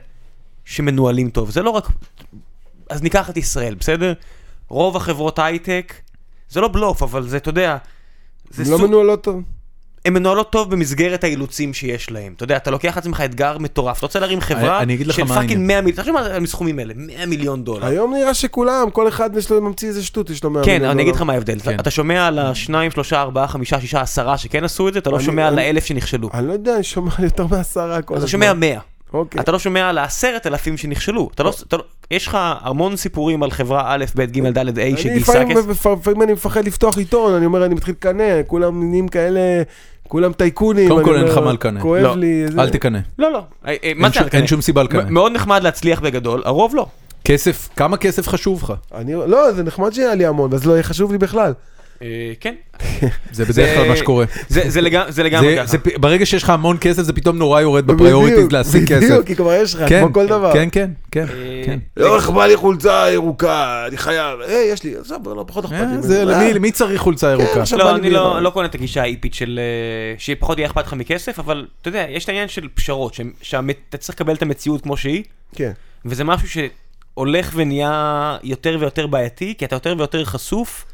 S2: שמנוהלים טוב. זה לא רק... אז ניקח את ישראל, בסדר? רוב החברות הייטק, זה לא בלוף, אבל זה, אתה יודע, זה
S3: לא
S2: סוג...
S3: מנוהלות טוב.
S2: הן מנוהלות טוב במסגרת האילוצים שיש להם. אתה יודע, אתה לוקח לעצמך אתגר מטורף, אתה רוצה להרים חברה
S1: אני אגיד לך
S2: של
S1: מה
S2: פאקינג
S1: העניין.
S2: 100 מיליון, תחשוב על הסכומים האלה, 100 מיליון דולר.
S3: היום נראה שכולם, כל אחד יש לו, ממציא איזה שטות, יש לו לא, מאה
S2: כן,
S3: מיליון
S2: אני אגיד לך
S3: דולר.
S2: מה ההבדל.
S1: כן.
S2: אתה שומע על השניים, שלושה, ארבעה, חמישה, שישה, עשרה שכן עשו את זה, אתה לא
S3: אני-
S2: שומע על
S3: אני-
S2: האלף שנכשלו.
S3: אני לא יודע, אני שומע יותר מעשרה כל הזמן.
S2: אתה שומע מאה.
S3: אוקיי.
S2: אתה לא שומע על העשרת אלפים שנכשלו. אתה לא, אתה לא- יש לך המון סיפורים על חברה א', ב', ג', ד', ה',
S3: אני
S2: שגייסה
S3: לפעמים-
S2: כסף.
S3: לפעמים אני מפחד לפתוח עיתון, אני אומר, אני מתחיל לקנא, כולם נהיים כאלה, כולם טייקונים.
S1: קודם
S3: אני
S1: כל אין
S3: אומר,
S1: לך מה לקנא.
S2: לא,
S3: כואב לי, זה-
S1: אל תקנא.
S2: לא, לא. אה, אה, מה
S1: אין
S2: זה
S1: שום- אין
S2: לקנא?
S1: שום סיבה לקנא.
S2: מ- מאוד נחמד להצליח בגדול, הרוב לא.
S1: כסף, כמה כסף חשוב לך?
S3: אני- לא, זה נחמד שיהיה לי המון, אז לא יהיה חשוב לי בכלל.
S2: אה, כן.
S1: זה בדרך כלל מה שקורה.
S2: זה- זה לגמ- זה לגמרי
S1: זה-
S2: ככה.
S1: זה פ- ברגע שיש לך המון כסף, זה פתאום נורא יורד בפריוריטיז
S3: בדיוק,
S1: להשיג כסף.
S3: בדיוק, כי כבר יש לך,
S1: כן,
S3: כמו כל דבר.
S1: כן, כן, כן,
S2: אה,
S1: כן.
S3: לא רכבה לי חולצה ירוקה, אני חייב, היי, יש לי, עזוב, לא, פחות אכפת לי.
S1: אה,
S3: ממנו.
S1: זה,
S3: אה,
S1: למי- למי צריך חולצה ירוקה?
S3: עכשיו בא
S2: לא,
S3: לי
S2: אני
S3: בלי-
S2: לא, לא קונה את הגישה האיפית של... אה, שפחות יהיה אכפת לך מכסף, אבל אתה יודע, יש את העניין של פשרות, שאתה צריך לקבל את המציאות כמו שהיא,
S3: כן.
S2: וזה משהו שהולך ונהיה יותר ויותר בעייתי, כי אתה יותר ויותר חשוף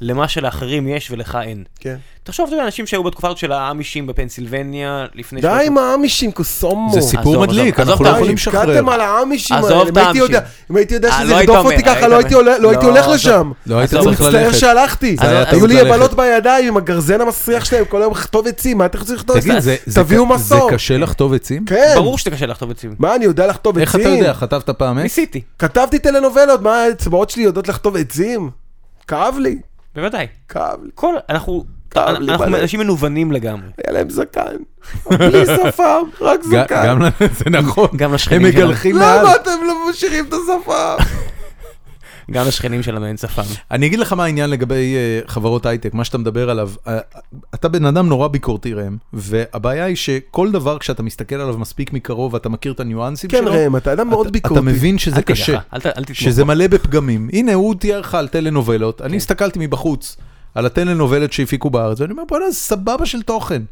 S2: למה שלאחרים יש ולך אין.
S3: כן.
S2: תחשוב, אתה יודע, אנשים שהיו בתקופה הזאת של האמישים בפנסילבניה, לפני...
S3: די
S2: שלוש-
S3: עם האמישים, קוסומו.
S1: זה סיפור
S2: עזוב,
S1: מדליק,
S2: עזוב,
S1: אנחנו
S2: עזוב,
S1: לא יכולים
S3: די,
S1: לשחרר.
S3: הבקעתם על האמישים
S2: עזוב
S3: האלה,
S2: את
S3: אם הייתי יודע-
S2: האמישים.
S3: אם הייתי יודע
S2: אה,
S3: שזה
S2: לא היית
S3: ירדוף אותי
S2: אומר,
S3: ככה,
S2: היית
S3: לא הייתי
S2: אומר.
S3: עולה- לא הייתי
S2: לא,
S3: הולך
S2: עזוב.
S3: לשם.
S1: לא היית
S2: עזוב,
S1: צריך
S3: מצטער
S1: ללכת.
S3: שהלכתי,
S1: זה היה טעות
S3: היו לי
S1: ללכת.
S3: יבלות בידיים עם הגרזן המסריח שלהם, כל היום לכתוב עצים, מה אתה רוצה לכתוב עצים?
S1: תגיד, זה- זה
S3: תביאו
S1: ק- זה
S3: מסור.
S1: קשה לחטוב עצים?
S3: כן.
S2: ברור שזה קשה לחטוף עצים.
S3: מה, אני יודע לכתוב
S1: איך
S3: עצים?
S1: אתה יודע? חטבת פעם אה? עץ?
S2: ניסיתי,
S3: כתבתי טלנובלות, מה, האצבעות שלי יודעות לכתוב עצים? כאב לי,
S2: בוודאי.
S3: כאב לי.
S2: כל... אנחנו...
S3: כאב לי
S2: אנחנו
S3: בלב.
S2: אנשים מנוונים לגמם.
S3: היה להם זקן. בלי שפם, רק
S1: ג- גם
S3: זקן.
S1: ל- זה נכון.
S2: גם
S1: הם
S2: לשכנים שלנו.
S1: מגלחים מעל.
S3: למה אתם לא משאירים את השפם?
S2: גם לשכנים שלנו אין שפם.
S1: אני אגיד לך מה העניין לגבי אה, חברות הייטק, מה שאתה מדבר עליו. אה, אתה בן אדם נורא ביקורתי ראם, והבעיה היא שכל דבר כשאתה מסתכל עליו מספיק מקרוב ואתה מכיר את הניואנסים
S3: כן,
S1: שלו,
S3: ראם, אתה אדם מאוד
S1: אתה-
S3: ביקורתי.
S1: אתה מבין שזה
S2: אל נכון. תיגע,
S1: קשה,
S2: אל ת- אל תתמוך.
S1: שזה מלא בפגמים. הנה, הוא תיאר לך על טלנובלות,
S2: כן.
S1: אני הסתכלתי מבחוץ על הטלנובלת שהפיקו בארץ, ואני אומר, בוא'נה, זה סבבה של תוכן.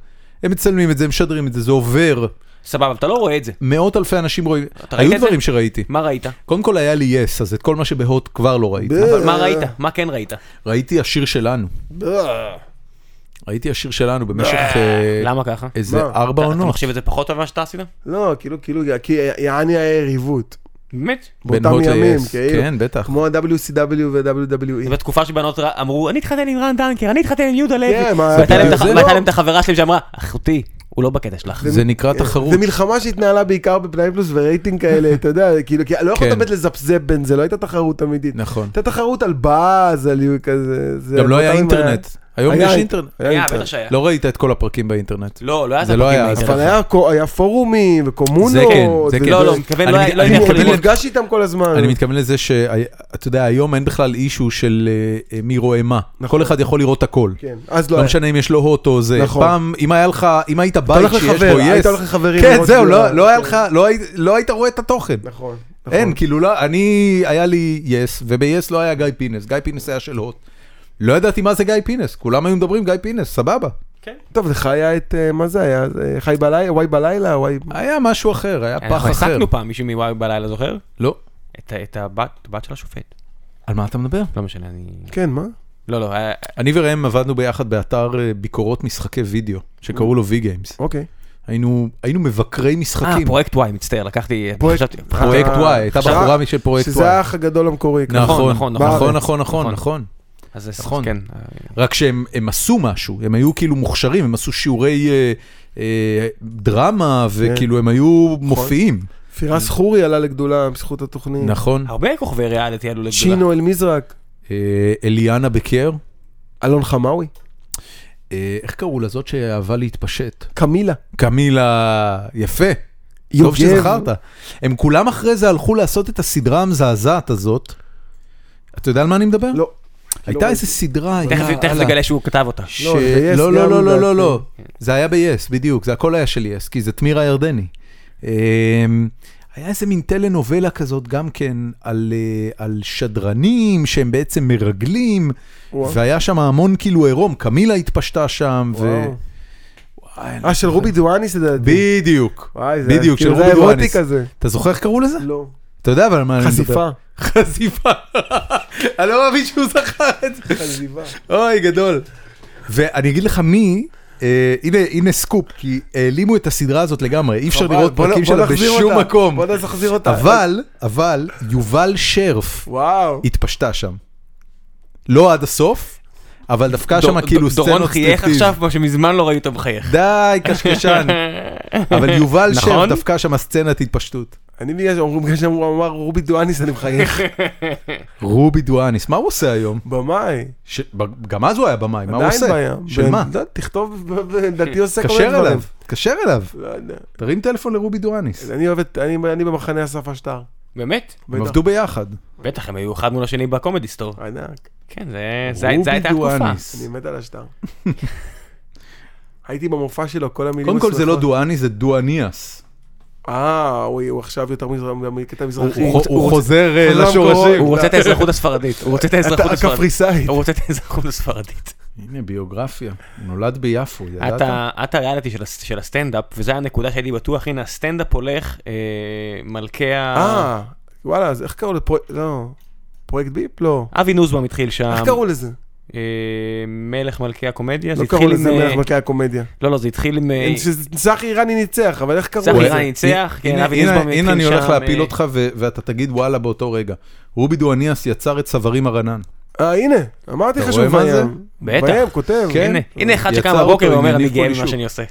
S1: הם מצלמים את זה, משדרים את זה, זה עובר,
S2: סבבה, אתה לא רואה את זה.
S1: מאות אלפי אנשים רואים,
S2: אתה ראית
S1: היו
S2: את זה?
S1: דברים שראיתי.
S2: מה ראית?
S1: קודם כל היה לי יס, אז את כל מה שבהוט כבר לא ראיתי.
S3: ב-
S2: אבל מה
S3: אה.
S2: ראית? מה כן ראית?
S1: ראיתי השיר שלנו. ראיתי השיר שלנו במשך אה,
S2: למה ככה?
S1: איזה
S3: מה?
S1: ארבע
S2: אתה- אתה
S1: עונות
S2: מחשיב את זה פחות טוב ממה שאתה עשית?
S3: לא, כאילו, כאילו, כי יעני היה יריבות.
S2: באמת?
S1: בין
S3: באותם
S1: הוט
S3: ימים,
S1: ל-yes.
S3: כאילו.
S1: כן, בטח.
S3: כמו ה-WCW
S2: זה
S3: ו-WWE.
S2: בתקופה שבנות ר- אמרו, אני אתחתן עם רן דנקר, אני אתחתן עם יהודה לוי.
S3: כן, מה-
S2: והייתה להם את הח-
S1: זה
S2: והייתה
S1: לא-
S2: להם את החברה שלהם שאמרה, אחותי, הוא לא בקטע שלך.
S1: זה נקרא תחרות.
S3: אה, זה מלחמה שהתנהלה בעיקר בפנאי פלוס ורייטינג כאלה, אתה יודע, כאילו, כי לא יכולת
S1: כן.
S3: באמת לזפזפ בין זה, לא הייתה תחרות אמיתית.
S1: נכון.
S3: הייתה תחרות על באז, על יו- כזה... זה-
S1: גם לא היה
S3: פעמים
S1: אינטרנט. היום
S3: היה
S1: יש
S3: אינט-
S1: אינטרנט.
S3: היה
S2: היה,
S3: אינטרנט.
S2: אה, בטח שהיה.
S1: לא ראית את כל הפרקים באינטרנט.
S2: לא, לא היה
S1: זה לא
S2: ספקים
S1: היה,
S2: באינטרנט.
S3: אבל היה כו- היה פורומים וקומונות.
S1: זה כן, זה כן.
S2: לא, לא, מתכוון,
S1: אני
S2: לא
S1: מת-
S2: היה- לא
S1: אני
S2: הייתי יכול
S1: מתכוון
S3: אני
S2: ללמוד.
S3: נפגש איתם כל הזמן.
S1: אני מתכוון לזה שאתה יודע, היום אין בכלל אישו של אה, אה, מי רואה מה. כל אחד יכול לראות הכל.
S3: נכון. כן, אז לא
S1: לא
S3: היה.
S1: משנה אם יש לו הוט או זה.
S3: נכון.
S1: פעם, אם היה לך, אם היית בית
S3: הולך
S1: שיש
S3: לחבר,
S1: בו יס.
S3: היית הולך לחברים
S1: כן,
S3: לראות
S1: זהו,
S3: כאילו-
S1: לא לא היה לך, לא היית- לא היית רואה את התוכן.
S3: נכון. נכון.
S1: אין, כאילו לא, אני, היה לי יס, וביס לא היה גיא פינס, גיא פינס היה של הוט. לא ידעתי מה זה גיא פינס, כולם היו מדברים גיא פינס, סבבה.
S3: טוב, לך היה את, אה, מה זה היה? זה חי בלילה, וואי בלילה, וואי...
S1: היה משהו אחר, היה פח
S2: אנחנו
S1: אחר.
S2: העסקנו פעם מישהו מוואי בלילה, זוכר?
S1: לא.
S2: את ה- את הבת בת של השופט.
S1: על מה אתה מדבר?
S2: לא משנה, אני...
S3: כן, מה?
S2: לא, לא, היה-
S1: אני וראם עבדנו ביחד באתר אה, ביקורות משחקי וידאו, שקראו לו V-Games.
S3: אוקיי.
S1: היינו היינו מבקרי
S2: אה,
S1: משחקים.
S2: פרויקט וואי, מצטער, לקחתי...
S3: פרויקט-
S2: חשבתי-
S1: פרויקט
S3: אה,
S1: Y, הייתה
S3: עכשיו-
S1: בחורה משל פרויקט Y.
S3: שזה האח הגדול המקורי. כן.
S1: נכון,
S2: נכון,
S1: נכון,
S2: נכון,
S1: נכון,
S3: בארץ.
S1: נכון, נכון,
S2: נכון.
S1: נכון.
S2: אז זה
S1: נכון.
S2: נכון. כן.
S1: רק שהם הם עשו משהו, הם היו כאילו מוכשרים, הם עשו שיעורי אה, אה, דרמה, וכאילו הם היו מופיעים.
S3: פירס חורי עלה לגדולה בזכות התוכנית.
S1: נכון.
S2: הרבה כוכבי ריאליטי עלו לגדולה.
S3: צ'ינו אל מזרק.
S1: אה, אליאנה בקר,
S3: אלון חמאווי.
S1: אה, איך קראו לה? זאת שאהבה להתפשט.
S3: קמילה.
S1: קמילה, יפה. טוב
S3: יוגב.
S1: שזכרת. הם כולם אחרי זה הלכו לעשות את הסדרה המזעזעת הזאת. אתה יודע על מה אני מדבר?
S3: לא.
S1: הייתה איזה סדרה, אה,
S2: תכף-
S1: יאללה.
S2: תכף נגלה שהוא כתב אותה.
S1: ש...
S3: לא, זה יס
S1: לא,
S3: גם
S1: לא, לא, לא,
S3: לדעתי.
S1: לא, לא. זה היה ב-yes, בדיוק, זה הכל היה של yes, כי זה תמירה ירדני. אמ, היה איזה מין טלנובלה כזאת גם כן על, אה, על שדרנים שהם בעצם מרגלים,
S3: וואו.
S1: והיה שם המון כאילו עירום, קמילה התפשטה שם, ו...
S3: וואו.
S1: וואי, אני-
S3: אה, של רובי דואניס לדעתי.
S1: בדיוק,
S3: וואי, זה-
S1: בדיוק, של
S3: כאילו,
S1: רובי
S3: זה
S1: דואניס.
S3: אירוטי כזה.
S1: אתה זוכר איך קראו לזה?
S3: לא.
S1: אתה יודע אבל על מה אני מדבר.
S3: חשיפה.
S1: חשיפה. אני לא מאמין שהוא זכר את זה.
S3: חשיפה.
S1: אוי, גדול. ואני אגיד לך מי, אה, הנה, הנה סקופ, כי העלימו את הסדרה הזאת לגמרי, אי אפשר
S3: חבל,
S1: לראות
S3: בוא נ-
S1: פרקים
S3: בוא
S1: שלה
S3: נחזיר
S1: בשום
S3: אותה.
S1: מקום.
S3: בוא נחזיר אותה.
S1: אבל, אבל, יובל שרף
S3: וואו.
S1: התפשטה שם. לא עד הסוף, אבל דווקא
S2: דור-
S1: שם כאילו
S2: דור- דורון
S1: סצנות
S2: חייך
S1: סטריפטיז.
S2: עכשיו, כמו שמזמן לא ראית מחייך.
S1: די, קשקשן. אבל יובל שרף
S2: נכון?
S1: דווקא שם הסצנת התפשטות.
S3: אני בגלל שאומרים בגלל שהוא אמר רובי דואניס אני מחייך.
S1: רובי דואניס, מה הוא עושה היום?
S3: במאי.
S1: ש- גם אז הוא היה במאי, מה הוא
S3: עדיין
S1: עושה?
S3: בעיה.
S1: של
S3: בן-
S1: מה?
S3: לא, תכתוב, ב- ב- לדעתי עושה כל מיני
S1: תתקשר
S3: דברים.
S1: אליו, תתקשר אליו.
S3: לא יודע.
S1: תרים טלפון לרובי דואניס.
S3: אני אוהב את, אני אני במחנה אסף אשטר.
S2: באמת?
S1: הם
S3: בטח.
S1: עבדו ביחד.
S2: בטח, הם היו אחד מול השני בקומדי סטור.
S3: ענק.
S2: כן, זה- זה זה הייתה התקופה.
S3: אני מת על אשטר. הייתי במופע שלו, כל המילים
S1: קודם כל זה לא
S3: השרפות.
S1: דואני, זה דואניאס.
S3: אה, הוא הוא עכשיו יותר מזרח- מקטע מזרחי.
S1: הוא- הוא חוזר אה,
S3: חוזר למקורות.
S1: לשורשים.
S2: הוא רוצה את האזרחות לא. הספרדית. הוא רוצה את האזרחות
S3: אתה
S2: הספרדית.
S3: הקפריסאי.
S2: הוא רוצה את האזרחות הספרדית.
S1: הנה ביוגרפיה, הוא נולד ביפו, ידעת?
S2: אתה את הריאליטי של הס- של הסטנדאפ, וזו הייתה הנקודה שהייתי בטוח, הנה הסטנדאפ הולך, אה, מלכי ה...
S3: אה, וואלה, אז איך קראו לפרויקט, לא. פרויקט ביפ? לא.
S2: אבי נוזבאום התחיל שם,
S1: אמ,
S3: איך קראו לזה?
S2: אה, מלך מלכי הקומדיה, זה
S3: לא
S2: התחיל
S3: קראו לזה
S2: עם... אה,
S3: מלך מלכי הקומדיה.
S2: לא, לא, זה התחיל עם... אה,
S3: צחי איראני ניצח, אבל איך קראו
S2: צחי
S3: לזה?
S2: איראני ניצח, כן,
S1: הנה-
S2: אבי
S1: הנה-
S2: נוסבאום
S1: הנה
S2: התחיל
S1: אני הולך
S2: שם,
S1: להפיל
S2: אה,
S1: אותך ו- ואתה תגיד וואלה באותו רגע. רובי דואניאס יצר את צווארים הרנן.
S3: אה, הנה, אמרתי
S1: אתה
S3: לך שהוא
S1: רואה מה זה?
S3: מביים.
S2: בטח.
S3: מביים, כותב.
S1: כן.
S2: הנה, הנה אחד
S1: יצר
S2: שקם
S1: אותו
S3: אוקיי,
S2: בבוקר
S1: עם
S2: ואומר, אני
S1: יניב
S2: גאה
S1: פולישוק."
S2: במה שאני עושה.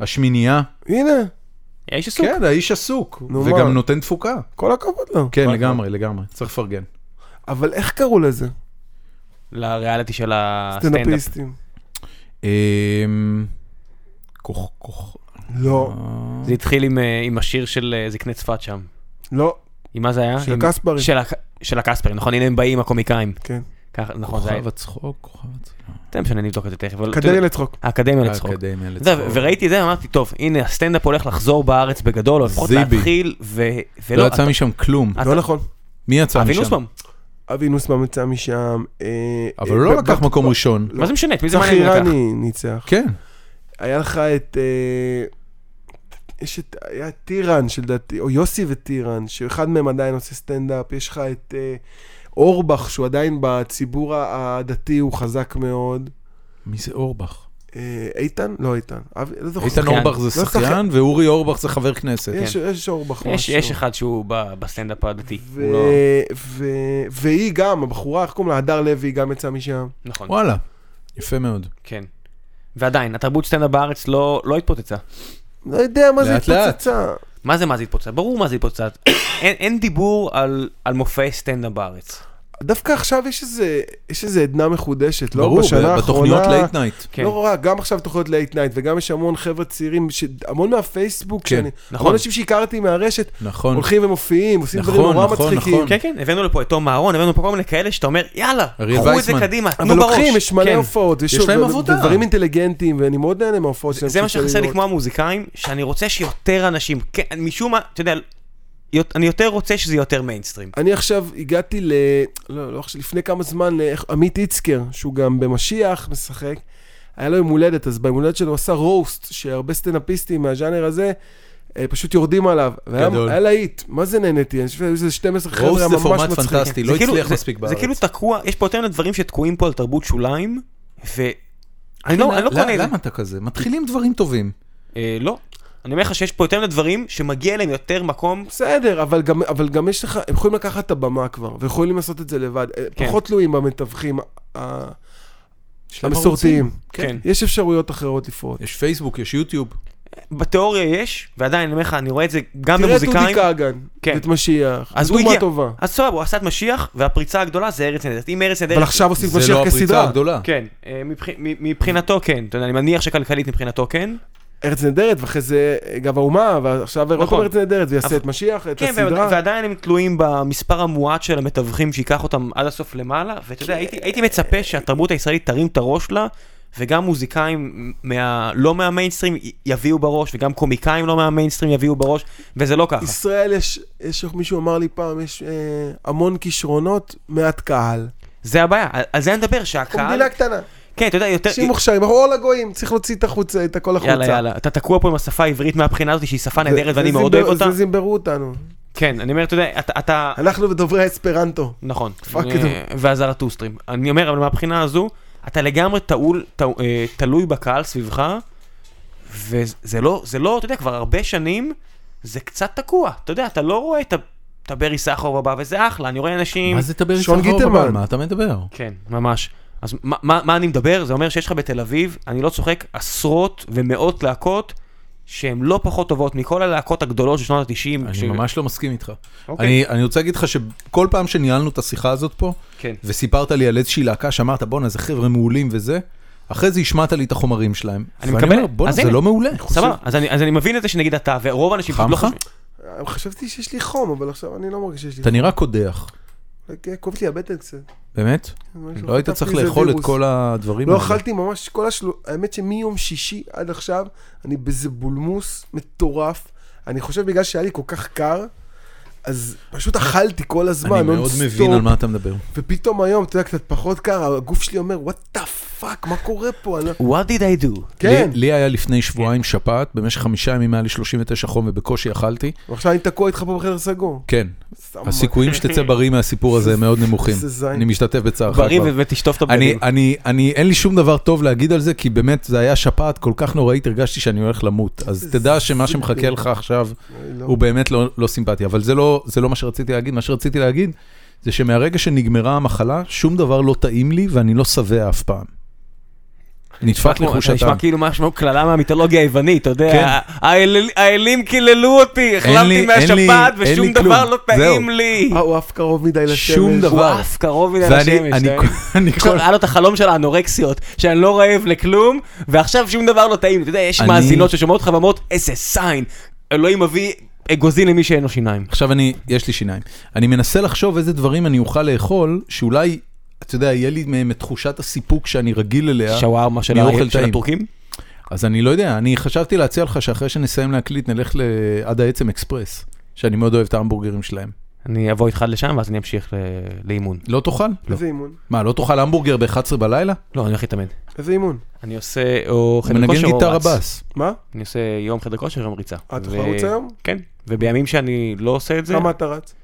S1: השמינייה,
S3: הנה,
S2: האיש עסוק.
S1: כן, האיש עסוק,
S3: נו,
S1: וגם
S3: מה?
S1: נותן תפוקה.
S3: כל הכבוד לו.
S1: כן, לגמרי, לגמרי, צריך לפרגן.
S3: אבל איך קראו לזה?
S1: אה,
S2: לריאליטי של הסטנדאפ.
S3: סטנדאפיסטים.
S1: אמ, כוח, כוח.
S3: לא,
S2: זה התחיל עם, אה, עם השיר של אה, זקני צפת שם.
S3: לא,
S2: עם מה זה
S1: אה,
S2: היה?
S3: של
S2: עם-
S3: הקספרים.
S2: של הק- של הקספרים, נכון, הנה הם באים, הקומיקאים.
S3: כן.
S2: ככה, נכון, זה היה...
S1: כוכב הצחוק, כוכב הצחוק.
S2: זה משנה, נבדוק את זה תכף. אבל-
S3: כדי לצחוק.
S1: אה,
S2: האקדמיה לצחוק.
S1: האקדמיה
S2: אתה יודע, וראיתי את זה, אמרתי, טוב, הנה, הסטנדאפ הולך לחזור בארץ בגדול, או לפחות
S1: זיבי.
S2: להתחיל, ו-
S1: לא
S2: ולא...
S1: יצא משם כלום.
S2: אתה- אה,
S3: לא נכון.
S1: מי יצא
S2: אבי
S1: משם?
S2: נוסבאום,
S3: אבי נוסמן יצא משם. אה,
S1: אבל
S3: אה,
S1: הוא לא
S3: ב-
S1: לקח
S3: ב-
S1: מקום ראשון.
S2: מה זה משנה? את מי זה
S3: צחי
S2: מעניין לקח?
S3: איראני ניצח.
S1: כן.
S3: היה לך את... אה, יש את... היה את טירן שלדעתי, או יוסי וטירן, שאחד מהם עדיין עושה סטנדאפ. יש לך את אה, אורבך, שהוא עדיין בציבור הדתי, הוא חזק מאוד.
S1: מי זה אורבך?
S3: אה, איתן? לא איתן. אבי- לא זוכר.
S1: איתן
S2: שחיין.
S1: אורבך זה
S3: לא
S1: שחיין, ואורי אורבך זה חבר כנסת.
S3: יש- יש אורבך.
S2: כן. יש-
S3: משהו.
S2: יש אחד שהוא ב- בסטנדאפ הדתי.
S3: ו-
S2: הוא לא-
S3: ו- והיא גם, הבחורה, איך קוראים לה? הדר לוי גם יצאה משם.
S2: נכון,
S1: וואלה, יפה מאוד.
S2: כן. ועדיין, התרבות סטנדאפ בארץ לא לא התפוצצה.
S3: לא יודע מה זה
S1: לאט לאט.
S3: התפוצצה.
S2: מה זה מה זה התפוצצה? ברור מה זה התפוצצה. אין אין דיבור על- על מופעי סטנדאפ בארץ.
S3: דווקא עכשיו יש איזה, יש איזה עדנה מחודשת, לא?
S1: ברור,
S3: בשנה
S1: ב- בתוכניות
S3: האחרונה-
S1: לייט נייט.
S2: כן.
S3: לא רע, גם עכשיו תוכניות לייט נייט, וגם יש המון חבר'ה צעירים, ש- המון מהפייסבוק,
S1: כן,
S3: שאני,
S2: נכון.
S3: המון אנשים שהכרתי מהרשת,
S1: נכון.
S3: הולכים ומופיעים, עושים דברים
S1: נכון,
S3: נורא
S1: נכון,
S3: מצחיקים.
S1: נכון.
S2: כן, כן, הבאנו לפה את תום אהרון, הבאנו פה כל מיני כאלה שאתה אומר, יאללה,
S1: אריאל
S2: קחו את זה
S1: וייסמן.
S2: קדימה,
S3: אבל
S2: תנו בראש.
S3: לוקחים, יש מלא
S2: כן.
S3: הופעות,
S1: לא יש להם
S3: ו-
S1: עבודה.
S3: ודברים אינטליגנטיים, ואני מאוד נהנה מההופעות שלהם.
S2: זה מה
S3: שאפשר
S2: שחסר לי
S3: לראות.
S2: כמו המוזיקאים, שאני רוצה שיותר אנשים, כן, משום מה, אתה יודע, יות- אני יותר רוצה שזה יהיה יותר מיינסטרים.
S3: אני עכשיו הגעתי ל... לא, לא עכשיו, לפני כמה זמן, לאיך- עמית איצקר, שהוא גם במשיח משחק, היה לו יום הולדת, אז ביום הולדת שלו הוא עשה רוסט, שהרבה סטנאפיסטים מהז'אנר הזה אה, פשוט יורדים עליו. והיה
S1: גדול.
S3: היה להיט, מה זה נהניתי? אני חושב שהיו איזה 12 חבר'ה ממש
S1: רוסט
S3: מצחיקים.
S1: זה פורמט פנטסטי, לא
S2: זה כאילו-
S1: הצליח
S2: זה-
S1: מספיק בארץ.
S2: זה כאילו תקוע, יש פה יותר מיני דברים שתקועים פה על תרבות שוליים, ואני לא אני לא
S1: למה-
S2: קונה את זה.
S1: כן, למה אתה כזה? מתחילים דברים טובים.
S2: אה, לא. אני אומר לך שיש פה יותר מיני דברים שמגיע להם יותר מקום.
S3: בסדר, אבל גם, אבל גם יש לך, הם יכולים לקחת את הבמה כבר, ויכולים לעשות את זה לבד. אה,
S2: כן.
S3: פחות תלויים במתווכים ה-
S1: יש להם
S3: המסורתיים.
S2: כן.
S3: יש אפשרויות אחרות לפרוט.
S1: יש פייסבוק, יש יוטיוב.
S2: בתיאוריה יש, ועדיין אני אומר לך, אני רואה את זה גם
S3: תראה את אודי
S2: במוזיקאים.
S3: כגן,
S2: כן.
S3: את משיח,
S2: אז הוא
S3: דוגמה
S2: הגיע.
S3: טובה.
S2: אז סבבה, הוא עשה את משיח, והפריצה הגדולה זה ארץ נהדרת. אם ארץ נהדרת...
S3: אבל עכשיו עושים את
S1: זה לא
S3: משיח
S1: הפריצה
S3: כסדרה.
S1: הגדולה.
S2: כן, אה, מבח- מ- מבחינתו כן, אתה יודע, אני מניח שכלכלית מבחינתו כן.
S3: ארץ נהדרת, ואחרי זה גב האומה, ועכשיו עוד פעם
S2: נכון.
S3: ארץ נהדרת, ויעשה
S2: אבל-
S3: את משיח, את
S2: כן, ועד-
S3: הסדרה.
S2: ועדיין הם תלויים במספר המועט של המתווכים שייקח אותם עד הסוף למעלה, ואתה יודע, הייתי- הייתי מצפה שהתרבות הישראלית תרים את הראש לה, וגם מוזיקאים מה- לא מהמיינסטרים י- יביאו בראש, וגם קומיקאים לא מהמיינסטרים יביאו בראש, וזה לא ככה.
S3: ישראל יש, יש, מישהו אמר לי פעם, יש אה, המון כישרונות, מעט קהל.
S2: זה הבעיה, על- על זה אני מדבר,
S3: אנחנו
S2: שהקהל...
S3: מדינה קטנה,
S2: כן, אתה יודע, יותר...
S3: אנשים מוכשרים, אנחנו אור לגויים, צריך להוציא את החוץ, את הכל החוצה.
S2: יאללה, יאללה, אתה תקוע פה עם השפה העברית מהבחינה הזאת שהיא שפה
S3: זה-
S2: נהדרת
S3: זה
S2: ואני מאוד
S3: זימבר-
S2: אוהב אותה.
S3: זה זימברו אותנו.
S2: כן, אני אומר, אתה יודע, אתה- אתה...
S3: אנחנו ודוברי האספרנטו.
S2: נכון.
S3: Fuck
S2: אה, והזרטוסטרים. אני אומר, אבל מהבחינה הזו, אתה לגמרי תעול, ת, אה, תלוי בקהל סביבך, וזה לא, זה לא, אתה יודע, כבר הרבה שנים זה קצת תקוע. אתה יודע, אתה לא רואה את ה- את הברי סחרוב הבא, וזה אחלה, אני רואה אנשים...
S1: מה זה תדבר
S3: כן. שון
S1: איתך
S3: גיטלמן.
S1: על מה אתה מדבר?
S2: כן, ממש. אז מה, מה, מה אני מדבר? זה אומר שיש לך בתל אביב, אני לא צוחק, עשרות ומאות להקות שהן לא פחות טובות מכל הלהקות הגדולות של שנות ה-90.
S1: אני ממש לא מסכים איתך.
S2: אוקיי.
S1: אני אני רוצה להגיד לך שכל פעם שניהלנו את השיחה הזאת פה,
S2: כן.
S1: וסיפרת לי על איזושהי להקה שאמרת, בואנה, זה חבר'ה מעולים וזה, אחרי זה השמעת לי את החומרים שלהם.
S2: אני
S1: ואני
S2: מקבל.
S1: אומר, בואנה,
S2: אז
S1: זה
S2: הנה.
S1: לא מעולה.
S2: סבבה, אז אני, אז אני מבין את זה שנגיד אתה, ורוב האנשים
S1: חם
S2: לא
S1: לך?
S2: חושבים...
S3: חשבתי שיש לי חום, אבל עכשיו אני לא מרגיש שיש לי
S1: אתה נראה קודח.
S3: חום. כן, כואבת לי הבטן קצת.
S1: באמת?
S3: משהו,
S1: לא היית
S3: חטפתי
S1: צריך
S3: איזה
S1: לאכול את
S3: וירוס.
S1: כל הדברים
S3: לא
S1: האלה.
S3: אכלתי ממש כל השלו... האמת שמיום שישי עד עכשיו, אני באיזה בולמוס מטורף. אני חושב בגלל שהיה לי כל כך קר, אז פשוט אכלתי כל הזמן,
S1: אני מאוד
S3: נונסטופ.
S1: מבין על מה אתה מדבר.
S3: ופתאום היום, אתה יודע, קצת פחות קר, הגוף שלי אומר, what the fuck, מה קורה פה? אני... לא-"
S2: What did I do?
S3: כן,
S1: לי, לי היה לפני שבועיים שפעת, במשך חמישה ימים היה לי 39 חום ובקושי אכלתי.
S3: ועכשיו אני תקוע איתך פה בחדר סגור.
S1: כן,
S3: סתם.
S1: הסיכויים שתצא בריא מהסיפור הזה הם מאוד נמוכים.
S3: אוקיי. איזה זין.
S1: אני משתתף בצערך
S2: בריא
S1: כבר.
S2: ו- ותשטוף את
S1: אני,
S2: הבגדים.
S1: אני, אני, אין לי שום דבר טוב להגיד על זה, כי באמת זה היה שפעת כל כך נוראית, הרגשתי שאני הולך למות. אז תדע שמה שמחכה לך עכשיו
S3: אוי, לא.
S1: הוא באמת לא, לא סימפטי, אבל זה לא, זה לא מה שרציתי להגיד. מה שרציתי להגיד זה שמהרגע שנגמרה המחלה, שום דבר לא טעים לי ואני לא שבע אף פעם. נדפק
S2: כמו-
S1: לחוש
S2: אתה נשמע
S1: הטעם.
S2: כאילו משהו קללה מהמיתולוגיה היוונית, אתה
S1: כן.
S2: יודע, האל- האלים קיללו אותי, החלמתי
S1: לי- אין לי-
S2: מהשפעת
S1: אין
S2: ושום
S1: לי כלום.
S2: דבר לא טעים
S1: זהו.
S2: לי.
S3: אה, הוא עף קרוב מדי לשמש.
S1: שום
S2: הוא
S1: דבר.
S2: עף קרוב מדי
S1: ואני,
S2: לשמש.
S1: אני,
S2: אתה
S1: כל-
S2: יודע.
S1: אני
S2: עכשיו
S1: כל...
S2: היה לו את החלום של האנורקסיות, שאני לא רעב לכלום, ועכשיו שום דבר לא טעים. אתה יודע, יש
S1: אני-
S2: מאזינות ששומעות לך ואומרות, איזה סיין, אלוהים מביא אגוזים למי שאין לו שיניים.
S1: עכשיו אני, יש לי שיניים. אני מנסה לחשוב איזה דברים אני אוכל לאכול, שאולי, אתה יודע, יהיה לי מהם את תחושת הסיפוק שאני רגיל אליה.
S2: שווארמה של
S1: מאוכל
S2: ה- של
S1: טעים.
S2: הטורקים?
S1: אז אני לא יודע, אני חשבתי להציע לך שאחרי שנסיים להקליט, נלך לעד העצם אקספרס, שאני מאוד אוהב את ההמבורגרים שלהם.
S2: אני אבוא איתך לשם ואז אני אמשיך ל- לאימון.
S1: לא תאכל? לא.
S3: איזה אימון?
S1: מה, לא תאכל המבורגר ב-11 בלילה?
S2: לא, אני הולך להתאמן.
S3: איזה אימון?
S2: אני עושה או
S1: הוא
S2: חדר
S1: מנגן
S2: כושר או
S1: גיטרה
S2: רץ.
S1: בס.
S3: מה?
S2: אני עושה יום חדר כושר, יום ריצה.
S3: אה, אתה יכול לרוץ היום?
S2: כן, ובימים שאני לא עושה את זה,
S3: כמה אתה רץ?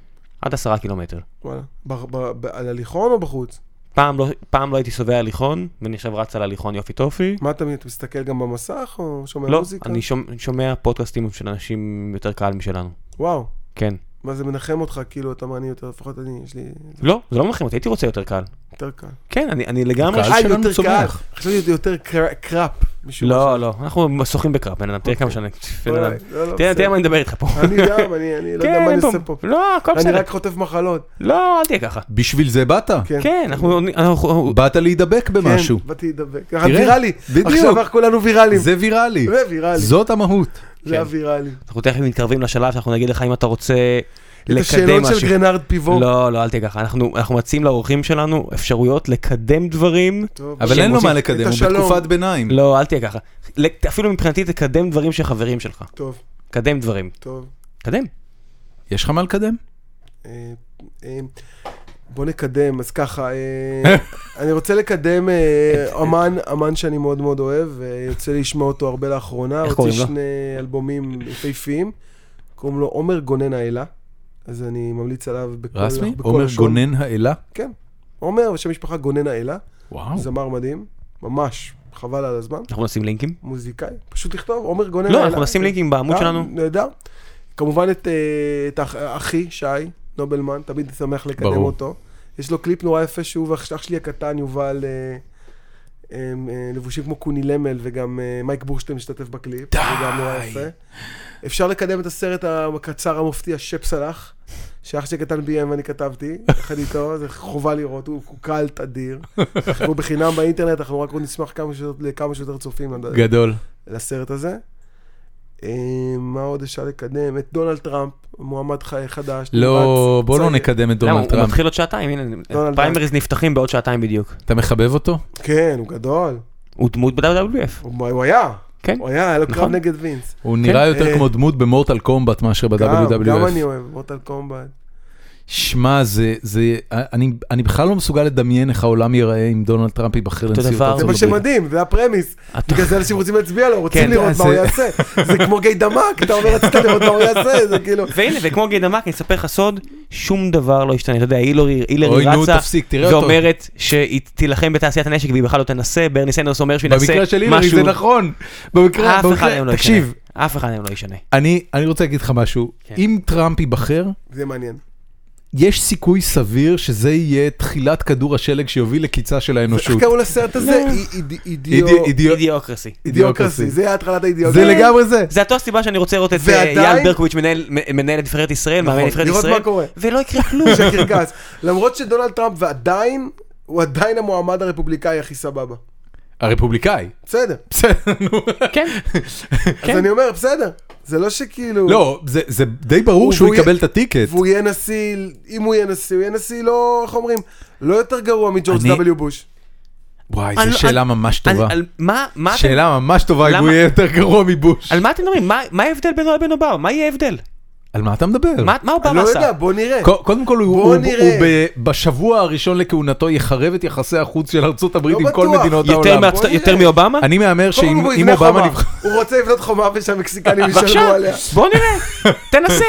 S2: עד עשרה קילומטר.
S3: וואלה. ב- ב- ב- על הליכון או בחוץ?
S2: פעם לא, פעם לא הייתי סובע הליכון, ואני עכשיו רץ על הליכון יופי טופי.
S3: מה אתה אתה מסתכל גם במסך או שומע
S2: לא,
S3: מוזיקה?
S2: אני שומע, שומע פודקאסטים של אנשים יותר קהל משלנו.
S3: וואו.
S2: כן.
S3: מה זה מנחם אותך, כאילו, אתה אומר, אני יותר, לפחות אני, יש לי זה
S2: לא, זה לא מנחם אותי, הייתי רוצה יותר קהל.
S3: יותר קל.
S2: כן, אני, אני לגמרי...
S1: קהל?
S3: אה,
S1: שלנו
S3: יותר
S1: צומח.
S3: קל. חשבתי שזה יותר קר- קראפ. משום מה.
S2: לא, לא, אנחנו שוחים בקרב, בן אדם, תראה כמה שאני... בן אדם.
S3: אולי, לא, לא,
S2: תראה,
S3: בסדר.
S2: תראה מה אני מדבר איתך פה.
S3: אוקיי. אני גם, אני אני לא יודע
S2: כן,
S3: מה
S2: אין
S3: אני עושה פה.
S2: לא, הכל
S3: אני
S2: בסדר.
S3: רק חוטף מחלות.
S2: לא, אל תהיה ככה.
S1: בשביל זה באת.
S3: כן.
S2: כן, אנחנו... אנחנו-
S1: באת להידבק
S3: כן,
S1: במשהו.
S3: באתי לדבק. ככה
S1: תראה,
S3: ויראלי.
S1: בדיוק.
S3: עכשיו אנחנו כולנו ויראליים.
S1: זה ויראלי.
S3: זה ויראלי.
S1: זאת המהות.
S3: זה
S2: כן.
S3: הוויראלי.
S2: אנחנו תכף מתקרבים לשלב שאנחנו נגיד לך אם אתה רוצה
S3: את
S2: לקדם
S3: השאלות
S2: משהו.
S3: של גרנרד פיבור.
S2: לא, לא, אל תהיה ככה. אנחנו אנחנו מציעים לאורחים שלנו אפשרויות לקדם דברים.
S3: טוב.
S1: אבל אין לו מה לקדם,
S3: את
S1: הוא
S3: השלום.
S1: בתקופת ביניים.
S2: לא, אל תהיה ככה. לק- אפילו מבחינתי תקדם דברים של חברים שלך.
S3: טוב,
S2: קדם דברים.
S3: טוב.
S2: קדם.
S1: יש לך מה לקדם?
S3: אה, אה, בוא נקדם, אז ככה, אה, אני רוצה לקדם אה, אמן, אמן שאני מאוד מאוד אוהב, ויוצא לי לשמוע אותו הרבה לאחרונה,
S2: איך
S3: הוציא
S2: קוראים לו?
S3: שני אלבומים יפהפיים, קוראים לו עומר גונן האלה, אז אני ממליץ עליו בכל
S1: רסמי?
S3: לא, בכל
S1: עומר
S3: לשון.
S1: גונן האלה?
S3: כן, עומר, שם משפחה גונן האלה,
S1: וואו.
S3: זמר מדהים, ממש, חבל על הזמן,
S2: אנחנו נשים לינקים?
S3: מוזיקאי, פשוט לכתוב עומר גונן האלה.
S2: לא, אנחנו נשים לינקים בעמוד
S3: אה,
S2: שלנו.
S3: נהדר. כמובן את, אה, את האח- אחי, שי, נובלמן, תמיד שמח לקדם
S1: ברור.
S3: אותו. יש לו קליפ נורא יפה שהוא ואח אח שלי הקטן, יובל, אה, הם, אה, לבושים כמו קוני למל, וגם אה, מייק בורשטיין משתתף בקליפ. די. זה גם נורא יפה. אפשר לקדם את הסרט הקצר המופתי, השפ סלאח, שאח שלי הקטן ביים ואני כתבתי, יחד איתו, זה חובה לראות, הוא הוא קאלט אדיר. הוא בחינם באינטרנט, אנחנו רק עוד נשמח כמה שיותר- לכמה שיותר צופים. לא
S1: גדול. לא,
S3: לסרט הזה. אה, מה עוד אפשר לקדם? את דונלד טראמפ, מועמד ח- חדש.
S1: לא,
S3: נמרץ,
S1: בוא לא
S3: צעיר.
S1: נקדם את
S2: למה,
S1: דונלד
S2: הוא
S1: טראמפ.
S2: מתחיל עוד שעתיים, הנה,
S3: דונלד
S2: פריימריז נפתחים בעוד שעתיים בדיוק.
S1: אתה מחבב אותו?
S3: כן, הוא גדול.
S2: הוא דמות ב-WWF.
S3: הוא הוא היה.
S2: כן.
S3: הוא היה, היה לו קרב
S2: נכון.
S3: נגד וינס.
S1: הוא נראה יותר
S3: אה.
S1: כמו דמות במורטל קומבט מאשר
S3: גם- גם אני
S1: ב-WWF.
S3: אוהב, מורטל קומבט.
S1: שמע, זה, זה, אני- אני בכלל לא מסוגל לדמיין איך העולם ייראה אם דונלד טראמפ ייבחר
S2: אותו
S1: לנשיאות
S2: דבר.
S1: ארצות
S3: זה
S1: הברית.
S3: מה שמדהים, זה הפרמיס.
S2: אתה-
S3: בגלל זה אנשים רוצים להצביע לו, רוצים
S2: כן,
S3: לראות
S1: זה-
S3: מה הוא יעשה. זה כמו גיא דמק, אתה אומר, רצית לראות מה הוא יעשה, זה כאילו...
S2: והנה, וכמו גדמק, אני אספר לך סוד, שום דבר לא ישתנה. אתה יודע, הילרי
S1: אוי,
S2: הילרי
S1: נו,
S2: רצה,
S1: תפסיק, תראה
S3: לא
S1: אותו.
S2: ואומרת שהיא תילחם בתעשיית הנשק והיא בכלל לא תנסה, ברני סנדרס אומר שהוא ינסה
S1: במקרה של הילרי
S2: משהו.
S1: זה נכון. במקרה,
S2: אף אחד
S1: במקרה-
S2: מהם לא ישנה.
S1: תקשיב,
S2: אף אחד מהם לא ישנה.
S1: אני אני רוצה להגיד לך משהו.
S2: כן.
S1: אם טראמפ ייבחר,
S3: זה מעניין.
S1: יש סיכוי סביר שזה יהיה תחילת כדור השלג שיוביל לקיצה של
S3: איך
S1: האנושות.
S3: קראו לסרט הזה? אי- איד- אידיו-
S1: אידי- לא. אידיו-
S2: אידיוקרסי.
S1: אידיוקרסי.
S3: אידיוקרסי. זה היה התחלת
S1: זה
S3: האידיוקרסי.
S1: לגמרי זה.
S2: זה אותו הסיבה שאני רוצה לראות את אה,
S3: ועדיין-
S2: אייל ברקוביץ' מנהל- מ- מנהל את נבחרת ישראל, מאמן
S3: נכון,
S2: נבחרת
S3: לראות
S2: ישראל,
S3: מה קורה.
S2: ולא יקרה כלום.
S3: של קרקס. למרות שדונלד טראמפ ועדיין, הוא עדיין המועמד הרפובליקאי הכי סבבה.
S1: הרפובליקאי.
S3: בסדר.
S1: בסדר, נו.
S2: כן,
S3: אז אני אומר, בסדר. זה לא שכאילו...
S1: כן. לא, זה- זה די ברור
S3: הוא-
S1: שהוא
S3: והוא
S1: יקבל
S3: יהיה-
S1: את הטיקט.
S3: והוא יהיה נשיא, אם הוא יהיה נשיא, הוא יהיה נשיא לא, איך אומרים? לא יותר גרוע מג'ורג'
S1: אני-
S3: W. בוש.
S1: וואי,
S2: אני
S1: זו
S2: לא-
S1: שאלה
S2: אני-
S1: ממש
S2: על-
S1: טובה.
S2: על מה, מה, אתם-
S1: שאלה ממש טובה אם
S2: למה-
S1: הוא יהיה יותר גרוע מבוש.
S2: על מה אתם מדברים? מה- מה ההבדל בינו לבין אובמה? מה יהיה ההבדל?
S1: על מה אתה מדבר?
S2: מה מה
S3: אני לא
S2: אובמה עשה?
S3: יודע, בוא נראה.
S1: ק- קודם כל, הוא,
S3: בוא
S1: הוא, הוא
S3: נראה.
S1: ב, בשבוע הראשון לכהונתו יחרב את יחסי החוץ של ארצות הברית
S3: לא
S1: עם כל
S3: בטוח.
S1: מדינות
S2: יותר
S1: העולם.
S2: מארצות-
S3: בוא
S2: יותר
S3: נראה.
S2: מאובמה?
S1: אני מהמר
S3: קודם כל
S1: שאם
S3: הוא
S1: אם
S3: יבנה
S1: אובמה
S3: חומה.
S1: נבחר...
S3: הוא רוצה לבנות חומה ושהמקסיקנים ישלמו
S2: בבקשה,
S3: לא עליה.
S2: בוא נראה, תנסה.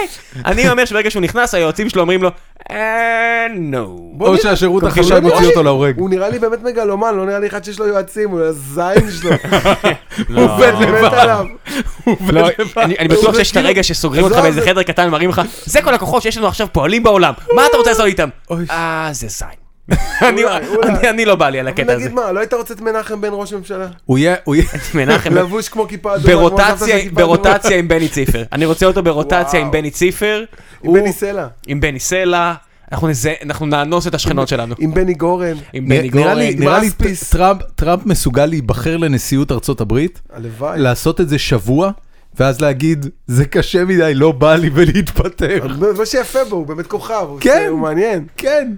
S2: אני אומר שברגע שהוא נכנס, היועצים שלו אומרים לו, אה, נו.
S3: בוא
S1: או
S3: נראה.
S1: שהשירות
S3: ככה
S1: אחרי
S3: הוא
S1: שעה
S3: לא נראה
S1: מוציא
S3: לי-
S1: אותו להורג.
S3: הוא נראה לי באמת מגלומן, לא נראה לי אחד שיש לו יועצים, הוא הזין שלו.
S1: אה,
S2: לא.
S1: הוא עובד
S3: אני מת עליו.
S2: לא, אני אני בטוח שיש את הרגע שסוגרים אותך
S3: כאילו- זה-
S2: באיזה
S3: זה-
S2: חדר קטן ומראים לך, זה כל הכוחות שיש לנו עכשיו פועלים בעולם, מה אתה רוצה לעשות איתם?
S1: אוי.
S2: אה, זה זין. אני-
S3: אולי, אולי.
S2: אני- אני לא בא לי על הקטע הזה.
S3: נגיד מה, לא היית רוצה את מנחם בן ראש ממשלה?
S1: הוא יהיה... הוא יהיה-
S2: מנחם,
S3: לבוש כמו כיפה אדומה. כמו הסבתא של
S2: ברוטציה,
S3: כיפה אדומה.
S2: ברוטציה עם בני ציפר. אני רוצה אותו ברוטציה
S3: וואו.
S2: עם בני ציפר.
S3: עם בני סלע,
S2: עם בני סלע. אנחנו נזה- אנחנו נאנוס את השכנות שלנו.
S3: עם בני גורן.
S2: עם בני
S1: נראה- נראה
S2: גורן.
S1: לי- נראה לי
S3: must peace.
S1: טראמפ- טראמפ מסוגל להיבחר לנשיאות ארצות הברית,
S3: הלוואי.
S1: לעשות את זה שבוע, ואז להגיד, זה קשה מדי, לא בא לי ולהתפטר.
S3: מה שיפה בו, הוא באמת כוכב. הוא-
S1: כן.
S3: הוא מעניין.
S1: כן.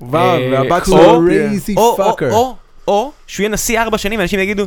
S3: וואו,
S2: אה,
S3: והבת
S2: או-
S3: שלו...
S1: crazy
S2: או, או,
S1: fucker.
S2: או, או, שהוא יהיה נשיא ארבע שנים, ואנשים יגידו,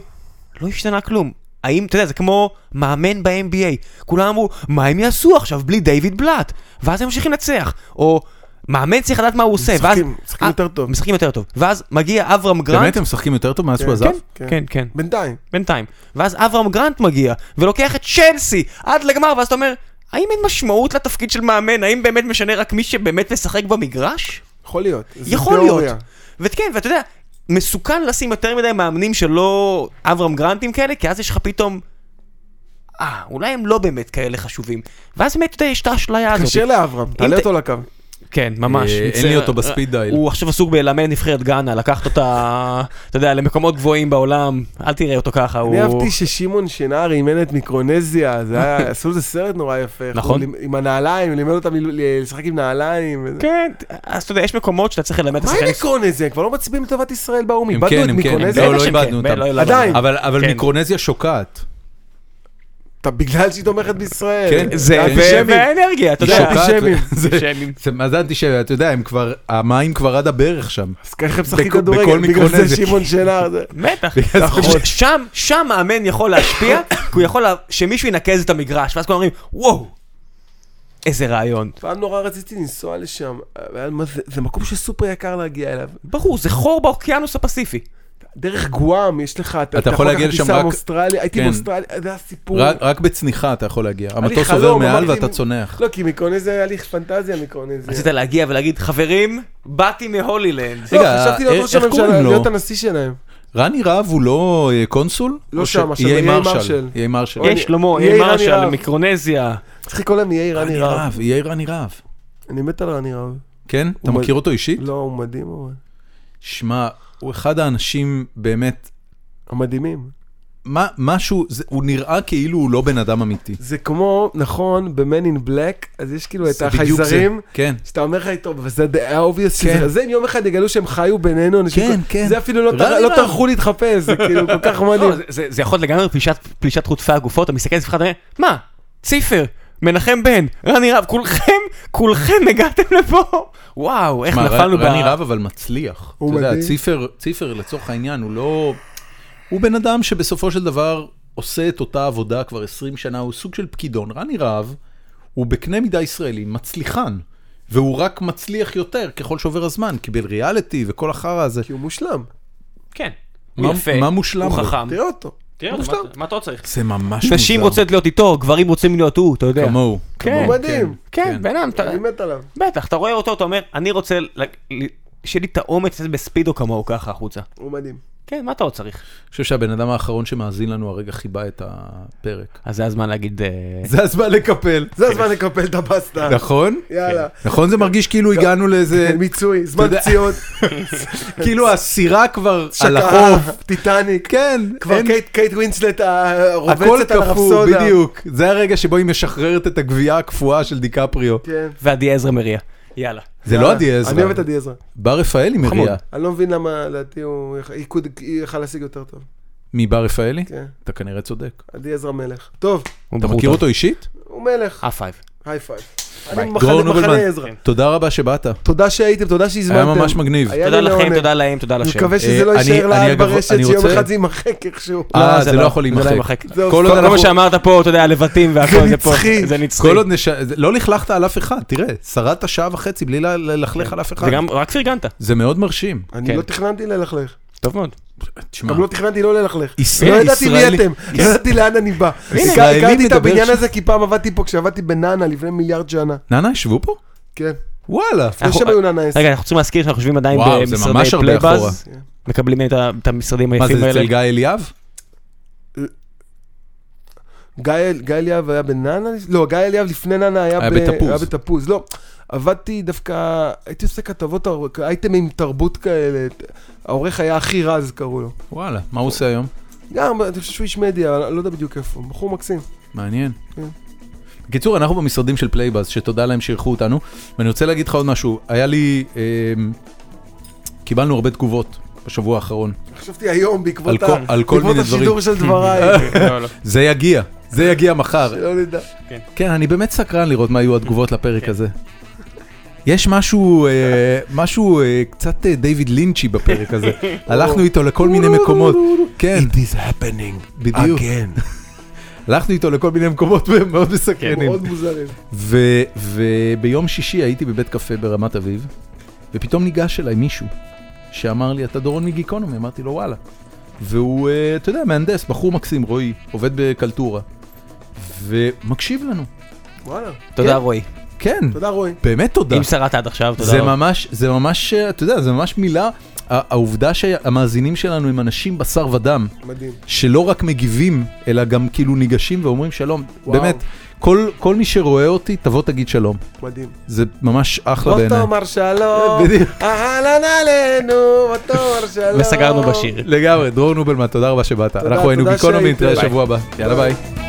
S2: לא השתנה כלום. האם, אתה יודע, זה כמו מאמן ב-NBA. כולם אמרו, מה הם יעשו עכשיו בלי דיוויד בלאט? ואז הם ממשיכים לנצח. או, מאמן צריך לדעת מה הוא עושה. ואז-
S3: משחקים, משחקים
S2: אה,
S3: יותר טוב.
S2: משחקים יותר טוב. ואז מגיע אברהם גרנט.
S1: באמת הם משחקים יותר טוב מאז שהוא עזב?
S2: כן, כן, כן.
S3: בינתיים.
S2: בינתיים. ואז אברהם גרנט מגיע, ולוקח את צ'לסי עד לגמר, ואז אתה אומר, האם אין משמעות לתפקיד של מאמן? האם באמת משנה רק מי שבאמת משחק במגרש?
S3: יכול להיות. זה
S2: יכול
S3: תיאוריה.
S2: להיות. וכן, ואתה יודע, מסוכן לשים יותר מדי מאמנים שלא אברהם גרנטים כאלה, כי אז יש לך פתאום... אה, אולי הם לא באמת כאלה חשובים. ואז באמת, אתה יודע, יש את האשליה הזאת.
S3: תתקשר לאברהם, תעלה
S2: ת-
S3: אותו לקו.
S2: כן, ממש.
S1: אה, אין
S2: מצטער.
S1: לי אותו בספיד דייל.
S2: הוא עכשיו עסוק בלאמן נבחרת גאנה, לקחת אותה, אתה יודע, למקומות גבוהים בעולם, אל תראה אותו ככה, הוא...
S3: אני אהבתי ששמעון שנהר אימן את מיקרונזיה, זה היה, עשו איזה סרט נורא יפה. איך
S2: נכון.
S3: הוא לימ- עם הנעליים, לימד אותם ל- ל- לשחק עם נעליים. וזה.
S2: כן, אז אתה יודע, יש מקומות שאתה צריך ללמד את
S3: מה
S2: השחקנים.
S3: עם מיקרונזיה? הם כבר לא מצביעים לטובת ישראל באו"ם,
S1: הם
S3: איבדנו
S1: כן,
S3: את
S1: הם כן, הם
S3: מיקרונזיה.
S1: לא,
S2: בטח
S1: לא
S2: שהם
S1: איבדנו
S2: כן,
S1: אותם.
S2: לא, לא, לא.
S3: עדיין.
S1: אבל אבל
S2: כן.
S1: מיקרונזיה שוקעת.
S3: אתה בגלל שהיא תומכת בישראל.
S1: כן,
S2: זה,
S1: כן.
S2: ו-
S3: אנטישמים.
S2: והאנרגיה, אתה יודע.
S1: שוקעת.
S3: אנטישמים.
S1: זה-
S2: אנטישמים.
S1: זה- מה זה אנטישמי? אתה יודע, הם כבר, המים כבר עד הברך שם.
S3: אז ככה הם משחקים
S1: בכל-
S3: כדורגל,
S1: בכל
S3: בגלל זה
S1: מיקרונזיה.
S3: שמעון שנהר. זה-
S2: בטח,
S1: בגלל זה
S2: נכון. שם, שם מאמן יכול להשפיע, כי הוא יכול לה- שמישהו ינקז את המגרש, ואז כולם אומרים, וואו, איזה רעיון.
S3: פעם נורא רציתי לנסוע לשם, אבל מה זה- זה מקום שסופר יקר להגיע אליו.
S2: ברור, זה חור באוקיינוס הפסיפי.
S3: דרך גואם יש לך, אתה
S1: יכול להגיע
S3: לקחת
S1: לשם
S3: טיסה
S1: רק-
S3: מאוסטרליה, הייתי
S1: כן.
S3: באוסטרליה, זה הסיפור.
S1: רק רק בצניחה אתה יכול להגיע. המטוס
S3: חלום,
S1: עובר מעל
S3: אמרתי,
S1: ואתה
S3: אם-
S1: צונח.
S3: לא, כי מיקרונזיה היה לי פנטזיה מיקרונזיה.
S2: רצית להגיע ולהגיד, חברים, באתי מהולילנד.
S3: לא,
S1: רגע,
S3: חשבתי להיות
S1: איך-
S3: ראש
S1: איך
S3: הממשלה,
S1: קוראים לו?
S3: להיות הנשיא שלהם.
S1: רני רהב הוא לא אה, קונסול?
S3: לא
S1: או
S3: שם,
S1: ש- יהיה
S3: שם, יהיה
S1: מרשל.
S3: מרשל.
S1: יהיה מרשל.
S2: יש שלמה,
S3: יהיה
S2: יהיה
S3: רני
S2: מרשל,
S3: רהב.
S2: מיקרונזיה.
S3: צריך לקרוא להם יהיה איראני
S1: רני
S3: רב.
S1: רהב, יהיה רני רהב.
S3: אני מת על רני רב.
S1: כן? אתה
S3: הוא
S1: מכיר אותו אישית?
S3: לא, הוא מדהים, הוא...
S1: שמע, הוא אחד האנשים באמת,
S3: המדהימים.
S1: מה- משהו, זה- הוא נראה כאילו הוא לא בן אדם אמיתי.
S3: זה כמו, נכון, ב-Man in Black, אז יש כאילו את
S1: זה בדיוק זה.
S3: החייזרים,
S1: כן.
S3: שאתה אומר לך איתו, וזה די obvious,
S1: כן.
S3: שזה- זה אם יום אחד יגלו שהם חיו בינינו, אנשים
S1: כן,
S3: כל-
S1: כן.
S3: זה אפילו לא
S1: רני
S3: טר- לא
S1: רהב.
S3: טרחו להתחפש, זה כאילו כל כך מדהים.
S2: לא,
S1: נכון.
S2: זה- זה זה יכול להיות לגמרי פלישת- פלישת חוטפי הגופות, אתה מסתכל על עצמך, אתה אומר, מה, ציפר, מנחם בן, רני רב, כולכם, כולכם הגעתם לפה. וואו, איך
S1: שמע, ר-
S2: נפלנו ב...
S1: רני רהב אבל מצליח.
S3: הוא
S1: אתה יודע,
S3: מדהים.
S1: ציפר, ציפר לצורך העניין הוא לא... הוא בן אדם שבסופו של דבר עושה את אותה עבודה כבר 20 שנה, הוא סוג של פקידון. רני רהב הוא בקנה מידה ישראלי מצליחן, והוא רק מצליח יותר ככל שעובר הזמן, קיבל ריאליטי וכל החרא הזה.
S3: כי הוא מושלם,
S2: כן.
S1: מה-
S2: הוא יפה,
S1: מה מושלם
S2: הוא
S1: בו?
S2: חכם.
S3: תראה אותו.
S2: תראה,
S3: מושלם.
S2: מה- מה אתה עוד צריך?
S1: זה ממש מוזר.
S2: נשים רוצות להיות איתו, גברים רוצים להיות הוא, אתה יודע.
S1: כמוהו.
S2: כן,
S1: כמוהו,
S3: הוא מדהים.
S2: כן, בן אדם, אתה-
S3: אני מת עליו.
S2: בטח, אתה רואה אותו, אתה אומר, אני רוצה, ל- ל- שיהיה לי את האומץ לצאת בספידו כמוהו ככה החוצה.
S3: הוא מדהים.
S2: כן, מה אתה עוד צריך?
S1: אני חושב שהבן אדם האחרון שמאזין לנו הרגע חיבה את הפרק.
S2: אז זה הזמן להגיד... אה,
S1: זה הזמן לקפל.
S3: זה הזמן לקפל את הבסטה.
S1: כן. נכון?
S3: יאללה.
S1: נכון זה מרגיש כאילו הגענו לאיזה...
S3: מיצוי, זמן
S1: אתה יודע-
S3: פציעות,
S1: כאילו הסירה כבר על החוף.
S3: שקעה, טיטניק.
S1: כן,
S3: כבר
S1: אין-
S3: קייט- קייט ווינסלט אה,
S1: הכל
S3: רובצת על
S1: קפוא,
S3: הרפסודה.
S1: בדיוק. זה הרגע שבו היא משחררת את הגבייה הקפואה של דיקפריו.
S3: כן.
S2: ועדי עזרא מריה. יאללה.
S1: זה לא
S3: יאללה.
S1: עדי
S3: אה, אני
S1: עזרא.
S3: אוהב את עדי עזרא.
S1: בר רפאלי
S2: חמוד.
S1: מריע.
S3: אני לא מבין למה לדעתי הוא יכל- עיקוד היא יכל להשיג יותר טוב.
S1: מבר רפאלי?
S3: כן,
S1: אתה כנראה צודק.
S3: עדי עזרא מלך. טוב,
S2: הוא
S1: אתה
S2: בחור
S1: מכיר
S2: טוב.
S1: אותו אישית?
S3: הוא מלך.
S2: אה, פייב.
S3: היי פייב.
S2: ביי.
S3: אני
S1: דרור
S3: מחנה-
S1: נובלמן.
S3: מחנה עזרא.
S1: תודה רבה שבאת.
S3: תודה שהייתם, תודה שהזמנתם.
S1: היה ממש מגניב.
S3: היה
S2: תודה
S3: לי
S2: לכם,
S3: לעונג.
S2: תודה להם, תודה
S3: אני
S2: לשם.
S3: מקווה
S1: אה,
S3: שזה לא
S1: אני-
S3: יישאר
S1: אני
S3: לעד
S1: אגב-
S3: ברשת,
S1: אני
S3: שיום
S1: רוצה-
S3: אחד זה יימחק איכשהו.
S2: לא,
S1: אה, זה לא יכול
S2: זה לא
S1: להימחק.
S2: יימחק.
S3: זהו,
S1: כל עוד
S2: כל מה
S1: אנחנו...
S2: שאמרת פה, אתה יודע, לבטים והכל,
S3: זה
S2: זה פה,
S3: נצחי.
S2: זה נצחי.
S1: כל עוד נש... לא לכלכת על אף אחד, תראה, שרדת שעה וחצי בלי ל-
S3: כן.
S1: ללכלך על אף אחד.
S2: זה גם, רק פרגנת.
S1: זה מאוד מרשים.
S3: אני
S2: כן.
S3: לא תכננתי ללכלך.
S2: טוב מאוד.
S1: תשמע,
S3: גם לא תכננתי לא ללכלך.
S1: ישראל-
S3: לא ידעתי מי
S1: אה, ישראלי-
S3: אתם, לא ידעתי לאן אני בא.
S1: ישראלי
S3: הכר- הכרתי את
S1: מדבר
S3: הבניין
S1: ש-
S3: הזה כי פעם עבדתי פה כשעבדתי בננה לפני מיליארד שנה.
S1: ננה, ישבו פה?
S3: כן.
S1: וואלה.
S3: לא
S2: אנחנו-
S3: שם היו
S1: אה,
S3: ננה כן. עשר.
S2: רגע, אנחנו צריכים להזכיר שאנחנו יושבים עדיין
S1: וואו, זה ממש
S2: במשרדי
S1: הרבה אחורה.
S2: פלייבאז. מקבלים את ה- את המשרדים
S1: מה זה,
S2: היפים האלה.
S1: אצל גיא אליאב?
S3: גיא אל- גיא אליאב היה בננה? לא, גיא אליאב לפני ננה היה
S1: היה
S3: ב-
S1: בתפוז.
S3: היה בתפוז. לא, עבדתי דווקא, הייתי עושה כתבות, אייטמים עם תרבות כאלה. העורך היה הכי רז קראו לו.
S1: וואלה, מה הוא עושה היום?
S3: גם, אני חושב שהוא איש מדיה, אבל אני לא יודע בדיוק איפה. הוא בחור מקסים.
S1: מעניין.
S3: כן.
S1: בקיצור, אנחנו במשרדים של פלייבאז, שתודה להם שאירחו אותנו. ואני רוצה להגיד לך עוד משהו, היה לי... אמ, קיבלנו הרבה תגובות בשבוע האחרון.
S3: חשבתי היום בעקבות
S1: על כל-
S3: ה-
S1: על כל
S3: בעקבות
S1: מיני דברים.
S3: השידור של דבריי.
S2: לא, לא.
S1: זה יגיע, זה יגיע מחר.
S3: שלא נדע.
S1: כן, אני באמת סקרן לראות מה יהיו התגובות לפרק הזה. יש משהו, אה, משהו אה, קצת אה, דיוויד לינצ'י בפרק הזה. הלכנו איתו לכל מיני מקומות. כן,
S3: is happening
S1: בדיוק. הלכנו איתו לכל מיני מקומות מאוד מסקרנים.
S3: כן, מאוד מוזרים.
S1: ו- וביום שישי הייתי בבית קפה ברמת אביב, ופתאום ניגש אליי מישהו שאמר לי, אתה דורון מגיקונומי, אמרתי לו, וואלה. והוא, אה, אתה יודע, מהנדס, בחור מקסים, רועי, עובד בקלטורה, ומקשיב לנו.
S3: וואלה.
S2: תודה
S1: כן.
S2: רועי.
S1: כן,
S3: תודה רועי.
S1: באמת תודה.
S2: אם שרדת עד עכשיו, תודה
S1: זה
S2: רבה.
S1: ממש, זה ממש, אה, אתה יודע, זה ממש מילה, ה- העובדה שהמאזינים שלנו הם אנשים בשר ודם,
S3: מדהים.
S1: שלא רק מגיבים, אלא גם כאילו ניגשים ואומרים שלום.
S3: וואו.
S1: באמת, כל, כל מי שרואה אותי, תבוא תגיד שלום.
S3: מדהים.
S1: זה ממש אחלה
S3: לא
S1: בעיניי.
S3: תאמר שלום,
S1: בדיוק.
S3: אהלן עלינו, לא תאמר שלום.
S2: וסגרנו בשיר.
S1: לגמרי, דרור נובלמן, תודה רבה שבאת. אנחנו היינו
S3: תודה
S1: גיקונומי,
S3: שהייתם.
S1: נתראה
S3: ביי.
S1: שבוע הבא. יאללה ביי.